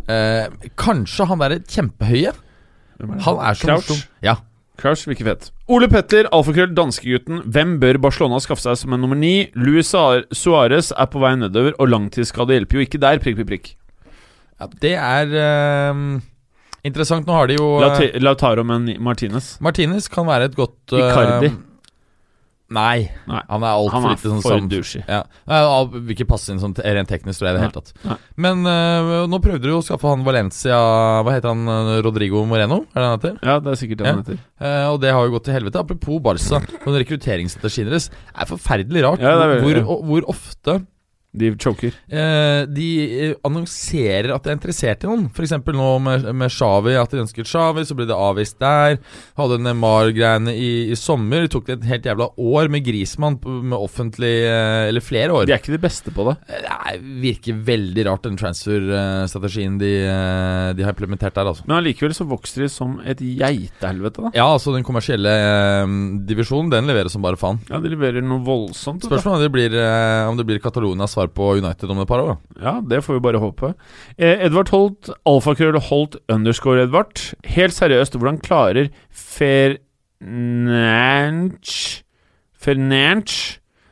Speaker 2: Eh, kanskje han derre kjempehøye?
Speaker 1: Hvem
Speaker 2: Han er så
Speaker 1: Crouch?
Speaker 2: morsom. Ja.
Speaker 1: Crouch virker fett. Ole Petter, alfakrøll, danskegutten. Hvem bør Barcelona skaffe seg som en nummer ni? Luis Suárez er på vei nedover, og langtidsskade hjelper jo ikke der. Prikk, prikk, prikk.
Speaker 2: ja det er eh, interessant. Nå har de jo eh,
Speaker 1: Lauti- Lautaro med en Martinez.
Speaker 2: Martinez kan være et godt eh,
Speaker 1: Icardi.
Speaker 2: Nei,
Speaker 1: Nei.
Speaker 2: han
Speaker 1: Han
Speaker 2: er altfor
Speaker 1: er
Speaker 2: lite sånn
Speaker 1: for
Speaker 2: sam-
Speaker 1: douchey.
Speaker 2: Ja. Nei, han Vil ikke passe inn sånn te- rent teknisk, tror jeg. i det hele tatt
Speaker 1: Nei.
Speaker 2: Men øh, nå prøvde du jo å skaffe han Valencia Hva heter han? øh, Rodrigo Moreno? Er det han heter?
Speaker 1: Ja, det er sikkert det han heter.
Speaker 2: Eh, og det har jo gått til helvete. Apropos Barca. og Rekrutteringsstrategien deres er forferdelig rart.
Speaker 1: Ja, det er veldig-
Speaker 2: hvor,
Speaker 1: ja.
Speaker 2: og, hvor ofte
Speaker 1: De choker.
Speaker 2: eh, de eh, annonserer at de er interessert i noen. F.eks. nå med, med Xavi, at de ønsket Xavi, så ble det avvist der. Hadde Neymar-greiene i, i sommer. Det tok det et helt jævla år med Grismann på- med offentlig eh, Eller flere år.
Speaker 1: De er ikke de beste på det.
Speaker 2: Det virker veldig rart, den transfer-strategien de, eh, de har implementert der. altså
Speaker 1: Men allikevel så vokser de som et geitehelvete, da.
Speaker 2: Ja, altså den kommersielle eh, divisjonen, den leverer som bare faen.
Speaker 1: Ja, de leverer noe voldsomt. vet du.
Speaker 2: Spørsmålet er om det blir, eh, om det blir Catalonias svar på United om et par år. da.
Speaker 1: Ja, det får vi bare håpe. Eh, Edvard Holt, alfakrøll Holt underscore Edvard. Helt seriøst, hvordan klarer Fernanch Fernanch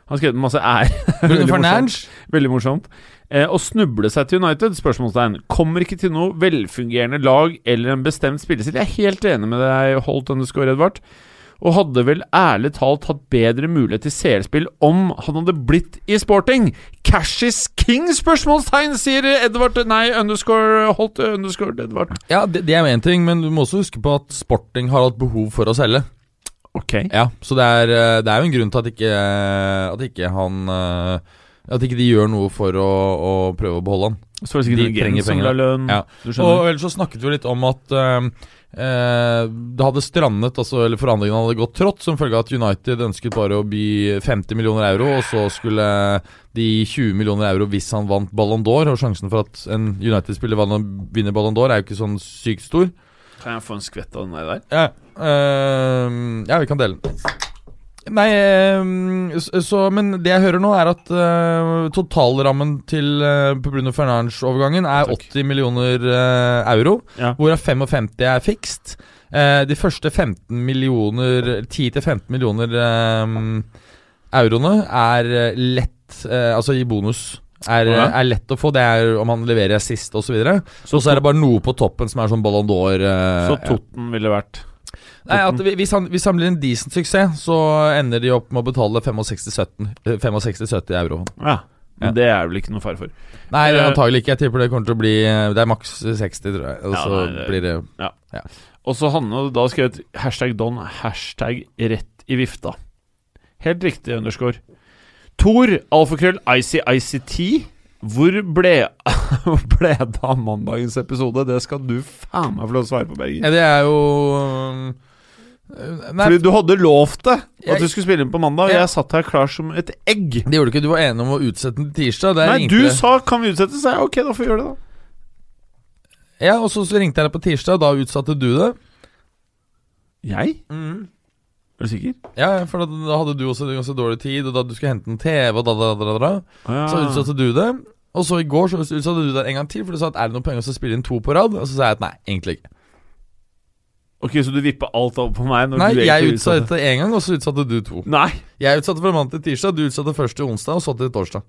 Speaker 1: Han har skrevet masse ær.
Speaker 2: Bruno
Speaker 1: Veldig morsomt.
Speaker 2: Fernandes?
Speaker 1: Veldig morsomt. Eh, å snuble seg til United? Spørsmålstegn. Kommer ikke til noe velfungerende lag eller en bestemt spillestil. Jeg er helt enig med deg, Holt underscore Edvard. Og hadde vel ærlig talt hatt bedre mulighet til CL-spill om han hadde blitt i sporting. Cash is king? Spørsmålstegn, sier Edvard Nei, underscore Holt underscore Edvard.
Speaker 2: Ja, det, det er jo én ting, men du må også huske på at sporting har hatt behov for å selge.
Speaker 1: Ok.
Speaker 2: Ja, Så det er, eh, det er jo en grunn til at ikke, at ikke han eh, At ikke de gjør noe for å, å prøve å beholde han.
Speaker 1: Så var det sikkert
Speaker 2: De
Speaker 1: noen games
Speaker 2: trenger
Speaker 1: som
Speaker 2: penger.
Speaker 1: la lønn.
Speaker 2: Ja.
Speaker 1: Du
Speaker 2: Og
Speaker 1: skjønner.
Speaker 2: ellers så snakket vi jo litt om at eh, eh, det hadde strandet, altså, eller forhandlingene hadde gått trått, som følge av at United ønsket bare å by 50 millioner euro, og så skulle de gi 20 millioner euro hvis han vant Ballon d'Or. Og sjansen for at en United-spiller vann- vinner Ballon d'Or, er jo ikke sånn sykt stor.
Speaker 1: Kan jeg få en skvett av den der?
Speaker 2: Ja, ehm, ja vi kan dele den. Nei, ehm, s- så, men det jeg hører nå, er at eh, totalrammen til eh, Bruno Fernandes-overgangen er 80 millioner eh, euro,
Speaker 1: Ja.
Speaker 2: hvorav 55 er fikst. Eh, de første 15 millioner 10-15 millioner ehm, euroene er eh, lett eh, Altså i bonus. Er,
Speaker 1: Ja.
Speaker 2: er lett å få. Det er om han leverer sist osv. Og så er det bare noe på toppen som er sånn Ballon d'Or. eh,
Speaker 1: Så
Speaker 2: ja.
Speaker 1: Totten ville vært
Speaker 2: Nei, at vi- hvis, han, hvis han blir en decent suksess, så ender de opp med å betale 65-70 euro.
Speaker 1: Ja. Men
Speaker 2: Ja.
Speaker 1: det er vel ikke noe fare for.
Speaker 2: Nei,
Speaker 1: Eh,
Speaker 2: antagelig ikke. Jeg tipper det kommer til å bli Det er maks 60, tror jeg. Og
Speaker 1: Ja,
Speaker 2: så
Speaker 1: nei, det-
Speaker 2: blir det
Speaker 1: Og så Hanne da skrev et hashtag Don, hashtag rett i vifta. Helt riktig, underscore. Tor, alfakrøll, ICICT. Hvor ble, hvor ble det av mandagens episode? Det skal du faen meg få lov til å svare på, Berger.
Speaker 2: ja, Det er jo øhm, øh, Nei,
Speaker 1: Fordi du hadde lovt det,
Speaker 2: Jeg-
Speaker 1: at du skulle spille inn på mandag. Og
Speaker 2: Ja.
Speaker 1: jeg satt her klar som et egg.
Speaker 2: det gjorde du ikke. Du var enig om å utsette den til tirsdag. Det
Speaker 1: Nei,
Speaker 2: ringte
Speaker 1: du
Speaker 2: det.
Speaker 1: sa 'kan vi utsette', så jeg ok, da får vi gjøre det, da.
Speaker 2: Ja, og så så ringte jeg deg på tirsdag, og da utsatte du det.
Speaker 1: Jeg?
Speaker 2: Mm.
Speaker 1: Er du sikker?
Speaker 2: Ja, for da, da hadde du også ganske dårlig tid, og da du skulle hente en TV, og da, da, da, da, da.
Speaker 1: Ah.
Speaker 2: Så utsatte du det. Og så i går så utsatte du det en gang til, for du sa at er det noen penger å spille inn to på rad? Og så sa jeg at nei, egentlig ikke.
Speaker 1: Ok, så du vippa alt over på meg? Når
Speaker 2: Nei,
Speaker 1: du
Speaker 2: jeg
Speaker 1: egentlig
Speaker 2: utsatte én gang, og så utsatte du to.
Speaker 1: Nei!
Speaker 2: Jeg utsatte fra mandag til tirsdag, du utsatte først til onsdag, og så til torsdag.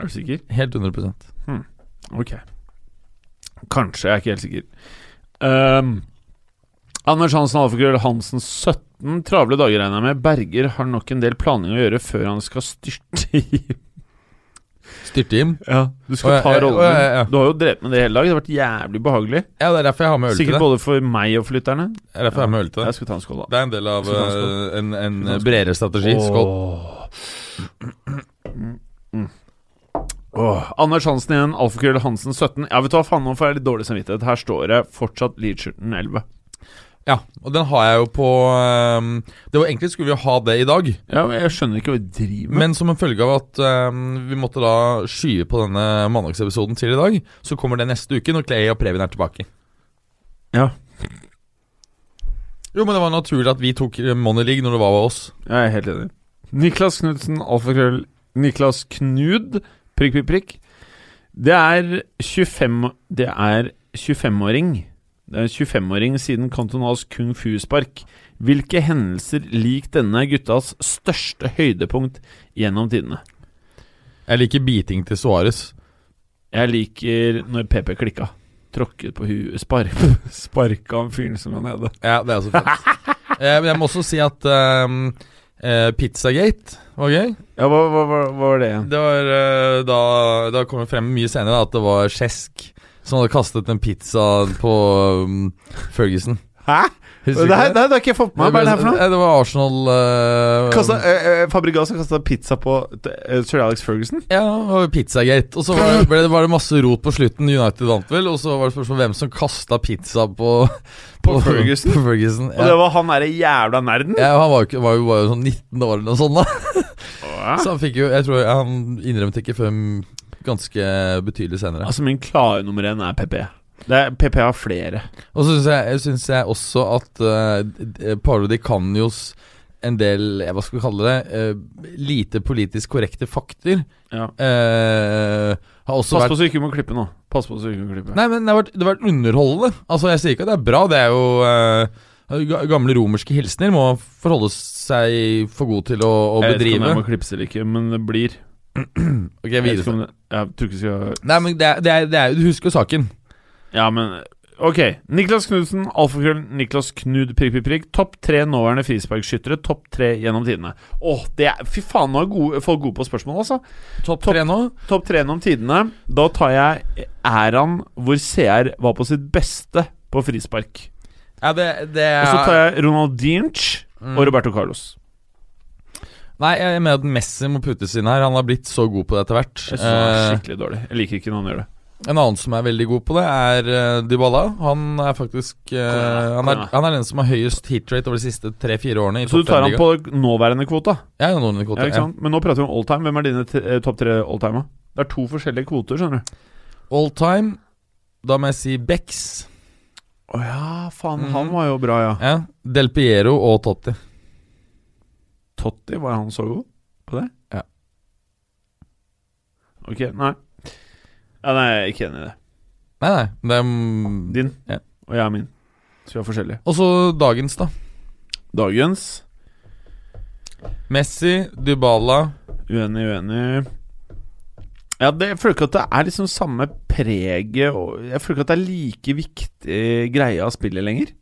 Speaker 1: Er du sikker?
Speaker 2: Helt 100
Speaker 1: Ok. Kanskje, jeg er ikke helt sikker. Ehm, Anders Hansen, alfakrøll Hansen 17. Travle dager, regner jeg med. Berger har nok en del planing å gjøre før han skal styrte i
Speaker 2: Styrte-Jim.
Speaker 1: Ja, Du
Speaker 2: Å,
Speaker 1: skal
Speaker 2: ja,
Speaker 1: ta
Speaker 2: ja,
Speaker 1: rollen
Speaker 2: å, ja, ja.
Speaker 1: din. Du har jo drevet med det hele dag. Det har vært jævlig behagelig.
Speaker 2: Ja, det er derfor jeg har med øl til
Speaker 1: Sikkert
Speaker 2: deg.
Speaker 1: både for meg og for lytterne.
Speaker 2: Det er derfor jeg har med øl til
Speaker 1: Jeg
Speaker 2: deg.
Speaker 1: skal ta en skål, da.
Speaker 2: Det er en del av
Speaker 1: Skal vi ta en
Speaker 2: eh, en, en
Speaker 1: ta en skål?
Speaker 2: bredere strategi. Skål.
Speaker 1: Åh, Anders Hansen igjen, alfakrøll Hansen 17. Ja, vet du hva, faen, nå får jeg litt dårlig samvittighet. Her står det fortsatt Leedshirten 11.
Speaker 2: Ja, og den har jeg jo på ehm, Det var Egentlig skulle vi jo ha det i dag,
Speaker 1: Ja, men Jeg skjønner ikke hva vi driver med.
Speaker 2: men som en følge av at ehm, vi måtte da skye på denne mandagsepisoden til i dag, så kommer det neste uke når Clay og Previn er tilbake.
Speaker 1: Ja.
Speaker 2: Jo, men det var naturlig at vi tok eh, Money League når det var oss.
Speaker 1: Jeg er helt enig. Niklas Knudsen, alfakrøll Niklas Knud, prikk, prikk, prikk. Det er 25 Det er 25-åring. Det er 25-åring siden Kantonals kung fu-spark. Hvilke hendelser lik denne er guttas største høydepunkt gjennom tidene?
Speaker 2: Jeg liker beating til Suárez.
Speaker 1: Jeg liker når PP klikka. Tråkket på huet Spark, Sparka han fyren som var nede.
Speaker 2: Ja, det er også fett. eh, men jeg må også si at ehm, eh, Pizzagate var gøy.
Speaker 1: Ja, hva, hva, hva, hva var det igjen?
Speaker 2: Det var eh, da Det har kommet frem mye senere da, at det var Kjesk som hadde kastet en pizza på um, Ferguson.
Speaker 1: Hæ?
Speaker 2: Husker
Speaker 1: Det
Speaker 2: du
Speaker 1: her,
Speaker 2: ikke
Speaker 1: det her har ikke jeg fått med meg. Hva er det her for noe?
Speaker 2: Eh, Det var Arsenal eh,
Speaker 1: Kasta, eh, eh, Fabregas har kasta pizza på eh, Sir Alex Ferguson.
Speaker 2: Ja, det var Pizzagate. Og så var det, ble det, var det masse rot på slutten. United vant vel. Og så var det spørsmål om hvem som kasta pizza på
Speaker 1: På Ferguson?
Speaker 2: På Ferguson
Speaker 1: Og det
Speaker 2: ja.
Speaker 1: var han derre jævla nerden.
Speaker 2: Ja, han var jo ikke- var jo bare sånn 19 år eller noe sånt. da
Speaker 1: Åh.
Speaker 2: Så han fikk jo Jeg tror han innrømte ikke før ganske betydelig senere.
Speaker 1: Altså, min klare nummer én er PP. Det er, PP har flere.
Speaker 2: Og så syns jeg, synes jeg også at uh, Paolo Di Canios en del, eh, hva skal vi kalle det, eh, lite politisk korrekte fakter
Speaker 1: Ja.
Speaker 2: eh, har også
Speaker 1: Pass
Speaker 2: vært
Speaker 1: på så du ikke må klippe nå. Pass på så du ikke må klippe.
Speaker 2: Nei, men det har vært, det har vært underholdende. Altså, Jeg sier ikke at det er bra, det er jo eh, ga- Gamle romerske hilsener må forholde seg for god til å, å
Speaker 1: jeg vet ikke om
Speaker 2: bedrive.
Speaker 1: jeg må klippes eller ikke, men det blir.
Speaker 2: Ok,
Speaker 1: Jeg, vet
Speaker 2: videre.
Speaker 1: ikke om det, jeg tror ikke jeg skal
Speaker 2: Nei, men det er, det er, det er, Du husker jo saken.
Speaker 1: Ja, men Ok. Niklas Knudsen, alfakrøll Niklas Knud, prikk, prikk, prikk. Topp tre nåværende frisparkskyttere. Topp tre gjennom tidene. Åh, det er Fy faen, nå er gode, folk gode på spørsmål, altså.
Speaker 2: Topp
Speaker 1: Topp-
Speaker 2: tre nå.
Speaker 1: Topp tre gjennom tidene. Da tar jeg æraen hvor CR var på sitt beste på frispark.
Speaker 2: Ja, det, det
Speaker 1: Og så tar jeg Ronaldinch
Speaker 2: Mm.
Speaker 1: og Roberto Carlos.
Speaker 2: Nei, jeg mener at Messi må puttes inn her. Han har blitt så god på det etter hvert.
Speaker 1: Jeg synes det er
Speaker 2: Eh,
Speaker 1: skikkelig dårlig. Jeg liker ikke når han gjør det.
Speaker 2: En annen som er veldig god på det, er eh, Dybala. Han er faktisk eh, han, er,
Speaker 1: igjen, da.
Speaker 2: han er den som har høyest hit rate over de siste tre-fire årene. I
Speaker 1: Så du
Speaker 2: topp
Speaker 1: tar han
Speaker 2: fem-ligaen.
Speaker 1: på nåværende kvota?
Speaker 2: Ja, ja, noen kvoter,
Speaker 1: Ja, ikke sant? Men nå prater vi om alltime. Hvem er dine t- eh, topp tre alltime? Det er to forskjellige kvoter, skjønner du.
Speaker 2: ja. All time, da må jeg si Bex,
Speaker 1: Å ja, faen.
Speaker 2: han
Speaker 1: Han var jo bra, ja.
Speaker 2: Mm. ja. Del Piero og Totti.
Speaker 1: Totti, var han så god på det?
Speaker 2: Ja.
Speaker 1: Ok, nei. Ja, nei, jeg er ikke enig i det.
Speaker 2: Nei, nei. Det er, mm,
Speaker 1: Din
Speaker 2: Ja.
Speaker 1: og jeg er min. Så vi er forskjellige.
Speaker 2: Og så dagens, da.
Speaker 1: Dagens.
Speaker 2: Messi, Dybala
Speaker 1: Uenig, uenig. Ja, det, jeg føler ikke at det er liksom samme preget og Jeg føler ikke at det er like viktig greie av spillet lenger.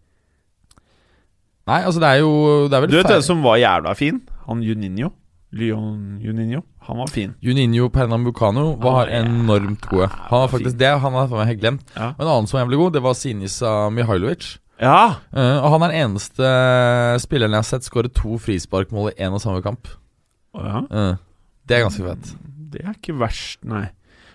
Speaker 2: Nei, altså det er jo Det er vel
Speaker 1: Du vet
Speaker 2: feil-
Speaker 1: den som var jævla fin? Han Juninho. Leon Juninho. Han var fin.
Speaker 2: Juninho Pernambucano var
Speaker 1: Ah, ja.
Speaker 2: enormt gode. Han var faktisk det, han har jeg helt glemt.
Speaker 1: Ja.
Speaker 2: Og En annen som var jævlig god, det var Sinisa Mihailovic.
Speaker 1: Ja!
Speaker 2: Eh, og han er den eneste spilleren jeg har sett skåre to frisparkmål i én og samme kamp. Eh, det er ganske fett.
Speaker 1: Det er ikke verst, nei.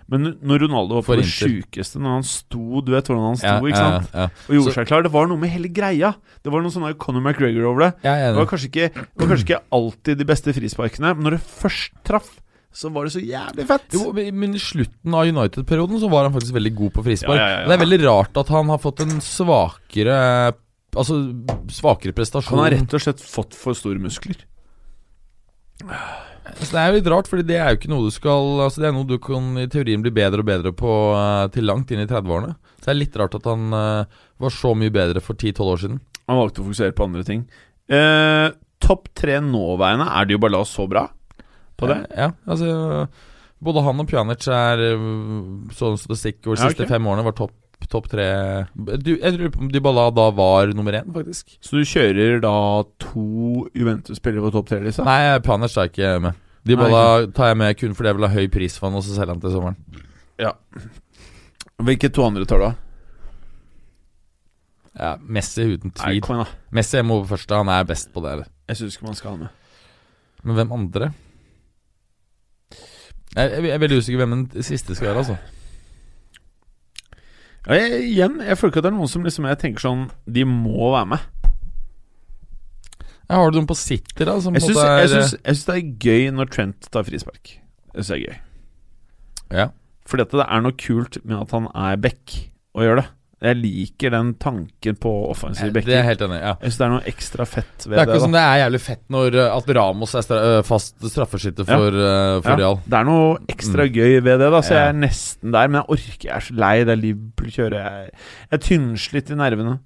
Speaker 1: Men når Ronaldo var
Speaker 2: For
Speaker 1: på det
Speaker 2: Inter.
Speaker 1: sjukeste, når han sto Du vet hvordan han sto,
Speaker 2: Ja,
Speaker 1: ikke
Speaker 2: ja,
Speaker 1: sant?
Speaker 2: ja.
Speaker 1: Og gjorde
Speaker 2: Så-
Speaker 1: seg klar. Det var noe med hele greia. Det var noe sånn her Conor McGregor over det.
Speaker 2: Jeg er
Speaker 1: Det var
Speaker 2: enig.
Speaker 1: kanskje ikke, det var kanskje ikke alltid de beste frisparkene, men når det først traff, så var det så jævlig fett.
Speaker 2: Jo, men I slutten av United-perioden Så var han faktisk veldig god på
Speaker 1: Ja,
Speaker 2: frispark.
Speaker 1: ja, ja, ja.
Speaker 2: Det er veldig rart at han har fått en svakere Altså svakere prestasjon.
Speaker 1: Han har rett og slett fått for store muskler.
Speaker 2: Så Altså, det er jo litt rart, Fordi det er jo ikke noe du skal Altså det er noe du kan i teorien bli bedre og bedre på eh, til langt inn i 30-årene. Så det er litt rart at han eh, var så mye bedre for 10-12 år siden.
Speaker 1: Han valgte å fokusere på andre ting. Eh, Topp tre nåværende er det jo bare la oss så bra på det.
Speaker 2: Eh, Ja, altså Både han og Pjanic er eh, sånn statistikk over de
Speaker 1: Ja,
Speaker 2: siste
Speaker 1: ok.
Speaker 2: fem årene var topp topp tre du, Jeg lurer på om Dybala da var nummer én, faktisk.
Speaker 1: Så du kjører da to Juventus-spillere på topp tre-lista?
Speaker 2: Nei, Pjanic er ikke med. Dybala tar jeg med kun fordi jeg vil ha høy pris for han, og så selger han til sommeren.
Speaker 1: Hvilke to andre tar du, da?
Speaker 2: Ja, Messi uten
Speaker 1: Nei,
Speaker 2: tvil.
Speaker 1: kom igjen, da.
Speaker 2: Messi må på første, han er best på det. eller?
Speaker 1: Jeg syns ikke man skal ha med.
Speaker 2: Men hvem andre? Jeg, jeg, jeg er veldig usikker hvem den siste skal være, altså.
Speaker 1: Ja, jeg, igjen, jeg føler ikke at det er noen som liksom jeg tenker sånn De må være med.
Speaker 2: Jeg har du noen på sitter, da? Som
Speaker 1: Jeg
Speaker 2: på en
Speaker 1: syns
Speaker 2: måte er,
Speaker 1: jeg syns- jeg syns det er gøy når Trent tar frispark. Jeg syns det er gøy.
Speaker 2: eh, ja.
Speaker 1: Fordi at det er noe kult med at han er back og gjør det. Jeg liker den tanken på offensive
Speaker 2: Det er jeg
Speaker 1: backer.
Speaker 2: helt enig i. Ja.
Speaker 1: Jeg syns det er noe ekstra fett
Speaker 2: Det
Speaker 1: ved
Speaker 2: er
Speaker 1: det.
Speaker 2: ikke som
Speaker 1: da.
Speaker 2: det er jævlig fett når eh, at Ramos er stra eh, fast straffeskytter for, eh, for
Speaker 1: ja,
Speaker 2: Real.
Speaker 1: det er noe ekstra gøy ved det, da så
Speaker 2: Mm. Ja.
Speaker 1: jeg er nesten der. Men jeg orker, jeg er så lei. Det er Liverpool kjører. Jeg, jeg er tynnslitt i nervene.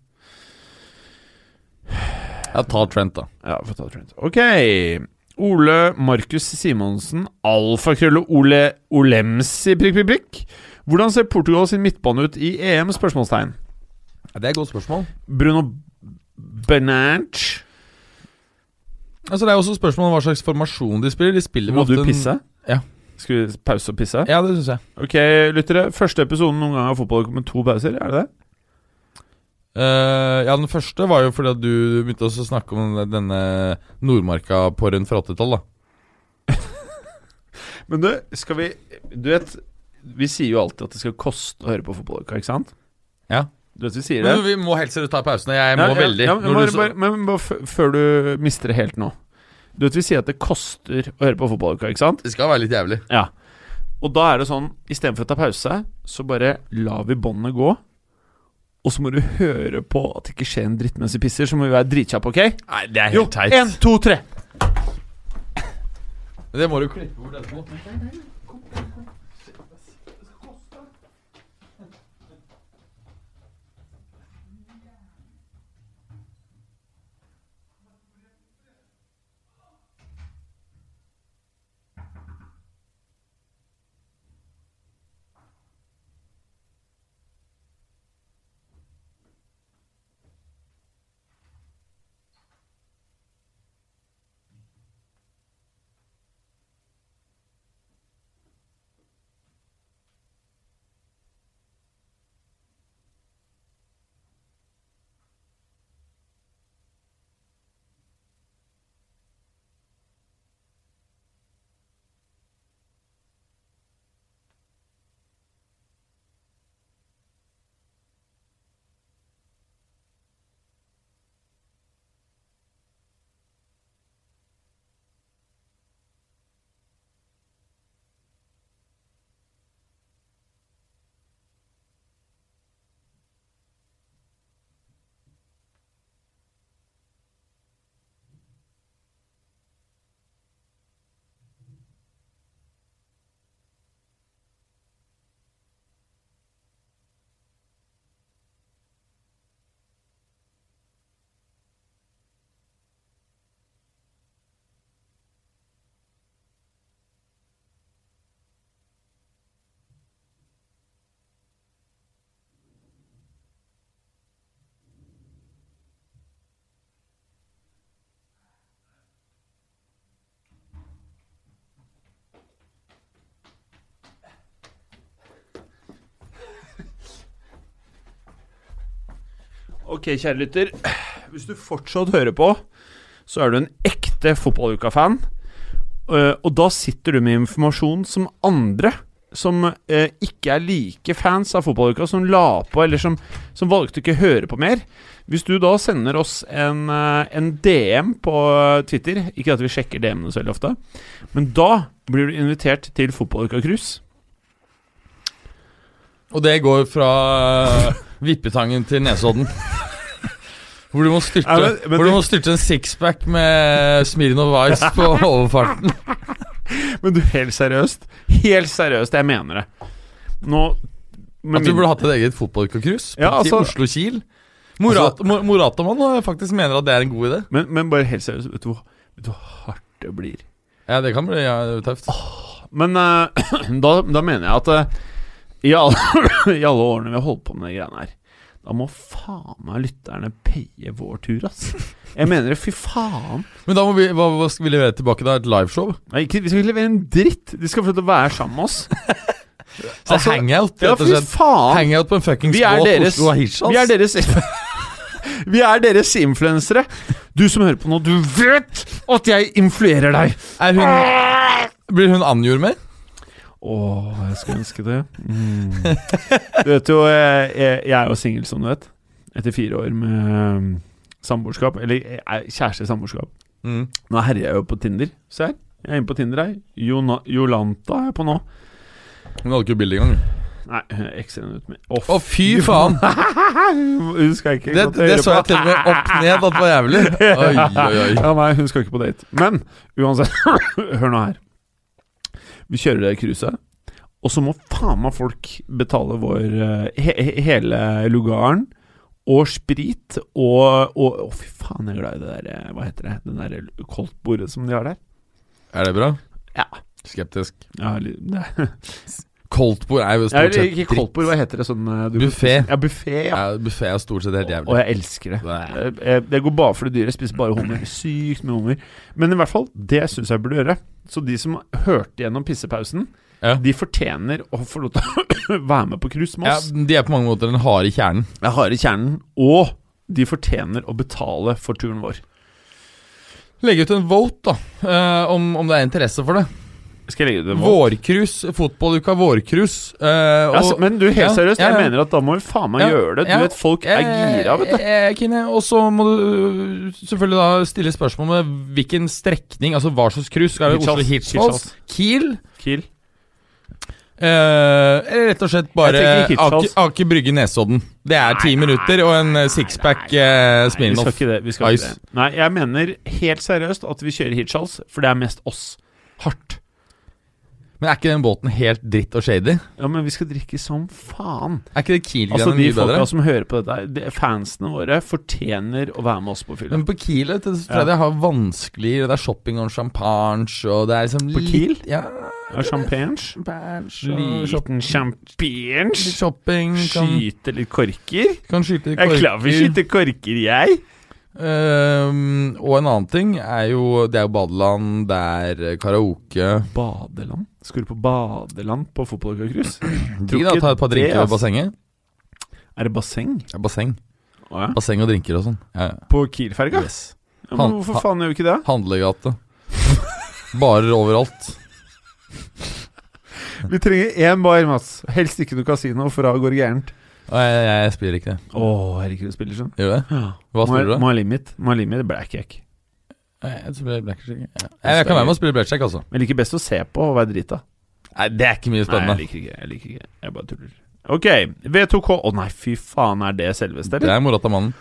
Speaker 2: Ja, ta Trent, da.
Speaker 1: Ja, får ta Trent. Ok. Ole Markus Simonsen, alfakrølle Ole Olemsi, prikk, prikk, prikk. Hvordan ser Portugal sin midtbane ut i EM? spørsmålstegn
Speaker 2: Ja, det er et godt spørsmål.
Speaker 1: Bruno Bernanch
Speaker 2: Altså, det er også spørsmål om hva slags formasjon de spiller. De spiller
Speaker 1: Må
Speaker 2: ofte
Speaker 1: du
Speaker 2: en-
Speaker 1: pisse?
Speaker 2: Ja.
Speaker 1: Skal vi pause og pisse?
Speaker 2: Ja, det syns jeg.
Speaker 1: Ok, lyttere. Første episoden noen gang av fotball med to pauser, er det det?
Speaker 2: Eh, ja, den første var jo fordi at du begynte også å snakke om den- denne Nordmarka-porren fra 80-tall, da.
Speaker 1: Men du, skal vi Du vet, vi sier jo alltid at det skal koste å høre på fotballuka, ikke sant?
Speaker 2: Ja.
Speaker 1: Du vet vi sier det?
Speaker 2: Men du, vi må helst ta pausen. Jeg må
Speaker 1: Ja, ja,
Speaker 2: veldig.
Speaker 1: Ja, men
Speaker 2: Når
Speaker 1: bare,
Speaker 2: du så-
Speaker 1: bare, men bare f- før du mister det helt nå. Du vet vi sier at det koster å høre på fotballuka, ikke sant?
Speaker 2: Det skal være litt jævlig.
Speaker 1: Ja. Og da er det sånn, istedenfor å ta pause, så bare lar vi båndet gå. Og så må du høre på at det ikke skjer en dritt mens vi pisser, så må vi være dritkjappe, OK?
Speaker 2: Nei, det er
Speaker 1: Jo, én, to, tre.
Speaker 2: Det må du klippe bort etterpå.
Speaker 1: Ok, kjære lytter. Hvis du fortsatt hører på, så er du en ekte fotballuka-fan. Eh, Og da sitter du med informasjon som andre som eh, ikke er like fans av fotballuka, som la på, eller som, som valgte ikke å høre på mer. Hvis du da sender oss en, eh, en DM på eh, Twitter Ikke at vi sjekker DM-ene så veldig ofte, men da blir du invitert til fotballuka-cruise.
Speaker 2: Og det går fra eh, Vippetangen til Nesodden. Hvor du må styrte,
Speaker 1: Ja, men- men
Speaker 2: hvor du
Speaker 1: du-
Speaker 2: må styrte en sixpack med Smirnov Ice på overfarten.
Speaker 1: Men du, helt seriøst. Helt seriøst, jeg mener det. Nå med
Speaker 2: At du
Speaker 1: min-
Speaker 2: burde hatt et eget fotballcruise
Speaker 1: Ja, altså-
Speaker 2: til Oslo-Kiel. Morat, Mor- Moratamann eh, faktisk mener at det er en god idé.
Speaker 1: men, men bare helt seriøst, vet du, hvor- vet du hvor hardt det blir?
Speaker 2: Ja, det kan bli ja, tøft.
Speaker 1: Men eh, da, da mener jeg at eh, i, alle, i alle årene vi har holdt på med de greiene her da må faen meg lytterne paye vår tur, ass. Jeg mener det, fy faen.
Speaker 2: Men da må vi, hva, hva skal vi levere tilbake da? Et liveshow? Altså,
Speaker 1: Nei, ikke, vi skal ikke levere en dritt. De skal få lov til å være sammen med oss.
Speaker 2: Så
Speaker 1: Altså,
Speaker 2: hangout,
Speaker 1: Ja,
Speaker 2: rett og
Speaker 1: fy
Speaker 2: slett.
Speaker 1: faen.
Speaker 2: Hangout på en fuckings
Speaker 1: Vi er
Speaker 2: båt
Speaker 1: deres-
Speaker 2: Oslo Hirtshals.
Speaker 1: Vi er deres Vi er deres influensere. Du som hører på nå, du vet at jeg influerer deg.
Speaker 2: Er hun, blir hun angjort med?
Speaker 1: Åh, jeg skulle ønske det. Mm. Du vet jo, jeg, jeg jeg er jo singel, som du vet. Etter fire år med um, samboerskap. Eller jeg er kjæreste i samboerskap.
Speaker 2: Mm.
Speaker 1: Nå herjer jeg jo på Tinder. Se her. Jeg er inne på Tinder her. Jona, Jolanta er jeg på nå.
Speaker 2: Hun hadde ikke bilde engang.
Speaker 1: Nei, hun er ekstremt ut med Å,
Speaker 2: Å, fy faen!
Speaker 1: Hun skal ikke
Speaker 2: Det,
Speaker 1: godt
Speaker 2: det
Speaker 1: høre
Speaker 2: så jeg
Speaker 1: på.
Speaker 2: til og med opp ned at var jævlig. Oi, oi, oi.
Speaker 1: Ja, nei, hun skal ikke på date. Men uansett, hør nå her. Vi kjører det cruiset, og så må faen meg folk betale vår eh, he he- hele lugaren. Og sprit og og- Å, fy faen, jeg er glad i det der eh, Hva heter det? Den der koldtbordet som de har der?
Speaker 2: Er det bra?
Speaker 1: Ja.
Speaker 2: Skeptisk.
Speaker 1: Ja, li- det
Speaker 2: Koldtbord er jo
Speaker 1: er
Speaker 2: stort sett
Speaker 1: ikke koldtbord, hva heter det sånn eh, du-
Speaker 2: Buffé.
Speaker 1: Ja, buffé, ja.
Speaker 2: Ja, Buffé er stort sett helt
Speaker 1: Og
Speaker 2: jævlig.
Speaker 1: jeg elsker det.
Speaker 2: Bæ.
Speaker 1: Jeg- jeg- Det går bare for det dyre. Jeg spiser bare hummer. Sykt med hummer. Men i hvert fall, det syns jeg burde gjøre. Så de som hørte gjennom pissepausen,
Speaker 2: Ja.
Speaker 1: de fortjener å få lov til å være med på cruise med
Speaker 2: Ja,
Speaker 1: oss.
Speaker 2: de er på mange måter den harde kjernen.
Speaker 1: Jeg har i kjernen. Og de fortjener å betale for turen vår.
Speaker 2: Legge ut en vote, da, eh, om, om det er interesse for det.
Speaker 1: Skal jeg legge det på?
Speaker 2: Vårkrus, fotballuka Vårkrus. eh, og-
Speaker 1: Ja, så- men du, helt
Speaker 2: Ja,
Speaker 1: seriøst,
Speaker 2: ja, ja.
Speaker 1: jeg mener at da må vi faen meg
Speaker 2: Ja,
Speaker 1: gjøre det. Du
Speaker 2: ja.
Speaker 1: vet, folk er gira, vet du.
Speaker 2: Eh, eh, Kine, og så må du øh, selvfølgelig da stille spørsmål med hvilken strekning, altså hva slags cruise. Skal det
Speaker 1: Hirtshals,
Speaker 2: Oslo Hirtshals? Kiel?
Speaker 1: Kiel.
Speaker 2: Eh, Eller rett og slett bare
Speaker 1: Jeg tenker Hirtshals.
Speaker 2: Aker Aker Brygge Nesodden. Det er ti minutter og en eh, sixpack eh,
Speaker 1: Nei, vi skal
Speaker 2: Smirnoff.
Speaker 1: ikke det. Vi skal ikke
Speaker 2: Ice.
Speaker 1: det. Nei, jeg mener helt seriøst at vi kjører Hirtshals, for det er mest oss. Hardt.
Speaker 2: Men er ikke den båten helt dritt og shady?
Speaker 1: Ja, men vi skal drikke som faen.
Speaker 2: Er ikke det Kiel-greiene
Speaker 1: Altså De
Speaker 2: mye bedre?
Speaker 1: folka som hører på dette, her, de, fansene våre, fortjener å være med oss på fylla.
Speaker 2: Men på Kiel vet du, så tror jeg det har vanskelig Det er shopping og champagne og det er liksom
Speaker 1: På Kiel?
Speaker 2: litt- Ja,
Speaker 1: Er Champagne? Liten champagne?
Speaker 2: Shopping kan,
Speaker 1: Skyte sånn- litt korker?
Speaker 2: kan skyte
Speaker 1: Jeg er klar for å skyte korker, jeg.
Speaker 2: Ehm, og en annen ting er jo Det er jo badeland, det er karaoke
Speaker 1: Badeland? Skal du på badeland på fotballcruise?
Speaker 2: De da,
Speaker 1: ikke
Speaker 2: tar et par
Speaker 1: det,
Speaker 2: drinker ved
Speaker 1: altså.
Speaker 2: bassenget
Speaker 1: Er det basseng?
Speaker 2: ja, Basseng
Speaker 1: Å, ja.
Speaker 2: Basseng og drinker og sånn ja, ja.
Speaker 1: På Kiel-ferga?
Speaker 2: yes.
Speaker 1: Ja,
Speaker 2: Han-
Speaker 1: men hvorfor
Speaker 2: han-
Speaker 1: faen gjør vi ikke det?
Speaker 2: Handlegate Barer overalt
Speaker 3: Vi trenger én bar, Mats. Helst ikke noe kasino, for da går det gærent.
Speaker 2: Og jeg, jeg, jeg spiller ikke det
Speaker 1: Å, herregud, du spiller sånn.
Speaker 2: Gjør du det? Hva spiller du da?
Speaker 1: Må ha limit. Må ha limit, blackjack.
Speaker 2: Nei, Jeg spiller blackjack ja. jeg, jeg kan være med og spille blackjack altså
Speaker 1: Men jeg liker best å se på og være drita.
Speaker 2: Nei, det er ikke mye
Speaker 1: Nei,
Speaker 2: spennende
Speaker 1: jeg liker ikke. Jeg liker ikke Jeg bare tuller. Ok, V2K Å nei, fy faen, er det selveste,
Speaker 2: Det
Speaker 1: eller?
Speaker 2: er morata mannen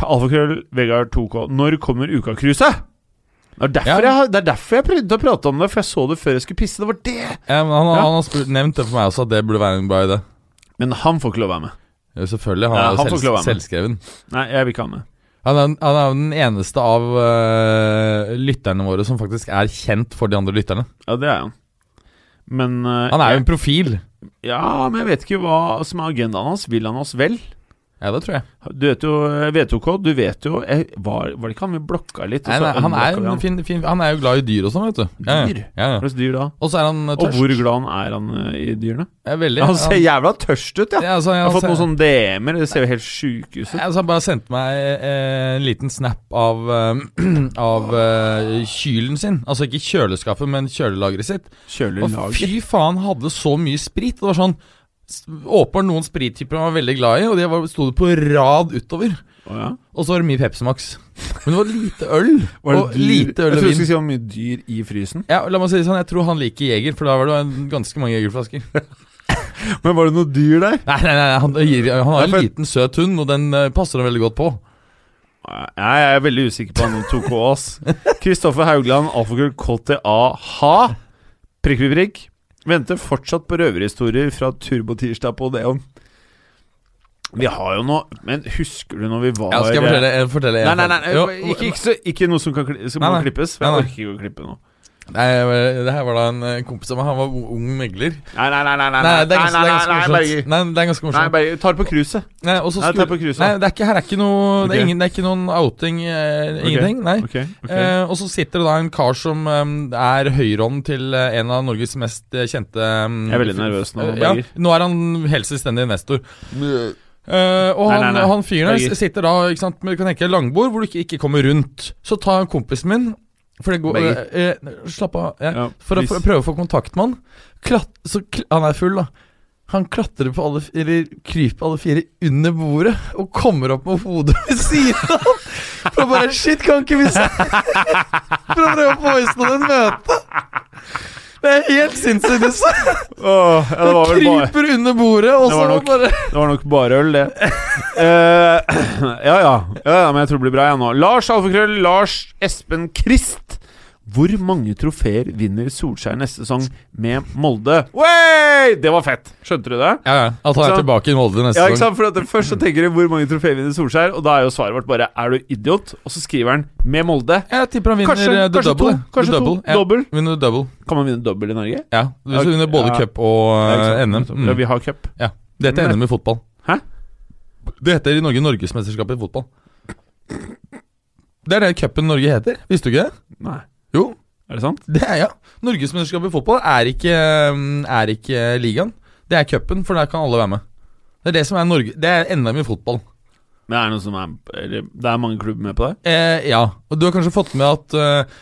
Speaker 1: Alfakrøll, Vegard 2K. Når kommer ukakruset? Det er, derfor
Speaker 2: Ja.
Speaker 1: jeg, har- det er derfor jeg prøvde å prate om det, for jeg så det før jeg skulle pisse. Det var det!
Speaker 2: ja, men han,
Speaker 1: Ja.
Speaker 2: han har spurt, nevnt det for meg også At det burde være en bra idé
Speaker 1: Men han får ikke lov å være med.
Speaker 2: Ja, Selvfølgelig, han
Speaker 1: Ja,
Speaker 2: er jo
Speaker 1: han får ikke lov å være
Speaker 2: selv,
Speaker 1: med.
Speaker 2: selvskreven
Speaker 1: Nei, jeg vil ikke ha med.
Speaker 2: Han er, han er jo den eneste av øh, lytterne våre som faktisk er kjent for de andre lytterne.
Speaker 1: Ja, det er han. Men eh,
Speaker 2: Han er jo
Speaker 1: jeg,
Speaker 2: en profil.
Speaker 1: Ja, men jeg vet ikke hva som er agendaen hans. Vil han oss vel?
Speaker 2: Ja, det tror jeg.
Speaker 1: Du vet jo eh, V2K, du vet jo jeg, var, var det ikke han vi blokka litt? og
Speaker 2: Nei,
Speaker 1: så
Speaker 2: nei, han, er
Speaker 1: unblokka vi
Speaker 2: en fin, fin, han er jo glad i dyr og sånn, vet du. Ja, ja.
Speaker 1: Dyr?
Speaker 2: Ja,
Speaker 1: Hva
Speaker 2: ja.
Speaker 1: slags dyr da?
Speaker 2: Og så er han eh,
Speaker 1: Og
Speaker 2: tørst.
Speaker 1: hvor glad han er han eh, i dyrene?
Speaker 2: Ja, veldig.
Speaker 1: Han ser jævla tørst ut, ja.
Speaker 2: ja,
Speaker 1: Jeg
Speaker 2: altså, ja,
Speaker 1: har fått sånn-
Speaker 2: han
Speaker 1: noen
Speaker 2: ser-
Speaker 1: sånne DM-er, det ser jo helt sjukehus ut.
Speaker 2: Ja, så han bare sendte meg eh, en liten snap av, eh, av eh, kylen sin. Altså ikke kjøleskapet, men kjølelageret sitt. Og
Speaker 1: Kjølelager.
Speaker 2: fy faen, hadde så mye sprit. Det var sånn s- Åpenbart noen sprittyper han var veldig glad i, og de var- sto det på rad utover.
Speaker 1: Å, ja.
Speaker 2: Og så var det mye Pepsi Max. Men det var lite øl.
Speaker 1: Var det
Speaker 2: og
Speaker 1: dyr?
Speaker 2: lite øl
Speaker 1: Jeg tror
Speaker 2: og
Speaker 1: du
Speaker 2: vin.
Speaker 1: skulle si om mye dyr i frysen.
Speaker 2: Ja, la meg si det sånn, Jeg tror han liker Jeger, for da var det en- ganske mange Jegerflasker.
Speaker 1: Men var det noe dyr der?
Speaker 2: Nei, nei, nei, han, gir- han har
Speaker 1: Ja,
Speaker 2: en
Speaker 1: for-
Speaker 2: liten, søt hund, og den eh, passer han veldig godt på.
Speaker 1: Nei, jeg er veldig usikker på han 2K, ass. Kristoffer Haugland, alfakrøll KTA-ha. Prikk, prikk, prikk. Venter fortsatt på røverhistorier fra Turbotirsdag på Odeon. Vi har jo noe Men husker du når vi var
Speaker 2: Ja, skal jeg fortelle, jeg fortelle
Speaker 1: Nei, nei, nei,
Speaker 2: Jo,
Speaker 1: ikke, ikke, så, ikke noe som, kan, kli- som
Speaker 2: Nei,
Speaker 1: må
Speaker 2: nei.
Speaker 1: klippes. for
Speaker 2: Nei,
Speaker 1: Jeg
Speaker 2: nei.
Speaker 1: orker ikke å klippe nå.
Speaker 2: Nei, det her var da en eh, kompis av meg. Han var o- ung megler.
Speaker 1: Nei, nei, nei, nei, nei,
Speaker 2: Nei, det er
Speaker 1: nei,
Speaker 2: ganske, det er
Speaker 1: nei,
Speaker 2: ganske
Speaker 1: nei,
Speaker 2: morsomt.
Speaker 1: Berger.
Speaker 2: Nei, det er ganske
Speaker 1: Nei,
Speaker 2: morsomt.
Speaker 1: Berger, tar det på cruiset.
Speaker 2: Nei, og så
Speaker 1: Nei,
Speaker 2: skulle-
Speaker 1: ta på krus, da.
Speaker 2: Nei, det er ikke, her er ikke noe
Speaker 1: Ok.
Speaker 2: Det er, ingen, det er ikke noen outing. Eh, Ingenting. Nei.
Speaker 1: Ok, ok.
Speaker 2: Eh, og så sitter det da en kar som eh, er høyrehånden til eh, en av Norges mest eh, kjente eh,
Speaker 1: Jeg er veldig nervøs nå,
Speaker 2: eh, ja,
Speaker 1: Berger.
Speaker 2: Nå er han helt selvstendig investor. Eh, og
Speaker 1: Nei, nei,
Speaker 2: han,
Speaker 1: nei.
Speaker 2: han fyren der
Speaker 1: Berger.
Speaker 2: sitter da ikke sant, med du kan tenke deg langbord hvor du ikke, ikke kommer rundt. Så tar kompisen min for det går,
Speaker 1: Berger.
Speaker 2: eh, eh, Slapp av. Ja.
Speaker 1: Ja,
Speaker 2: for å
Speaker 1: please.
Speaker 2: pr- prøve å få kontakt med han. Klatt, så, kl- han er full, da. Han klatrer på alle f- Eller kryper alle fire under bordet og kommer opp med hodet ved siden av. For å bare Shit, kan ikke vi se For å prøve å få i stand et møte. Det er helt sinnssykt. altså. det så-
Speaker 1: Åh, ja, det var vel bare
Speaker 2: Kryper under bordet, og
Speaker 1: Det
Speaker 2: så
Speaker 1: var nok-
Speaker 2: bare
Speaker 1: Det var nok bare øl, det. Eh, ja, ja, ja, ja, men jeg tror det blir bra, jeg nå. Lars Alfakrøll, Lars Espen Krist. Hvor mange trofeer vinner Solskjær neste sesong med Molde? Wey! Det var fett! Skjønte du det?
Speaker 2: Ja, ja. Da tar jeg
Speaker 1: Så-
Speaker 2: tilbake i Molde neste
Speaker 1: Ja, ikke
Speaker 2: gang.
Speaker 1: sant? For at Først så tenker du 'hvor mange trofeer vinner Solskjær', og da er jo svaret vårt bare 'er du idiot?' Og så skriver han 'med Molde'.
Speaker 2: Jeg tipper han vinner
Speaker 1: Kanskje-
Speaker 2: eh, the
Speaker 1: kanskje
Speaker 2: double.
Speaker 1: to, kanskje
Speaker 2: the
Speaker 1: to.
Speaker 2: double. Ja,
Speaker 1: Dobbel.
Speaker 2: Vinner the double.
Speaker 1: Kan man vinne dobbel i Norge?
Speaker 2: Ja. Hvis du
Speaker 1: Ja,
Speaker 2: vinner både
Speaker 1: ja.
Speaker 2: cup og
Speaker 1: Ja, ikke
Speaker 2: eh,
Speaker 1: sant?
Speaker 2: NM.
Speaker 1: Ja,
Speaker 2: Mm.
Speaker 1: vi har cup.
Speaker 2: Ja, det heter NM i fotball.
Speaker 1: Hæ?
Speaker 2: Det heter i Norge Norgesmesterskapet i fotball. Det er det cupen Norge heter. Visste du ikke det?
Speaker 1: Mm. Nei,
Speaker 2: Jo,
Speaker 1: er det sant?
Speaker 2: det er ja. Norgesmesterskapet i fotball er ikke, mm, er ikke ligaen. Det er cupen, for der kan alle være med. Det er det som er Norge Det er NM i fotball.
Speaker 1: Men det er noe som er eller, Det er mange klubber med på det?
Speaker 2: Eh, ja, og du har kanskje fått med at eh,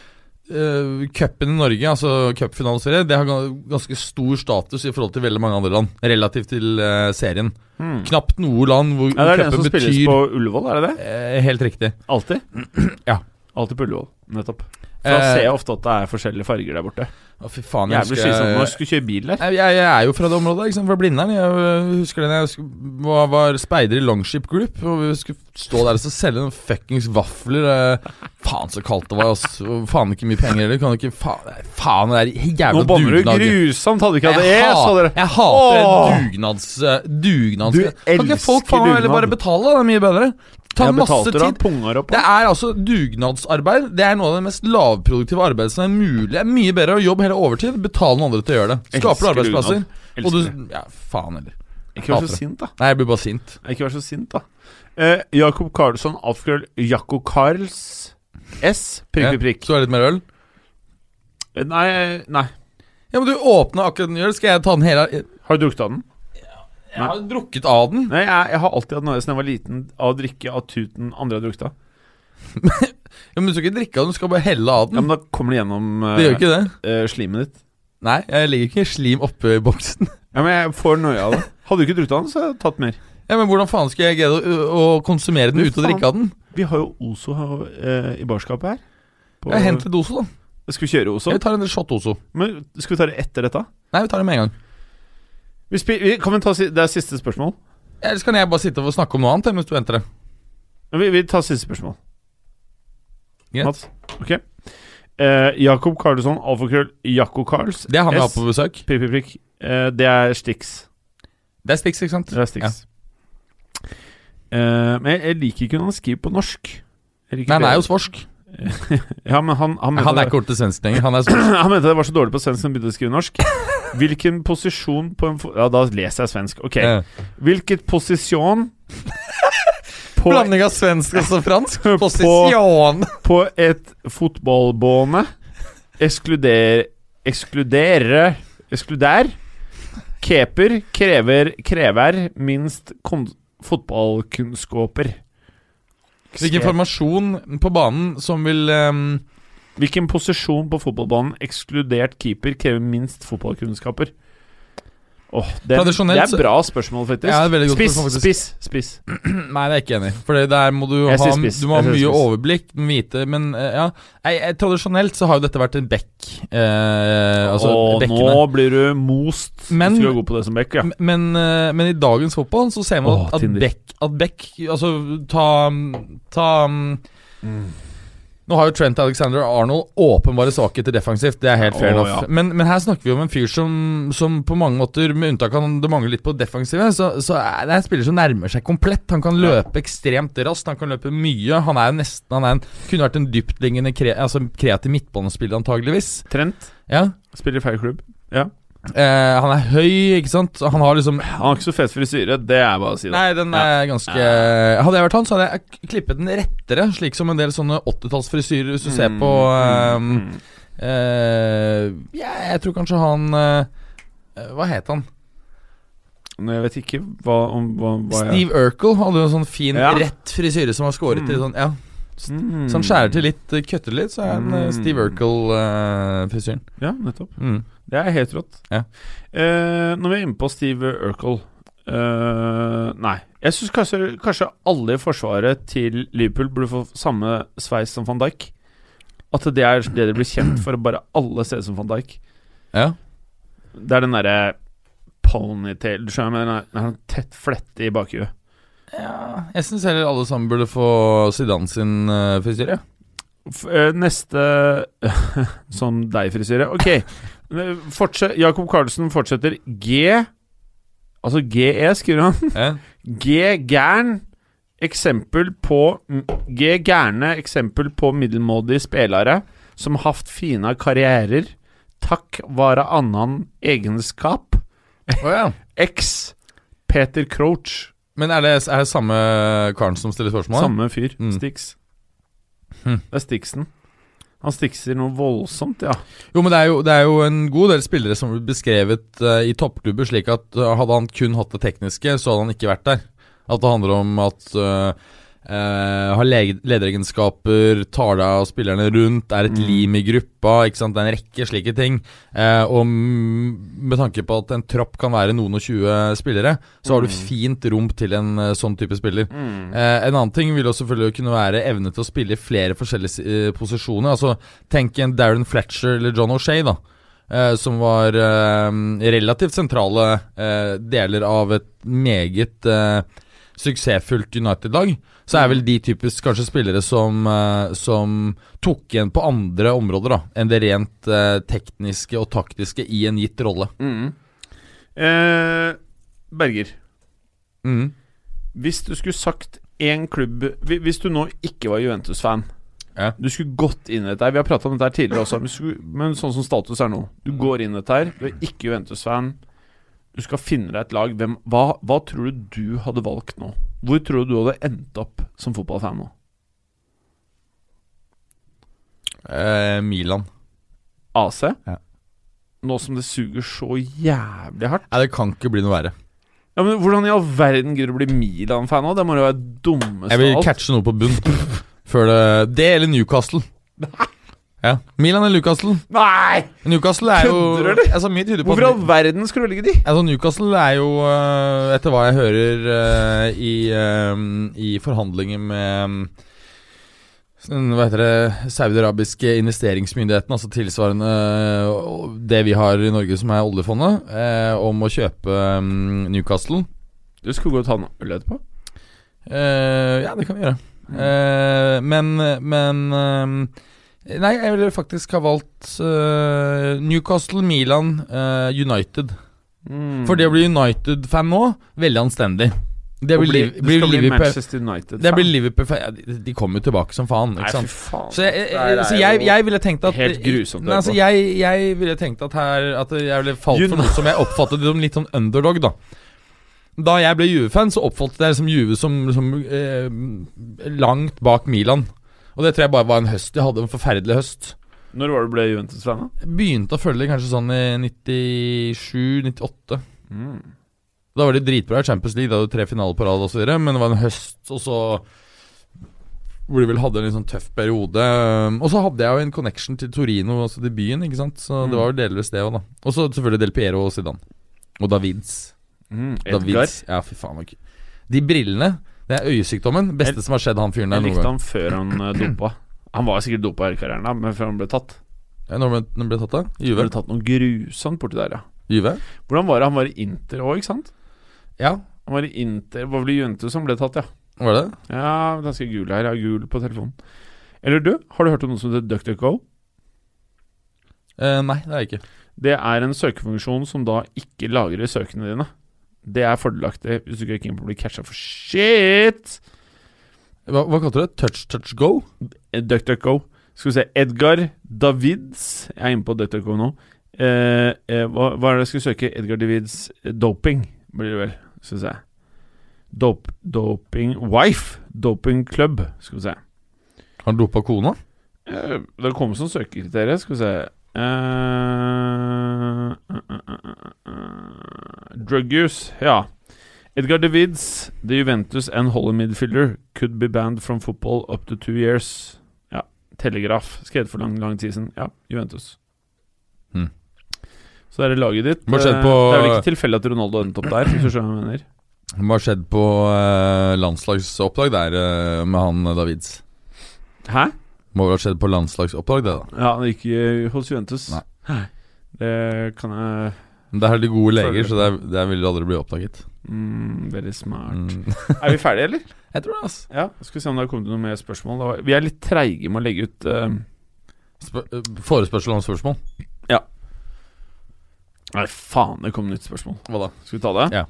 Speaker 2: eh, cupen i Norge, altså cupfinaleserie, det har ga- ganske stor status i forhold til veldig mange andre land, relativt til eh, serien. Knapt noe land hvor
Speaker 1: Hmm. Ja, det er den som
Speaker 2: cupen
Speaker 1: spilles
Speaker 2: betyr
Speaker 1: på Ullevål, er det det?
Speaker 2: Eh, Helt riktig.
Speaker 1: Alltid?
Speaker 2: Ja.
Speaker 1: Alltid på Ullevål. Nettopp. For Da
Speaker 2: Eh,
Speaker 1: ser jeg ofte at det er forskjellige farger der borte.
Speaker 2: Å, fy faen, jeg
Speaker 1: Jævlig
Speaker 2: husker jeg,
Speaker 1: slitsomt når du skulle kjøre bil der.
Speaker 2: Nei, jeg, jeg er jo fra det området, ikke sant, fra Blindern. Jeg øh, husker det da jeg sk- var, var speider i Longship Group. Og vi skulle stå der og så selge noen fuckings vafler. eh. Faen så kaldt det var, ass. Og faen ikke mye penger heller. Kan ikke faen, nei, faen det er
Speaker 1: Nå
Speaker 2: jævla
Speaker 1: bommer du
Speaker 2: dugnad.
Speaker 1: grusomt! Hadde du ikke
Speaker 2: Jeg,
Speaker 1: hatt det, så
Speaker 2: ha,
Speaker 1: hadde dere
Speaker 2: jeg hater
Speaker 1: Åh!
Speaker 2: dugnads... eh, dugnads
Speaker 1: Du
Speaker 2: kan ikke folk
Speaker 1: elsker
Speaker 2: faen meg
Speaker 1: dugnad.
Speaker 2: heller bare betale? da? Det er mye bedre. Ta
Speaker 1: Jeg
Speaker 2: masse
Speaker 1: betalte da,
Speaker 2: tid.
Speaker 1: punga opp.
Speaker 2: Det er altså dugnadsarbeid. Det er noe av det mest lavproduktive arbeidet som er mulig. Det er mye bedre å jobbe hele overtid, betale noen andre til å gjøre det. Skaper du
Speaker 1: Elsker
Speaker 2: arbeidsplasser.
Speaker 1: dugnad.
Speaker 2: Og du
Speaker 1: Elsker
Speaker 2: Ja, faen heller.
Speaker 1: Ikke vær
Speaker 2: hater
Speaker 1: så
Speaker 2: det.
Speaker 1: sint, da.
Speaker 2: Nei, jeg blir bare sint.
Speaker 1: Ikke vær så sint, da. Eh, Jakob Karlsson, alfakrøll Jakko Karls S, prikk,
Speaker 2: Ja.
Speaker 1: prikk, prikk.
Speaker 2: Så er det litt mer øl.
Speaker 1: Eh, Nei, nei.
Speaker 2: Ja, men du åpna akkurat den øl. Skal jeg ta den hele Jeg
Speaker 1: Har du drukket av den?
Speaker 2: jeg har drukket av den.
Speaker 1: Nei, jeg, jeg har alltid hatt noe siden jeg var liten av å drikke av tuten andre har drukket av.
Speaker 2: Ja, men du skal ikke drikke av den, du skal bare helle av
Speaker 1: Ja,
Speaker 2: den.
Speaker 1: Men da kommer det gjennom eh,
Speaker 2: Mm. Det gjør ikke det.
Speaker 1: eh, slimet ditt.
Speaker 2: Nei, jeg legger ikke slim oppe i boksen.
Speaker 1: Ja, men jeg får noia av det. Hadde du ikke drukket av den, så hadde jeg tatt mer.
Speaker 2: Ja, Men hvordan faen skal jeg greie å, å konsumere den
Speaker 1: Du
Speaker 2: uten å
Speaker 1: faen.
Speaker 2: drikke av den?
Speaker 1: Vi har jo Ozo her, eh, i barskapet her. På-
Speaker 2: Jeg henter et Ozo, da.
Speaker 1: Skal vi kjøre Ozo?
Speaker 2: Vi tar en shot Ozo.
Speaker 1: Men skal vi ta det etter dette?
Speaker 2: Nei, vi tar det med en gang.
Speaker 1: Vi spi vi, kan vi ta si det er siste spørsmål?
Speaker 2: Ellers kan jeg bare sitte og snakke om noe annet jeg, mens du venter det.
Speaker 1: Vi, vi tar siste spørsmål.
Speaker 2: Greit.
Speaker 1: Mats? Ok. Eh, Jakob Karlsson, alfakrøll Jakko Karls.
Speaker 2: Det er han vi har
Speaker 1: S.
Speaker 2: på besøk.
Speaker 1: Prikk, prikk, prikk. Eh, det er Stix.
Speaker 2: Det er Stix, ikke sant?
Speaker 1: Det er Stix. Eh, men jeg, jeg liker ikke når han skriver på norsk. Jeg liker
Speaker 2: Nei, han
Speaker 1: det-
Speaker 2: er jo svorsk.
Speaker 1: Ja, men han, han, mente
Speaker 2: Han
Speaker 1: det-
Speaker 2: er ikke ordentlig svensk lenger. Han er svorsk.
Speaker 1: Han mente det var så dårlig på svensk som begynte å skrive norsk. Hvilken posisjon på en fo- Ja, da leser jeg svensk. Ok.
Speaker 2: Ja.
Speaker 1: Hvilket posisjon på,
Speaker 2: Blanding av svensk og fransk.
Speaker 1: På-
Speaker 2: Posisjon.
Speaker 1: på et fotballbåne Eskluder Ekskludere Ekskludær Keper krever krever minst kon fotballkunnskaper.
Speaker 2: Hvilken formasjon på banen som vil ehm,
Speaker 1: Hvilken posisjon på fotballbanen, ekskludert keeper, krever minst fotballkunnskaper? Åh, det, det
Speaker 2: Tradisjonelt
Speaker 1: er
Speaker 2: så-
Speaker 1: bra spørsmål, faktisk.
Speaker 2: Ja, det er veldig godt
Speaker 1: spiss,
Speaker 2: spørsmål,
Speaker 1: spiss,
Speaker 2: faktisk.
Speaker 1: spiss.
Speaker 2: Nei, det er jeg ikke enig i. For det der må du
Speaker 1: Jeg
Speaker 2: ha,
Speaker 1: sier spiss.
Speaker 2: du må ha
Speaker 1: Jeg sier
Speaker 2: mye
Speaker 1: spiss.
Speaker 2: overblikk, men vite Men eh, ja. Jeg, jeg, tradisjonelt så har jo dette vært en bekk. Eh, altså
Speaker 1: Åh,
Speaker 2: bekkene.
Speaker 1: nå blir du most.
Speaker 2: Men-
Speaker 1: Skulle gå god på det som back, ja.
Speaker 2: M- Men, eh, men i dagens fotball så ser man
Speaker 1: Åh,
Speaker 2: at- at
Speaker 1: Tinder.
Speaker 2: Beck, at Beck Altså, ta, mm, ta mm, Nå har jo Trent Alexander Arnold åpenbare svakheter defensivt. Det er helt
Speaker 1: Åh,
Speaker 2: fair enough.
Speaker 1: ja.
Speaker 2: Men, men her snakker vi om en fyr som, som på mange måter, med unntak av han- det mangler litt på defensivet, så, så er det er en spiller som nærmer seg komplett. Han kan løpe ekstremt raskt, han kan løpe mye. Han er nesten Han er en, kunne vært en dyptliggende kre, altså kreativ midtbanespiller, antageligvis.
Speaker 1: Trent
Speaker 2: Ja.
Speaker 1: spiller i feil klubb.
Speaker 2: Eh, han er høy, ikke sant. Han har
Speaker 1: Han
Speaker 2: liksom
Speaker 1: har ikke så fet frisyre, det er bare å si det.
Speaker 2: Nei, den er ganske Hadde jeg vært han, så hadde jeg k- klippet den rettere, slik som en del sånne 80-tallsfrisyrer, hvis du ser
Speaker 1: Mm,
Speaker 2: på ehm, eh, ja, Jeg tror kanskje han eh, Hva het han?
Speaker 1: Men jeg vet ikke hva, om, hva, hva jeg-
Speaker 2: Steve Urkel hadde jo en sånn fin,
Speaker 1: Ja.
Speaker 2: rett frisyre som var skåret i sånn Ja.
Speaker 1: Mm.
Speaker 2: Så han skjærer til litt, eh, kutter litt, så er han eh,
Speaker 1: Mm.
Speaker 2: Steve Urkel-frisyren.
Speaker 1: Ja, nettopp.
Speaker 2: mm.
Speaker 1: Det er helt rått.
Speaker 2: Ja.
Speaker 1: Eh, når vi er inne på Steve Urkel eh, Nei. Jeg syns kanskje, kanskje alle i forsvaret til Liverpool burde få samme sveis som van Dijk. At det er det de blir kjent for, å bare alle ser ut som van Dijk.
Speaker 2: Ja.
Speaker 1: Det er den derre ponytail Du skjønner, men den er en tett flette i bakhuet.
Speaker 2: Jeg syns heller alle sammen burde få Zidane sin eh, frisyre.
Speaker 1: F eh, neste Som deg-frisyre. Ok. Eh, Fortsett, Jakob Carlsen fortsetter G Altså GE, skriver han.
Speaker 2: Ja.
Speaker 1: G gæren eksempel på G gærne eksempel på middelmådige spillere som haft fina karrierer. Takk være annan egenskap.
Speaker 2: Å, ja.
Speaker 1: X Peter Crouch.
Speaker 2: Men er det, er det samme karen som stiller spørsmål?
Speaker 1: Samme fyr.
Speaker 2: Mm.
Speaker 1: Stix.
Speaker 2: Hm.
Speaker 1: Det er Stixen. Han stikser noe voldsomt, ja.
Speaker 2: Jo, men det er jo, det er jo en god del spillere som blir beskrevet eh, i toppklubber slik at eh, hadde han kun hatt det tekniske, så hadde han ikke vært der. At det handler om at eh, eh, har leg- lederegenskaper, tar deg av spillerne rundt, er et lim i gruppa. ikke sant? Det er en rekke slike ting. Eh, og m- med tanke på at en tropp kan være noen og 20 spillere, så har du fint rom til en eh, sånn type spiller. Eh, en annen ting vil jo selvfølgelig kunne være evne til å spille i flere forskjellige si- eh, posisjoner. Altså, Tenk en Darren Fletcher eller John O'Shay, da. eh, som var eh, relativt sentrale eh, deler av et meget eh, suksessfullt United-lag. Så er vel de typisk kanskje spillere som, eh, som tok igjen på andre områder da, enn det rent eh, tekniske og taktiske i en gitt rolle.
Speaker 1: Eh, Berger.
Speaker 2: Mm.
Speaker 1: Hvis du skulle sagt én klubb hvi- Hvis du nå ikke var Juventus-fan
Speaker 2: Ja.
Speaker 1: Du skulle gått inn i dette her Vi har prata om dette her tidligere også, men, skulle, men sånn som status er nå Du går inn i dette her, du er ikke Juventus-fan. Du skal finne deg et lag. Hvem, hva, hva tror du du hadde valgt nå? Hvor tror du du hadde endt opp som fotballfan nå?
Speaker 2: Eh, Milan.
Speaker 1: AC?
Speaker 2: Ja.
Speaker 1: Nå som det suger så jævlig hardt.
Speaker 2: Nei, det kan ikke bli noe verre.
Speaker 1: Ja, men Hvordan i all verden gidder du å bli Milan-fan nå? Det må jo være dummeste
Speaker 2: Jeg vil
Speaker 1: av alt.
Speaker 2: catche noe på bunn. Før det Det eller Newcastle. Ja. Milan eller Newcastle?
Speaker 1: Nei!
Speaker 2: Newcastle er jo
Speaker 1: Kødder du, eller?
Speaker 2: Altså, mye tyder på
Speaker 1: Hvorfor i
Speaker 2: at-
Speaker 1: all verden skulle du ligge de?
Speaker 2: Altså Newcastle er jo, øh, etter hva jeg hører, øh, i, øh, i forhandlinger med øh, den, hva heter det, saudiarabiske investeringsmyndigheten, altså tilsvarende øh, det vi har i Norge som er oljefondet, øh, om å kjøpe øh, Newcastle.
Speaker 1: Du skulle gå og ta en øl etterpå.
Speaker 2: Eh, ja, det kan vi gjøre. Eh, men men eh, Nei, jeg ville faktisk ha valgt eh, Newcastle, Milan, eh, United.
Speaker 1: Mm.
Speaker 2: For det å bli United-fan nå, veldig anstendig. Det
Speaker 1: Og
Speaker 2: blir,
Speaker 1: bli-
Speaker 2: Liv-
Speaker 1: du
Speaker 2: blir
Speaker 1: skal bli
Speaker 2: Liverpool,
Speaker 1: Manchester United.
Speaker 2: det blir Liverpool ja, de, de kommer jo tilbake som faen,
Speaker 1: Nei, fy
Speaker 2: ikke sant.
Speaker 1: faen.
Speaker 2: Så jeg, jeg-
Speaker 1: Det her er
Speaker 2: så jeg,
Speaker 1: jo
Speaker 2: jeg ville tenkt at
Speaker 1: helt grusomt å
Speaker 2: Nei,
Speaker 1: høre
Speaker 2: altså,
Speaker 1: på.
Speaker 2: jeg, jeg ville tenkt at her At jeg ville falt for
Speaker 1: Uni-
Speaker 2: noe som jeg oppfattet som litt sånn underdog, da. Da jeg ble Juve-fan, så oppfattet jeg liksom Juve som, som eh, langt bak Milan. Og det tror jeg bare var en høst. Jeg hadde en forferdelig høst.
Speaker 1: Når var det du ble Juventus-fan? da?
Speaker 2: Jeg begynte å følge kanskje sånn i 97-98. Da var det dritbra i Champions League, da hadde du tre finaler på rad osv., men det var en høst, og så hvor de vel hadde en litt sånn tøff periode. Um, Og så hadde jeg jo en connection til Torino, altså til byen, ikke sant. Så det var jo delvis det òg, da. Og så selvfølgelig Del Piero og Zidane. Og Davids. Mm.
Speaker 1: Edgar.
Speaker 2: Davids. Ja, fy faen. ok. De brillene, det er øyesykdommen. Beste som har skjedd han fyren der
Speaker 1: Jeg
Speaker 2: noen
Speaker 1: likte
Speaker 2: gang.
Speaker 1: han før han eh, dopa. Han var sikkert dopa i karrieren, da, men før han ble tatt.
Speaker 2: Ja, Når ble når ble tatt, da?
Speaker 1: Han
Speaker 2: Juve?
Speaker 1: ble tatt noe grusomt borti der, ja.
Speaker 2: Juve?
Speaker 1: Hvordan var det? Han var i Inter òg, ikke sant?
Speaker 2: Ja,
Speaker 1: Han var i Inter Hva ble Juventus som ble tatt, ja?
Speaker 2: var det det?
Speaker 1: Ja, ganske gul her. Ja, gul på telefonen. Eller du, har du hørt om noe som heter DuckDuckGo?
Speaker 2: Eh, nei, det er jeg ikke.
Speaker 1: Det er en søkefunksjon som da ikke lagrer søkene dine. Det er fordelaktig hvis du ikke er keen på å bli catcha for shit!
Speaker 2: Hva, hva kalte du det? Touch, touch, go?
Speaker 1: Eh, DuckDuckGo. Skal vi se Edgar Davids Jeg er inne på DuckDuckGo nå. Eh, eh, hva, hva er det jeg skal søke? Edgar Davids eh, doping, blir det vel, syns jeg. Dop, doping Wife. Doping Club, skal vi se.
Speaker 2: Har han dopa kona?
Speaker 1: Eh, Det kom som søkekriterier, skal vi se Eh, eh, eh, eh, eh, Drug use, ja. Edgar Davids, the Juventus and Holly midfielder, could be banned from football up to two years. Ja, Telegraf, skrevet for lang, lang tid siden. Ja, Juventus.
Speaker 2: Hmm.
Speaker 1: Så det er det laget ditt.
Speaker 2: Hva skjedde
Speaker 1: Eh,
Speaker 2: på-
Speaker 1: det er vel ikke tilfeldig at Ronaldo endte opp der, hvis du skjønner hva jeg mener.
Speaker 2: Hva har skjedd på eh, landslagsoppdrag der eh, med han eh, Davids?
Speaker 1: Hæ?
Speaker 2: Må vel ha skjedd på landslagsoppdrag, det, da.
Speaker 1: Ja, han gikk eh, hos Juventus.
Speaker 2: Nei.
Speaker 1: Det kan jeg
Speaker 2: Men det er de gode
Speaker 1: Føler
Speaker 2: leger,
Speaker 1: det.
Speaker 2: så det, er, det vil aldri bli oppdaget.
Speaker 1: mm, Veldig smart.
Speaker 2: Mm.
Speaker 1: Er vi ferdige, eller?
Speaker 2: Jeg tror det, altså.
Speaker 1: Ja, skal vi se om det har kommet noe mer spørsmål. da. Vi er litt treige med å legge ut eh,
Speaker 2: Sp eh, forespørsel om spørsmål.
Speaker 1: Nei, faen, det kom nytt spørsmål.
Speaker 2: Hva da?
Speaker 1: Skal vi ta det?
Speaker 2: Ja.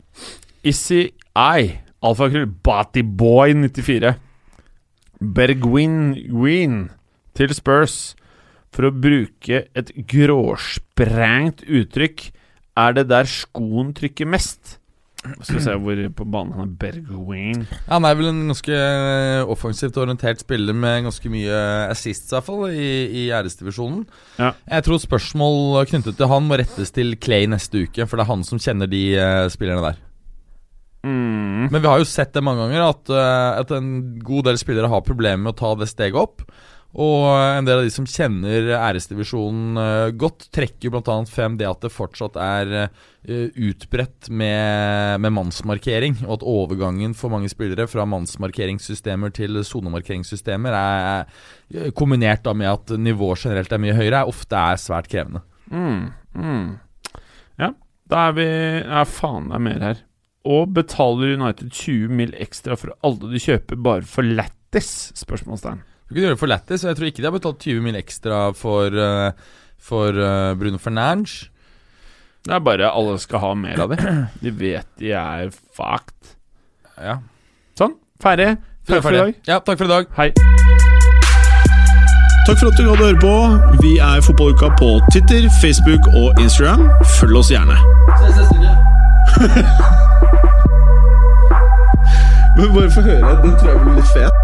Speaker 1: Issy I, alfakrøll, Batyboy94. Bergwin til Spurs. For å bruke et gråsprengt uttrykk, er det der skoen trykker mest? Skal vi se hvor på banen han er. Bergwin
Speaker 2: Ja, Han er vel en ganske eh, offensivt orientert spiller med ganske mye eh, assists, i hvert fall, i, i æresdivisjonen.
Speaker 1: Ja.
Speaker 2: Jeg tror spørsmål knyttet til han må rettes til Clay neste uke, for det er han som kjenner de eh, spillerne der.
Speaker 1: mm.
Speaker 2: Men vi har jo sett det mange ganger, at, eh, at en god del spillere har problemer med å ta det steget opp. Og en del av de som kjenner æresdivisjonen eh, godt, trekker bl.a. frem det at det fortsatt er eh, utbredt med, med mannsmarkering, og at overgangen for mange spillere fra mannsmarkeringssystemer til sonemarkeringssystemer er, er eh, kombinert da med at nivået generelt er mye høyere, er ofte er svært krevende.
Speaker 1: Mm, mm. Ja, da er vi Ja, faen, det er mer her. Og betaler United 20 mil ekstra for alle de kjøper bare for lættis? Spørsmålstegn.
Speaker 2: Du kunne gjøre det for lættis, og jeg tror ikke de har betalt 20 mil ekstra for, eh, for eh, Bruno Fernange.
Speaker 1: Det er bare alle skal ha mer av det. De vet de er fucked.
Speaker 2: Ja.
Speaker 1: Sånn, ferdig. Takk for i dag.
Speaker 2: Ja, takk for i dag.
Speaker 1: Hei.
Speaker 5: Takk for at du gadd å høre på. Vi er Fotballuka på Twitter, Facebook og Instagram. Følg oss gjerne.
Speaker 6: Ses neste uke.
Speaker 5: Men bare få høre. Den tror jeg blir litt fet.